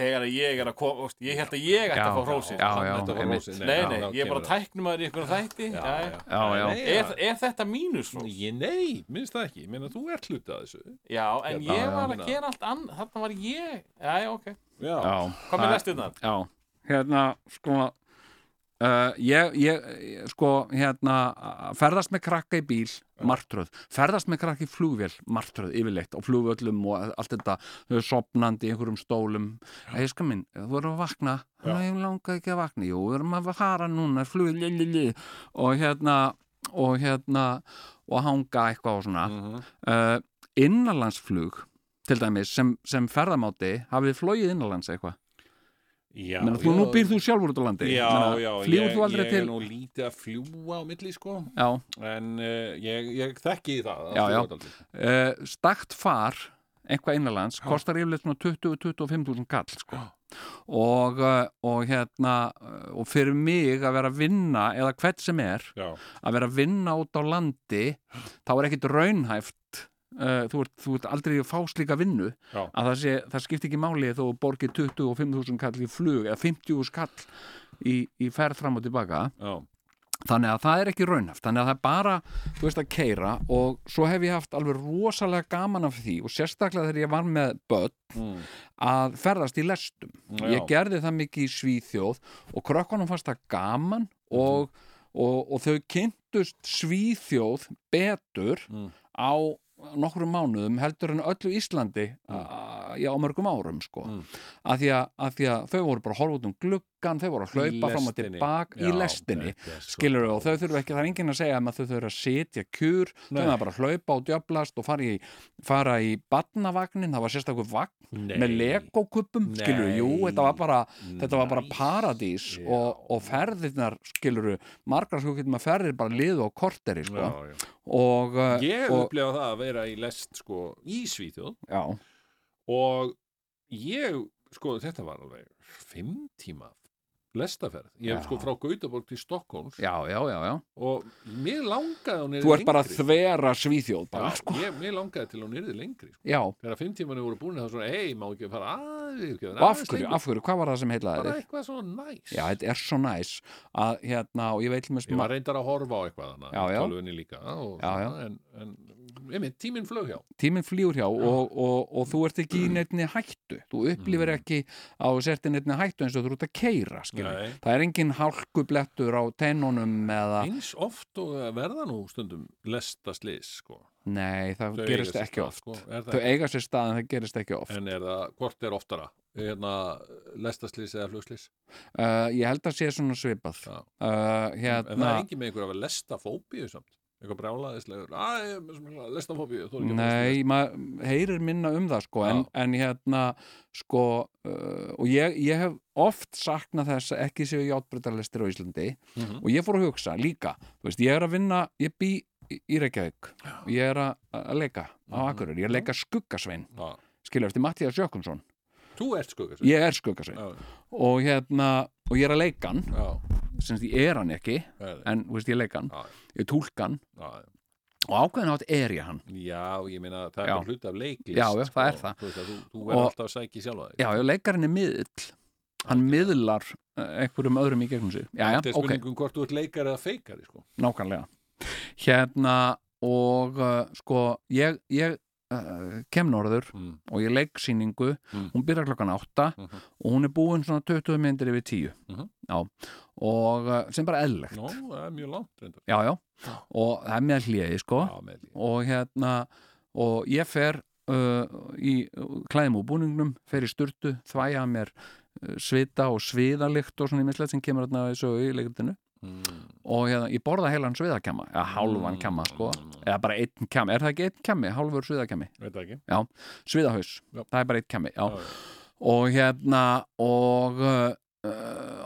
þegar að ég er að koma þú veist, ég held að ég ætti
Já,
að fá rósi
já, já,
Þetta var
einmitt.
rósin.
nei, nei,
já,
ég er bara
kemur það.
tæknum að í ykkur þætti já, já.
já, já,
Nei,
Er, er þetta mínus rós?
Ég nei, minnst það ekki, ég meina þú ert hluti að þessu
Já, en
Já,
ég
já,
var að
meina-
gera allt annað, þarna var ég, já, já, ok,
Já,
já
hvað með næstu þarna?
Já, hérna, sko Uh, ég, ég, ég- sko, hérna ferðast með krakka í bíl, martröð ferðast með krakka í flugvél, martröð yfirleitt, og flugvöllum og allt þetta þau eru sopnandi í einhverjum stólum Eiska minn, þú erum að vakna Nei, ég langa ekki að vakna, jú, við erum að fara núna, flugvél, li, li, li. og hérna og hérna og hanga eitthvað og svona mm
Mhm.
innanlandsflug til dæmis, sem, sem ferðamáti hafið flogið innanlands eitthvað
já
Menna, þú, nú býr þú sjálfur út á landi
já,
Meina,
já,
flýgur
ég,
þú aldrei
ég
til
er nú lítið að fljúa á milli sko
já,
en uh, ég, ég þekki það að
Já,
fljúga
já.
dálítið.
uh, stakt far eitthvað innanlands, kostar yfirleitt svona 20-25.000 kall sko. og, eh, og hérna eh, og fyrir mig að vera að vinna eða hvert sem er,
já,
að vera að vinna út á landi, þá er ekkit raunhæft Uh, þú, ert, þú ert aldrei að fá slíka vinnu
Já.
að það, sé, það skipti ekki máli þó þú borgir 25.000 kall í flug eða 50.000 kall í, í ferð fram og tilbaka
já,
þannig að það er ekki raunhaft þannig að það er bara, þú veist, að keira og svo hef ég haft alveg rosalega gaman af því og sérstaklega þegar ég var með börn
Mm.
að ferðast í lestum
Já.
ég gerði það mikið í Svíþjóð og krökkunum fannst það gaman og, og, og þau kynntust Svíþjóð betur
Mm.
á nokkrum mánuðum heldur en öllu Íslandi mm. já, á mörgum árum sko
Mm.
að, því að, að því að þau voru bara að horfa út um gluggan þau voru að
Í
hlaupa fram og
lestinni.
tilbaka í
Já,
lestinni
þetta er svo
skilur þau og þau þurfa ekki, það er enginn að segja um að þau þurfa að setja kjur, þau
Nei.
þurfa bara að hlaupa og djöblast og fara í, fara í barnavagnin, það var sérstakur vagn
Nei.
með legokuppum,
Nei.
skilur jú, þetta var bara, þetta var bara
Nice.
paradís
Já.
og, og ferðirnar, skilur margar sko getur maður ferðir bara liðu á korteri, sko,
já, já.
og eh,
ég hef
og,
upplifað það að vera í lest sko í Svíþjóð
já,
og ég, sko þetta var alveg fimm tíma lestaferð, ég hef
Já.
sko frá Gautaborg til Stokkóms
já, já, já, já
og mér langaði hún
þú ert bara að þvera svíþjóð bara,
Já,
sko,
ég, mér langaði til hún yrði lengri sko.
já,
þegar fimm tímanu voru búin þá svona, hei, má ekki fara aðeins ekki
og af hverju, af hverju, hvað var það sem heilaði
bara
þig?
eitthvað svo næs
Já, þetta er svo næs að, hérna, og ég veit til mér
ég var reyndar að horfa á eitthvað
Já,
þannig
já.
tölvunni líka og,
Já, já.
svona, En, en einmitt, tíminn flög hjá
tíminn flýur hjá og, og, og þú ert ekki í neittni hættu þú upplifir
Mm.
ekki á að sért í neittni hættu eins og þú ert að keira
Nei.
það er engin hálkublettur á tennunum eða,
eins oft og það verða nú stundum lestaslis sko.
nei, það
Þau eiga
gerist
sér
ekki
stað,
oft
sko. Er það
þau eiga sér stað en það gerist ekki oft
En er það, hvort er oftara? Hérna, lestaslis eða flugslís?
uh, ég held að sé svona svipað
Já.
uh,
En það
hérna,
er engin með einhver af að lestafóbíu samt eitthvað brjálaðislegur Æ, ég er með svona lestafóbíu þú er ekki að
Nei, maður heyrir minna um það sko, en, en hérna sko, uh, og ég, ég hef oft saknað þess að ekki séu játbrytarlestir á Íslandi
Mhm.
og ég fór að hugsa líka, þú veist, ég er að vinna ég bý í- í Reykjavík og ég er að, að leika á
Mhm.
Akurur ég er að leika skuggasvein,
Já.
skilja eftir Mattias Jökumsson,
Þú ert sko skugga
ég er skuggasvein og hérna, og ég er að leika hann
Já,
sem því er hann ekki,
það er það.
en þú veist, ég leika hann
Já,
ég túlka hann
já, já.
og ákveðin átt er ég hann
Já, ég meina það er
Já.
bara hluti af leiklist
Já, já, það er það.
Þú, veist að þú, þú
Og-
verður alltaf að sækja sjálfa þig
Já, já, leikarinn er miðill Hann miðlar eh, einhverjum öðrum í gegnum sig Já, já,
Þetta er
ok,
spurningum hvort þú ert leikari eða feikari sko.
nákvæmlega Hérna og uh, sko, ég, ég uh, kem norður
mm.
og ég leik sýningu
Mm.
hún byrjar klokkan 8
Mhm.
og hún er búin svona 20 myndir yfir 10
Mhm.
Já, og uh, sem bara eðlilegt
Nó, það er mjög langt reyndar
Já, já, og það er með hléi sko
Já, með því
og hérna og ég fer uh, í klæðum og búningnum, fer í sturtu þvæja að mér uh, svita og sviðalikt og svona ímislegt sem kemur þarna í sögu í leikritinu
mm.
og hérna, ég borða heilan sviðakjama eða hálfan
Mm.
kjama sko eða bara einn kjami, er það ekki einn kjami, hálfur sviðakjami
Veit það ekki
sviðahaus,
Já.
það er bara einn kjami já.
Já, já.
og hérna og uh,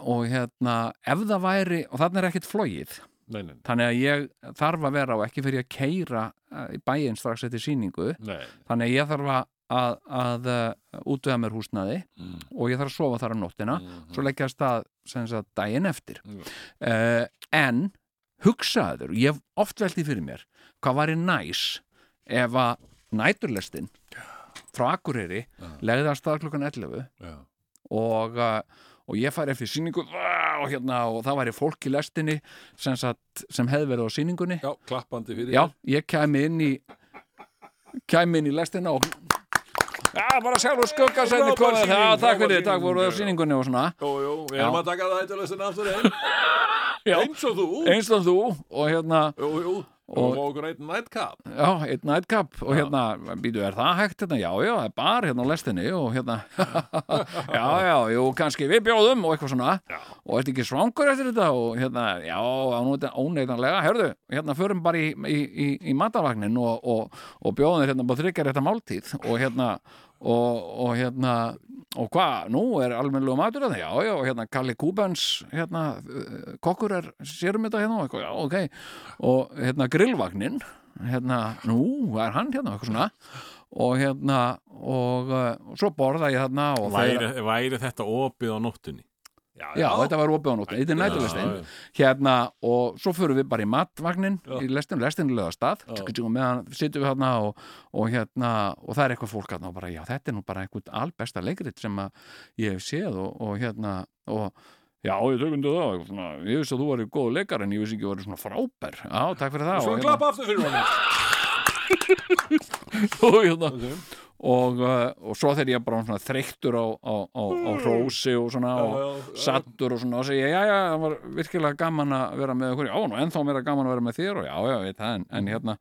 og hérna ef það væri, og þarna er ekkert flogið
Nei, nei, nei.
þannig að ég þarf að vera og ekki fyrir að keira í bæinn strax eftir síningu
nei
þannig að ég þarf að, að, að uh, útvega mér húsnaði
Mm.
og ég þarf að sofa þar á nóttina
Mhm.
svo leggja að stað sem sagt daginn eftir
Já.
uh, en hugsaður, ég hef oft veltið fyrir mér hvað væri næs ef að næturlestin frá Akureyri legði að stað klukkan 11
Já.
og, uh, og ég fari eftir síningu vá, og, hérna, og það væri fólk í lestinni sem, sagt, sem hefði verið á síningunni
Já, klappandi fyrir
Já, ég kæmi inn í kæmi inn í lestina og Já, bara sjálfur skugga sætti
Frábær
komið
sýning,
Já, takk
frábær
fyrir, takk
sýning,
voru á
já.
sýningunni og svona
Jú, jú, við
Já.
erum að taka það hættulegstin aftur heim
Já,
eins og þú
eins og þú og hérna,
Jú, jú,
Og-
og fá okkur eitt nightcap
já, einn nightcap og hérna, býtu, er það hægt hérna? Já, já, það er bar hérna á lestinni og hérna Já, já, jú, kannski við bjóðum og eitthvað svona já. og ertu ekki svangur eftir þetta og hérna, já, ánúti- óneitanlega herðu, hérna, förum bara í, í, í, í matavagnin og, og, og bjóðum þér hérna bara þryggjar þetta máltíð og hérna, og, og hérna og hvað, nú er almennlega matur að það, já, já, og hérna, Kalli Kúbens hérna, eh, kokkur er sérum þetta hérna og eitthvað, já, ok og hérna, grillvagnin hérna, nú, hvað er hann hérna, eitthvað svona og hérna, og, eh, og svo borða ég þarna og þeir-
væri, væri þetta opið á nóttunni
Já, þetta var opið á nóttin, þetta er nætturlestin
Já,
hérna og svo förum við bara í matvagnin í lestin, lestin löða stað og meðan sittum við hérna og, og hérna, og það er eitthvað fólk hérna og bara, já, þetta er nú bara einhvern albesta leikrit sem að ég hef séð og, og hérna, og já, ég tökum þetta það, eitthvað svona, ég vissi að þú væri góð leikar en ég vissi ekki að þú væri svona frábær já, takk fyrir það
Svo
og
hann
hérna,
klappa aftur fyrir honum
og, hérna, og, uh, og svo þegar ég bara var svona þreyttur á, á, á, á hrósi og svona og, sattur og svona og segja, já, já, það var virkilega gaman að vera með okkur, já, nú ennþá meira gaman að vera með þér og já, já, veit það, en, en hérna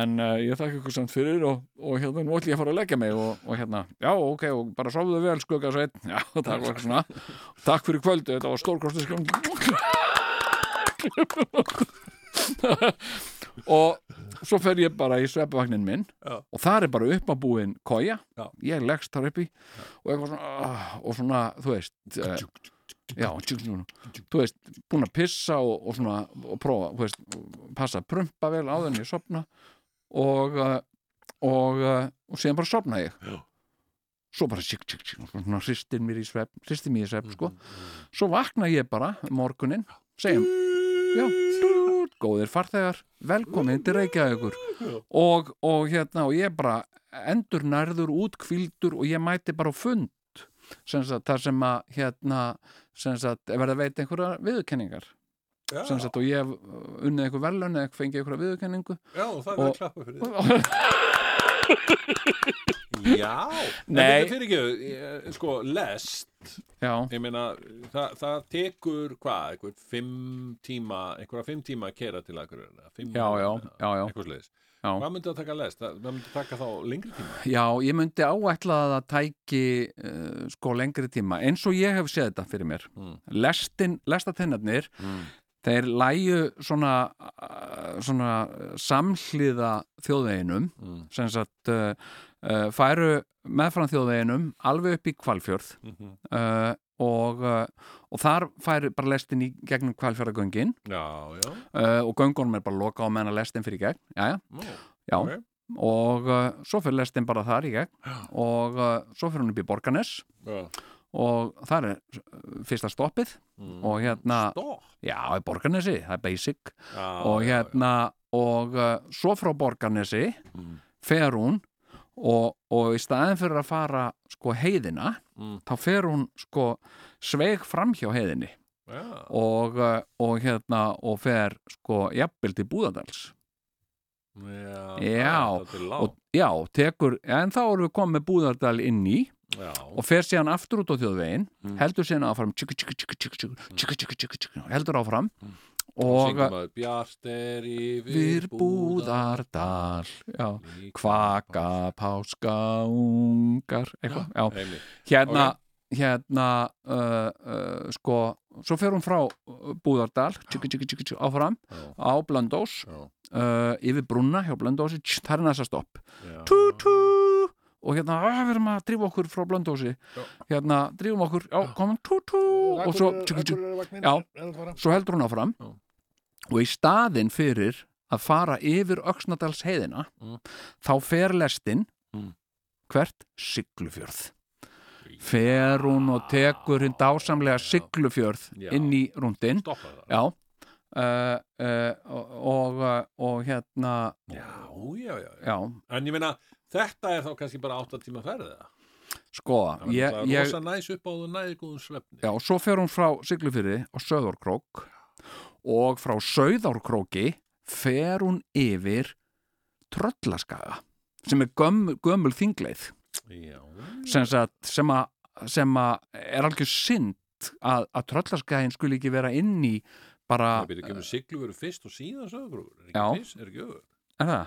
en uh, ég þakka ykkur samt fyrir og, og hérna, nú ætlum ég að fara að leggja mig og, og hérna, já, ok, og bara sofðu vel skugga sveit, já, takk og eitthvað svona takk fyrir kvöldu, þetta var stórkostu skjón og svo fer ég bara í sveppavagnin minn
Já.
og þar er bara uppabúin koja,
Já.
ég leggst þar uppi og eitthvað svona, ah, og svona þú veist eh, já, tjúk, tjúk, tjúk. þú veist, búin að pissa og, og svona, og prófa, þú veist passa að prumpa vel áður en ég sopna og eh, og, eh, og síðan bara sopna ég
Já.
svo bara tjúk, tjúk, tjúk, og svona hristir mér í svepp, hristir mér í svepp, sko svo vakna ég bara um morguninn segjum, já, dút, góðir farþegar, velkomin til Reykjavíkur og, og hérna og ég bara endur nærður útkvíldur og ég mæti bara á fund sem sagt, þar sem að hérna, sem sagt, verða veit einhverja viðurkenningar sem sagt, og ég hef unnið einhver verðlaun eða fengið einhverja viðurkenningu
Já, það er
Og-
að klappa fyrir þetta Já, en
Nei.
þetta fyrir ekki sko, lest
já,
ég meina, það, það tekur hvað, einhver fimm tíma einhverja fimm tíma að kera til akkur fimm,
Já, já, já, já.
einhvers leiðis
já.
Hvað myndi að taka lest? Það, það myndi taka þá lengri tíma
Já, ég myndi áætla að það tæki uh, sko lengri tíma eins og ég hef séð þetta fyrir mér
Mm.
Lestin, lestatennarnir þeir læju svona uh, svona samhliða þjóðveginum
Mm.
sem sagt uh, uh, færu meðfram þjóðveginum alveg upp í Hvalfjörð
Mhm.
uh, og, uh, og þar færu bara lestin í gegnum Hvalfjörðagöngin
Já, já,
uh, og göngunum er bara loka á meðan að lestin fyrir í gegn Jæja,
Nú,
já
ok.
og uh, svo fyrir lestin bara þar í gegn og uh, svo fyrir hún upp í Borganes
já.
og þar er uh, fyrsta stoppið
Mm.
og hérna,
Stopp.
já, í Borganesi það er basic
Já,
og
já,
hérna og uh, svo frá Borganesi
Mm.
fer hún og, og í staðin fyrir að fara sko heiðina,
Mm.
þá fer hún sko sveig fram hjá heiðinni
já.
og, uh, og hérna og fer sko jafnvel til Búðardals
Já,
Já,
það er dálítið langt.
og já, tekur, en þá erum við komið með Búðardal inn í
já,
og fer síðan aftur út á þjóðvegin heldur síðan áfram tjúku, tjúku, tjúku, tjúku, tjúku, tjúku, tjúku, tjúku, tjúku, heldur áfram og
syngum að Bjart er yfir
við búðardal já, kvaka páska ungar eitthvað, já,
Einmitt.
hérna hérna, uh, uh, sko svo fer hún frá uh, Búðardal tjúku, tjúku, tjúku, tjúku, áfram
Já.
á Blöndós
Já.
uh, yfir Brunna hjá Blöndósi, tss, þar er næsta stopp
Já.
tú, tú, og hérna, að við erum að drífa okkur frá blöndósi hérna, drífum okkur, já, komum tú, tú, og svo, tjú, tjú, já, svo heldur hún áfram
Já.
og í staðin fyrir að fara yfir Öxnadals heiðina
Mm.
þá fer lestin
Mm.
hvert siglufjörð fer hún og tekur hinn dásamlega siglufjörð
Já.
inn í rúndin
Stoppa það.
já Uh, uh, og, og, og hérna
Já, já, já, já.
já,
En ég meina, þetta er þá kannski bara 8 tíma ferðið það.
sko
Það
ég,
er ég,
ég,
rosa næs upp á þú næði góðum svefni.
Já, og svo fer hún frá Siglufyrði á Söðorkrók og frá Söðorkróki fer hún yfir Tröllaskaga sem er gömul, gömul þingleið
Já.
sem, sagt, sem, að, sem að er algjör synd að, að Tröllaskagin skuli ekki vera inn í bara,
Það byrja ekki um sigluveru fyrst og síðan sögurbrúður. Er
Já.
ekki fyrst, er ekki öður.
er það?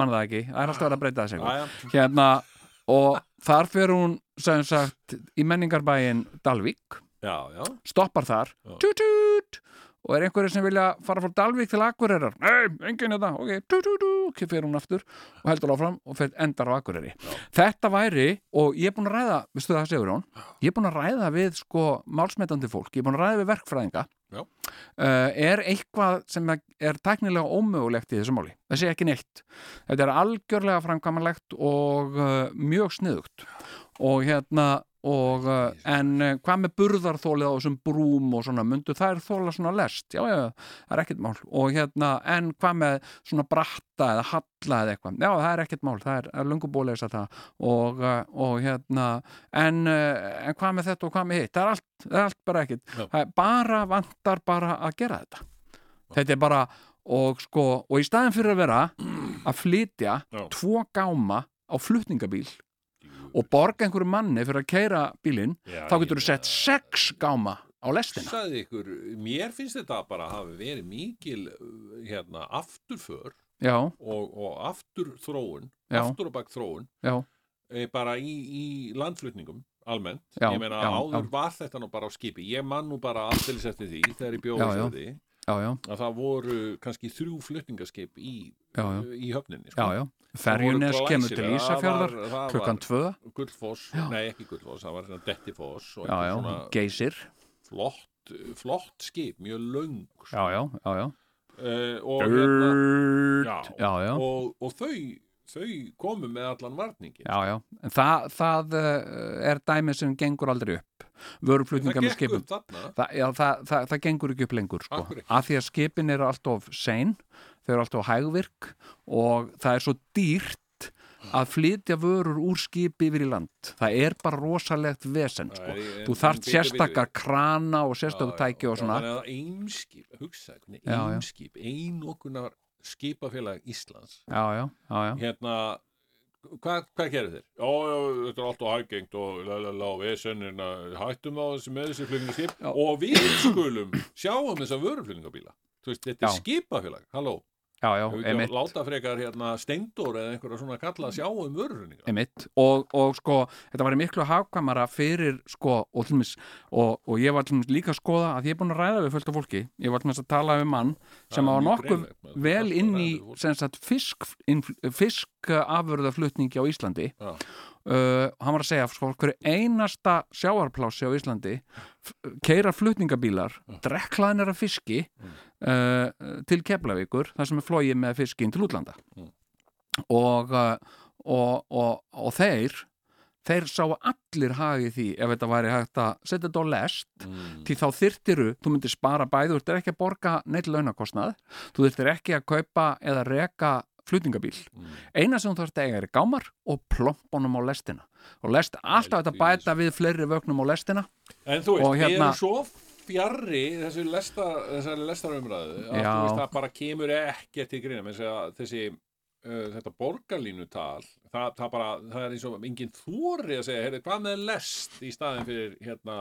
mann það ekki, það er alltaf verið að breyta þessi
Æja,
hérna, og þar fer hún sem sagt í menningarbæin Dalvík
já, já.
stoppar þar
Já.
tút, tút, og er einhverju sem vilja fara frá Dalvík til Akureyrar nei, enginn þetta, ok, tút, tút, tút, ok, fer hún aftur og heldur áfram og fer endar á Akureyri þetta væri, og ég er búin að ræða veistu það, segur hún, ég er búin að ræða við sko málsmetandi fólk, ég er búin að ræða við verkfræðinga
Já.
Uh, er eitthvað sem er tæknilega ómögulegt í þessu máli, það sé ekki neitt þetta er algjörlega framkvæmanlegt og uh, mjög sniðugt og hérna og, uh, en uh, hvað með burðarþólið á þessum brúm og svona myndu það er þóla svona lest, já já, það er ekkert mál og hérna, en hvað með svona bratta eða halla eða eitthvað já, það er ekkert mál, það er, er lungubólegis að það og, uh, og hérna en, uh, en hvað með þetta og hvað með hitt það er allt, það er allt bara ekkert
Já.
Það er bara vantar bara að gera þetta þetta er bara og sko, og í staðin fyrir að vera að flytja
Já.
tvo gáma á flutningabíl og borga einhverju manni fyrir að keira bílinn
Já,
þá getur
ég-
þú sett sex gáma á lestina
Sagði ykkur, mér finnst þetta bara hafi verið mikil uh, hérna, afturför
já,
og, og aftur þróun,
Já.
aftur og bak þróun
já,
eh, bara í, í landflutningum almennt,
Já,
ég meina
já,
áður
já.
var þetta nú bara á skipi, ég man nú bara alltilis eftir því þegar ég bjóði
Já, já.
fyrir því
já, já,
að það voru kannski þrjú flutningaskip í,
já, já,
í höfninni sko.
já, já. ferjunes kemur til Ísafjörðar klukkan
klukkan
tvö,
Gullfoss, nei ekki Gullfoss, það var hérna Dettifoss og
já, já,
eitthvað svona
geysir
flott, flott skip, mjög löng
já, já, já, já,
uh, og, hérna, já,
Durt, já, já
Og, og þau, þau komu með allan varningin
Já, já, en það, það uh, er dæmi sem gengur aldrei upp
það
vöruflutningar með
gekk
skipum
upp þarna
Þa, já, það, það, það gengur ekki upp lengur sko.
Af hverju?
af því að skipin eru alltof sein þau eru alltof hægvirk og það er svo dýrt að flytja vörur úr skipi yfir í land það er bara rosalegt vesend sko.
Nei, en-
þú þarft
en bíddu,
sérstakar krana og
Já,
sérstakar
já,
tæki og
já,
svona
þannig að Eimskip, hugsa, hvernig
Já, já.
Eimskip, einokunar skipafélag Íslands
já, já, já, já,
hérna Hvað, hvað gerir þeir? Já, já, þetta er alltaf hægengt og lalala og vesennin hættum á þessi með þessi flugningarskip og við skulum sjáum þessa vöruflugningabíla. Þú veist, þetta er
Já.
skipafélag, halló.
já, já,
Hefur ekki
emitt
að láta frekar hérna steindór eða einhverja svona kalla að sjá um vöruflugningar.
Einmitt. Og, og sko, þetta var miklu hagkvæmara fyrir sko, og, tlumis, og, og ég var tlumis líka að skoða að ég er búin að ræða við fullt af fólki ég var tlumis að tala við mann
Það
sem
er
var
mjög
nokkuð
greinlegt, maður.
vel
Alltaf
inn í
ræða við fólk.
sem sagt, fisk, inn, fiskafurðaflutningi á Íslandi
Já.
Uh, hann var að segja sko, hverju einasta sjáarplási á Íslandi keira flutningabílar
Mm.
drekklaðinir af fiski uh, til Keflavíkur þar sem er flogið með fiskinn til útlanda
Mm.
og, uh, og, og, og þeir þeir sáu allir hagið því ef þetta væri hægt að setja þetta á lest
Mm.
því þá þyrtiru, þú myndir spara bæði þú þyrtir ekki að borga neitt launakostnað þú þyrtir ekki að kaupa eða reka flutningabíl.
Mm.
Eina sem þú þarfst að eiga er gámar og plompunum á lestina og lest alltaf þetta bæta við fleiri vögnum á lestina
En þú veist,
Og
við erum
hérna-
svo fjarrri þessu lesta, þessari lestarumræðu að
Já.
þú veist, það bara kemur ekkert til greina með þessi uh, þetta borgarlínutal það, það, bara, það er eins og enginn þóri að segja, heyrðu, hvað með lest í staðin fyrir hérna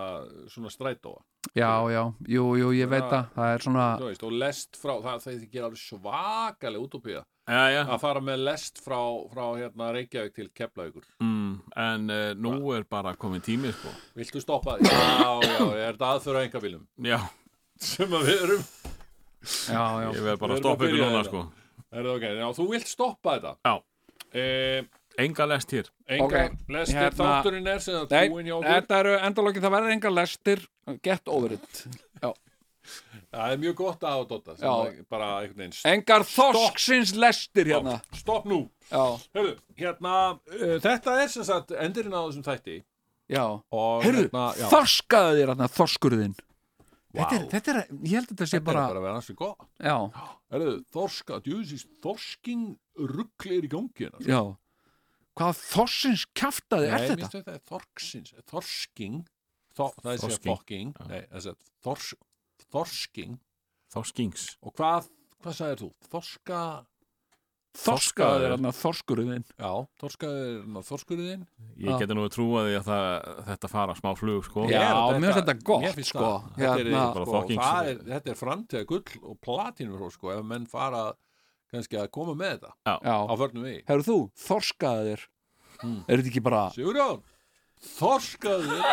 svona strætóa
Já, já, jú, jú, ég veit
Já.
að það er svona
þú veist, og lest frá, það þeir gera alveg svakalega útopía
já, já.
að fara með lest frá, frá hérna Reykjavík til Keflavíkur
Mm, en uh, nú er bara komin tími sko.
Viltu stoppa? því? Já, já, er þetta aðföru að enga viljum
já,
sem að við erum
Já, já,
ég verð
Við
bara
erum
að stoppa
að
ykkur
byrja
núna
þetta.
sko.
Er það ok? Já, þú vilt stoppa þetta?
Já.
E,
enga lest hér
engar
Ok,
lestir
hérna-
þátturinn er sem það
Nei,
búin hjá okkur.
þetta eru endalókið, það verður enga lestir get over it
Það er mjög gott að hafa Dotta. sem
Já.
að Bara einhvern veginn. Stopp,
Engar þosksins lestir hérna
stopp nú.
Já,
Hörru, hérna, uh, þetta er sem sagt endurinn á þessum þætti.
já
og
Herru,
hérna, já,
þorskaðu þér hérna þorskurðinn þetta, er, þetta er, ég held að þetta sé
þetta er
bara,
bara að vera hansi gott.
Já,
Hörru, þorska, djúðsins, þorsking rugglir í gangi hérna.
já Hvað þorsins kjaftaði er
Nei,
þetta?
minnstu þetta er þorksins, þorsking, þor, það er sér
Þorsking.
fokking, nei, þess að þors, þorsking
Þorskings
og hvað, hvað sagðir þú? Þorska,
Þorskaðu þér hérna þorskurðinn
já, þorskaður, þorskurðin,
Já.
ég geti nú að trúa því að það, þetta fara smá flug sko.
Já,
Er
mér finnst þetta gott,
mér finnst
sko.
það. Þetta er,
Hérna-
Bara
sko,
fucking-
það er, þetta er framtíða gull og platinur sko, ef menn fara kannski að koma með þetta á
Já,
förnum við
herru þú, þorskaðu þér mm.
Hmm.
Er þetta ekki bara
Sigurjón, þorskaðu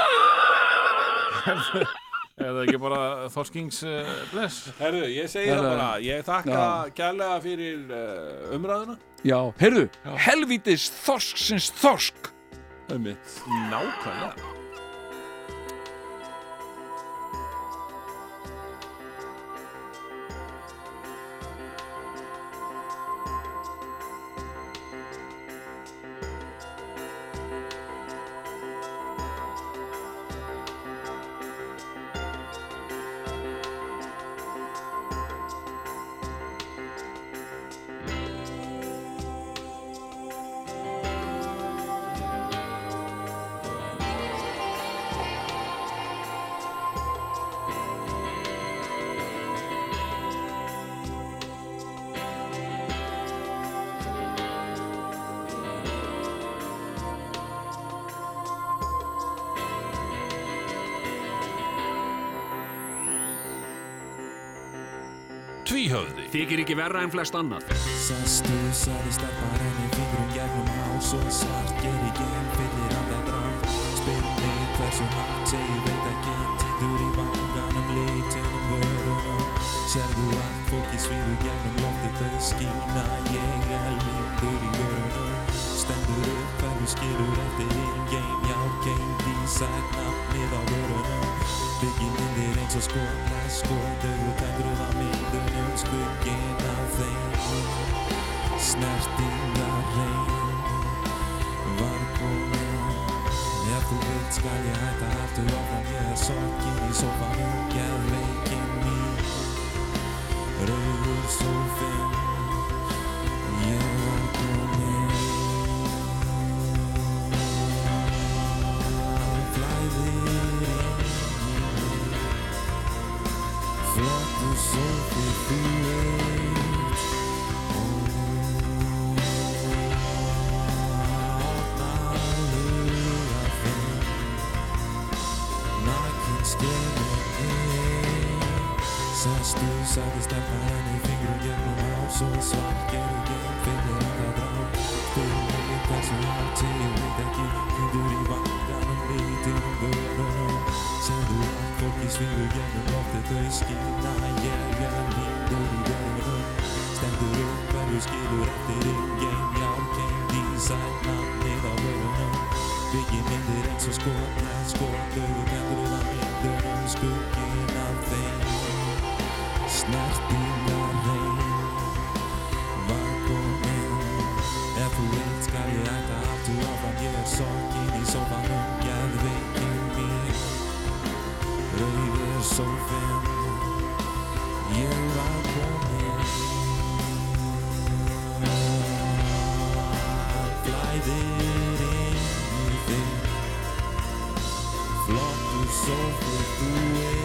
er það ekki bara Þorskings uh, bless
Herðu, ég segi það
Herðu.
bara ég þakka
Já.
kærlega fyrir uh, umræðuna
Já, heyrðu, helvítis þorsksins þorsk
um mitt nákvæmlega
Tvíhöfði
Þykir ekki verra en flest annað
Sestu, sagði stelpan henni fingrum gegnum hás og svart ger í geim fyrir andan drang Spyr mig hversu hátt segi veit ekki Tindur í vanganum, litinum, vörunum Sérðu að fólki svíður gegnum lofti þau skína Ég helmindur í vörunum Stendur upp hverju skilur eftir hinn geim Já, geim, dísæt nafnið á vörunum Byggi myndir eins og skotla skotur Tendruð á myndunum skugginn af þeim Snertingar reyn Var komin Ef þú vilt skal ég hætta aftur ofan Ég er sorgin í sofanum Geðveikin mín Rauður sófinn Ég var komin þú veit Óopnalega þinn Nakin skemur inn Sestu, sagði stelpa henni Fingur gegnum ás og svart Gerðu gegn, finnir andra drám Spyrir mig hversu hátt Ég veit ekki, hundur í vanganum Lítum vörunum Segðu allt fólki svíður gegnum Lofti þau skilna Ég er lindur í verunum Stendur upp, verður skilur eftir Ingen járkend í sænafnið á vörunum Byggi myndir eins og skotna Skotur, vendur að myndunum Skuggin af þeim Snertingar reyn Var komin Ef þú veit skal ég ætta aftur áfram Ég er sorgin í sófanum Geðveikin mín Rauður sófinn Ég var komin Flæðir inn í þig Flottur sófur þú er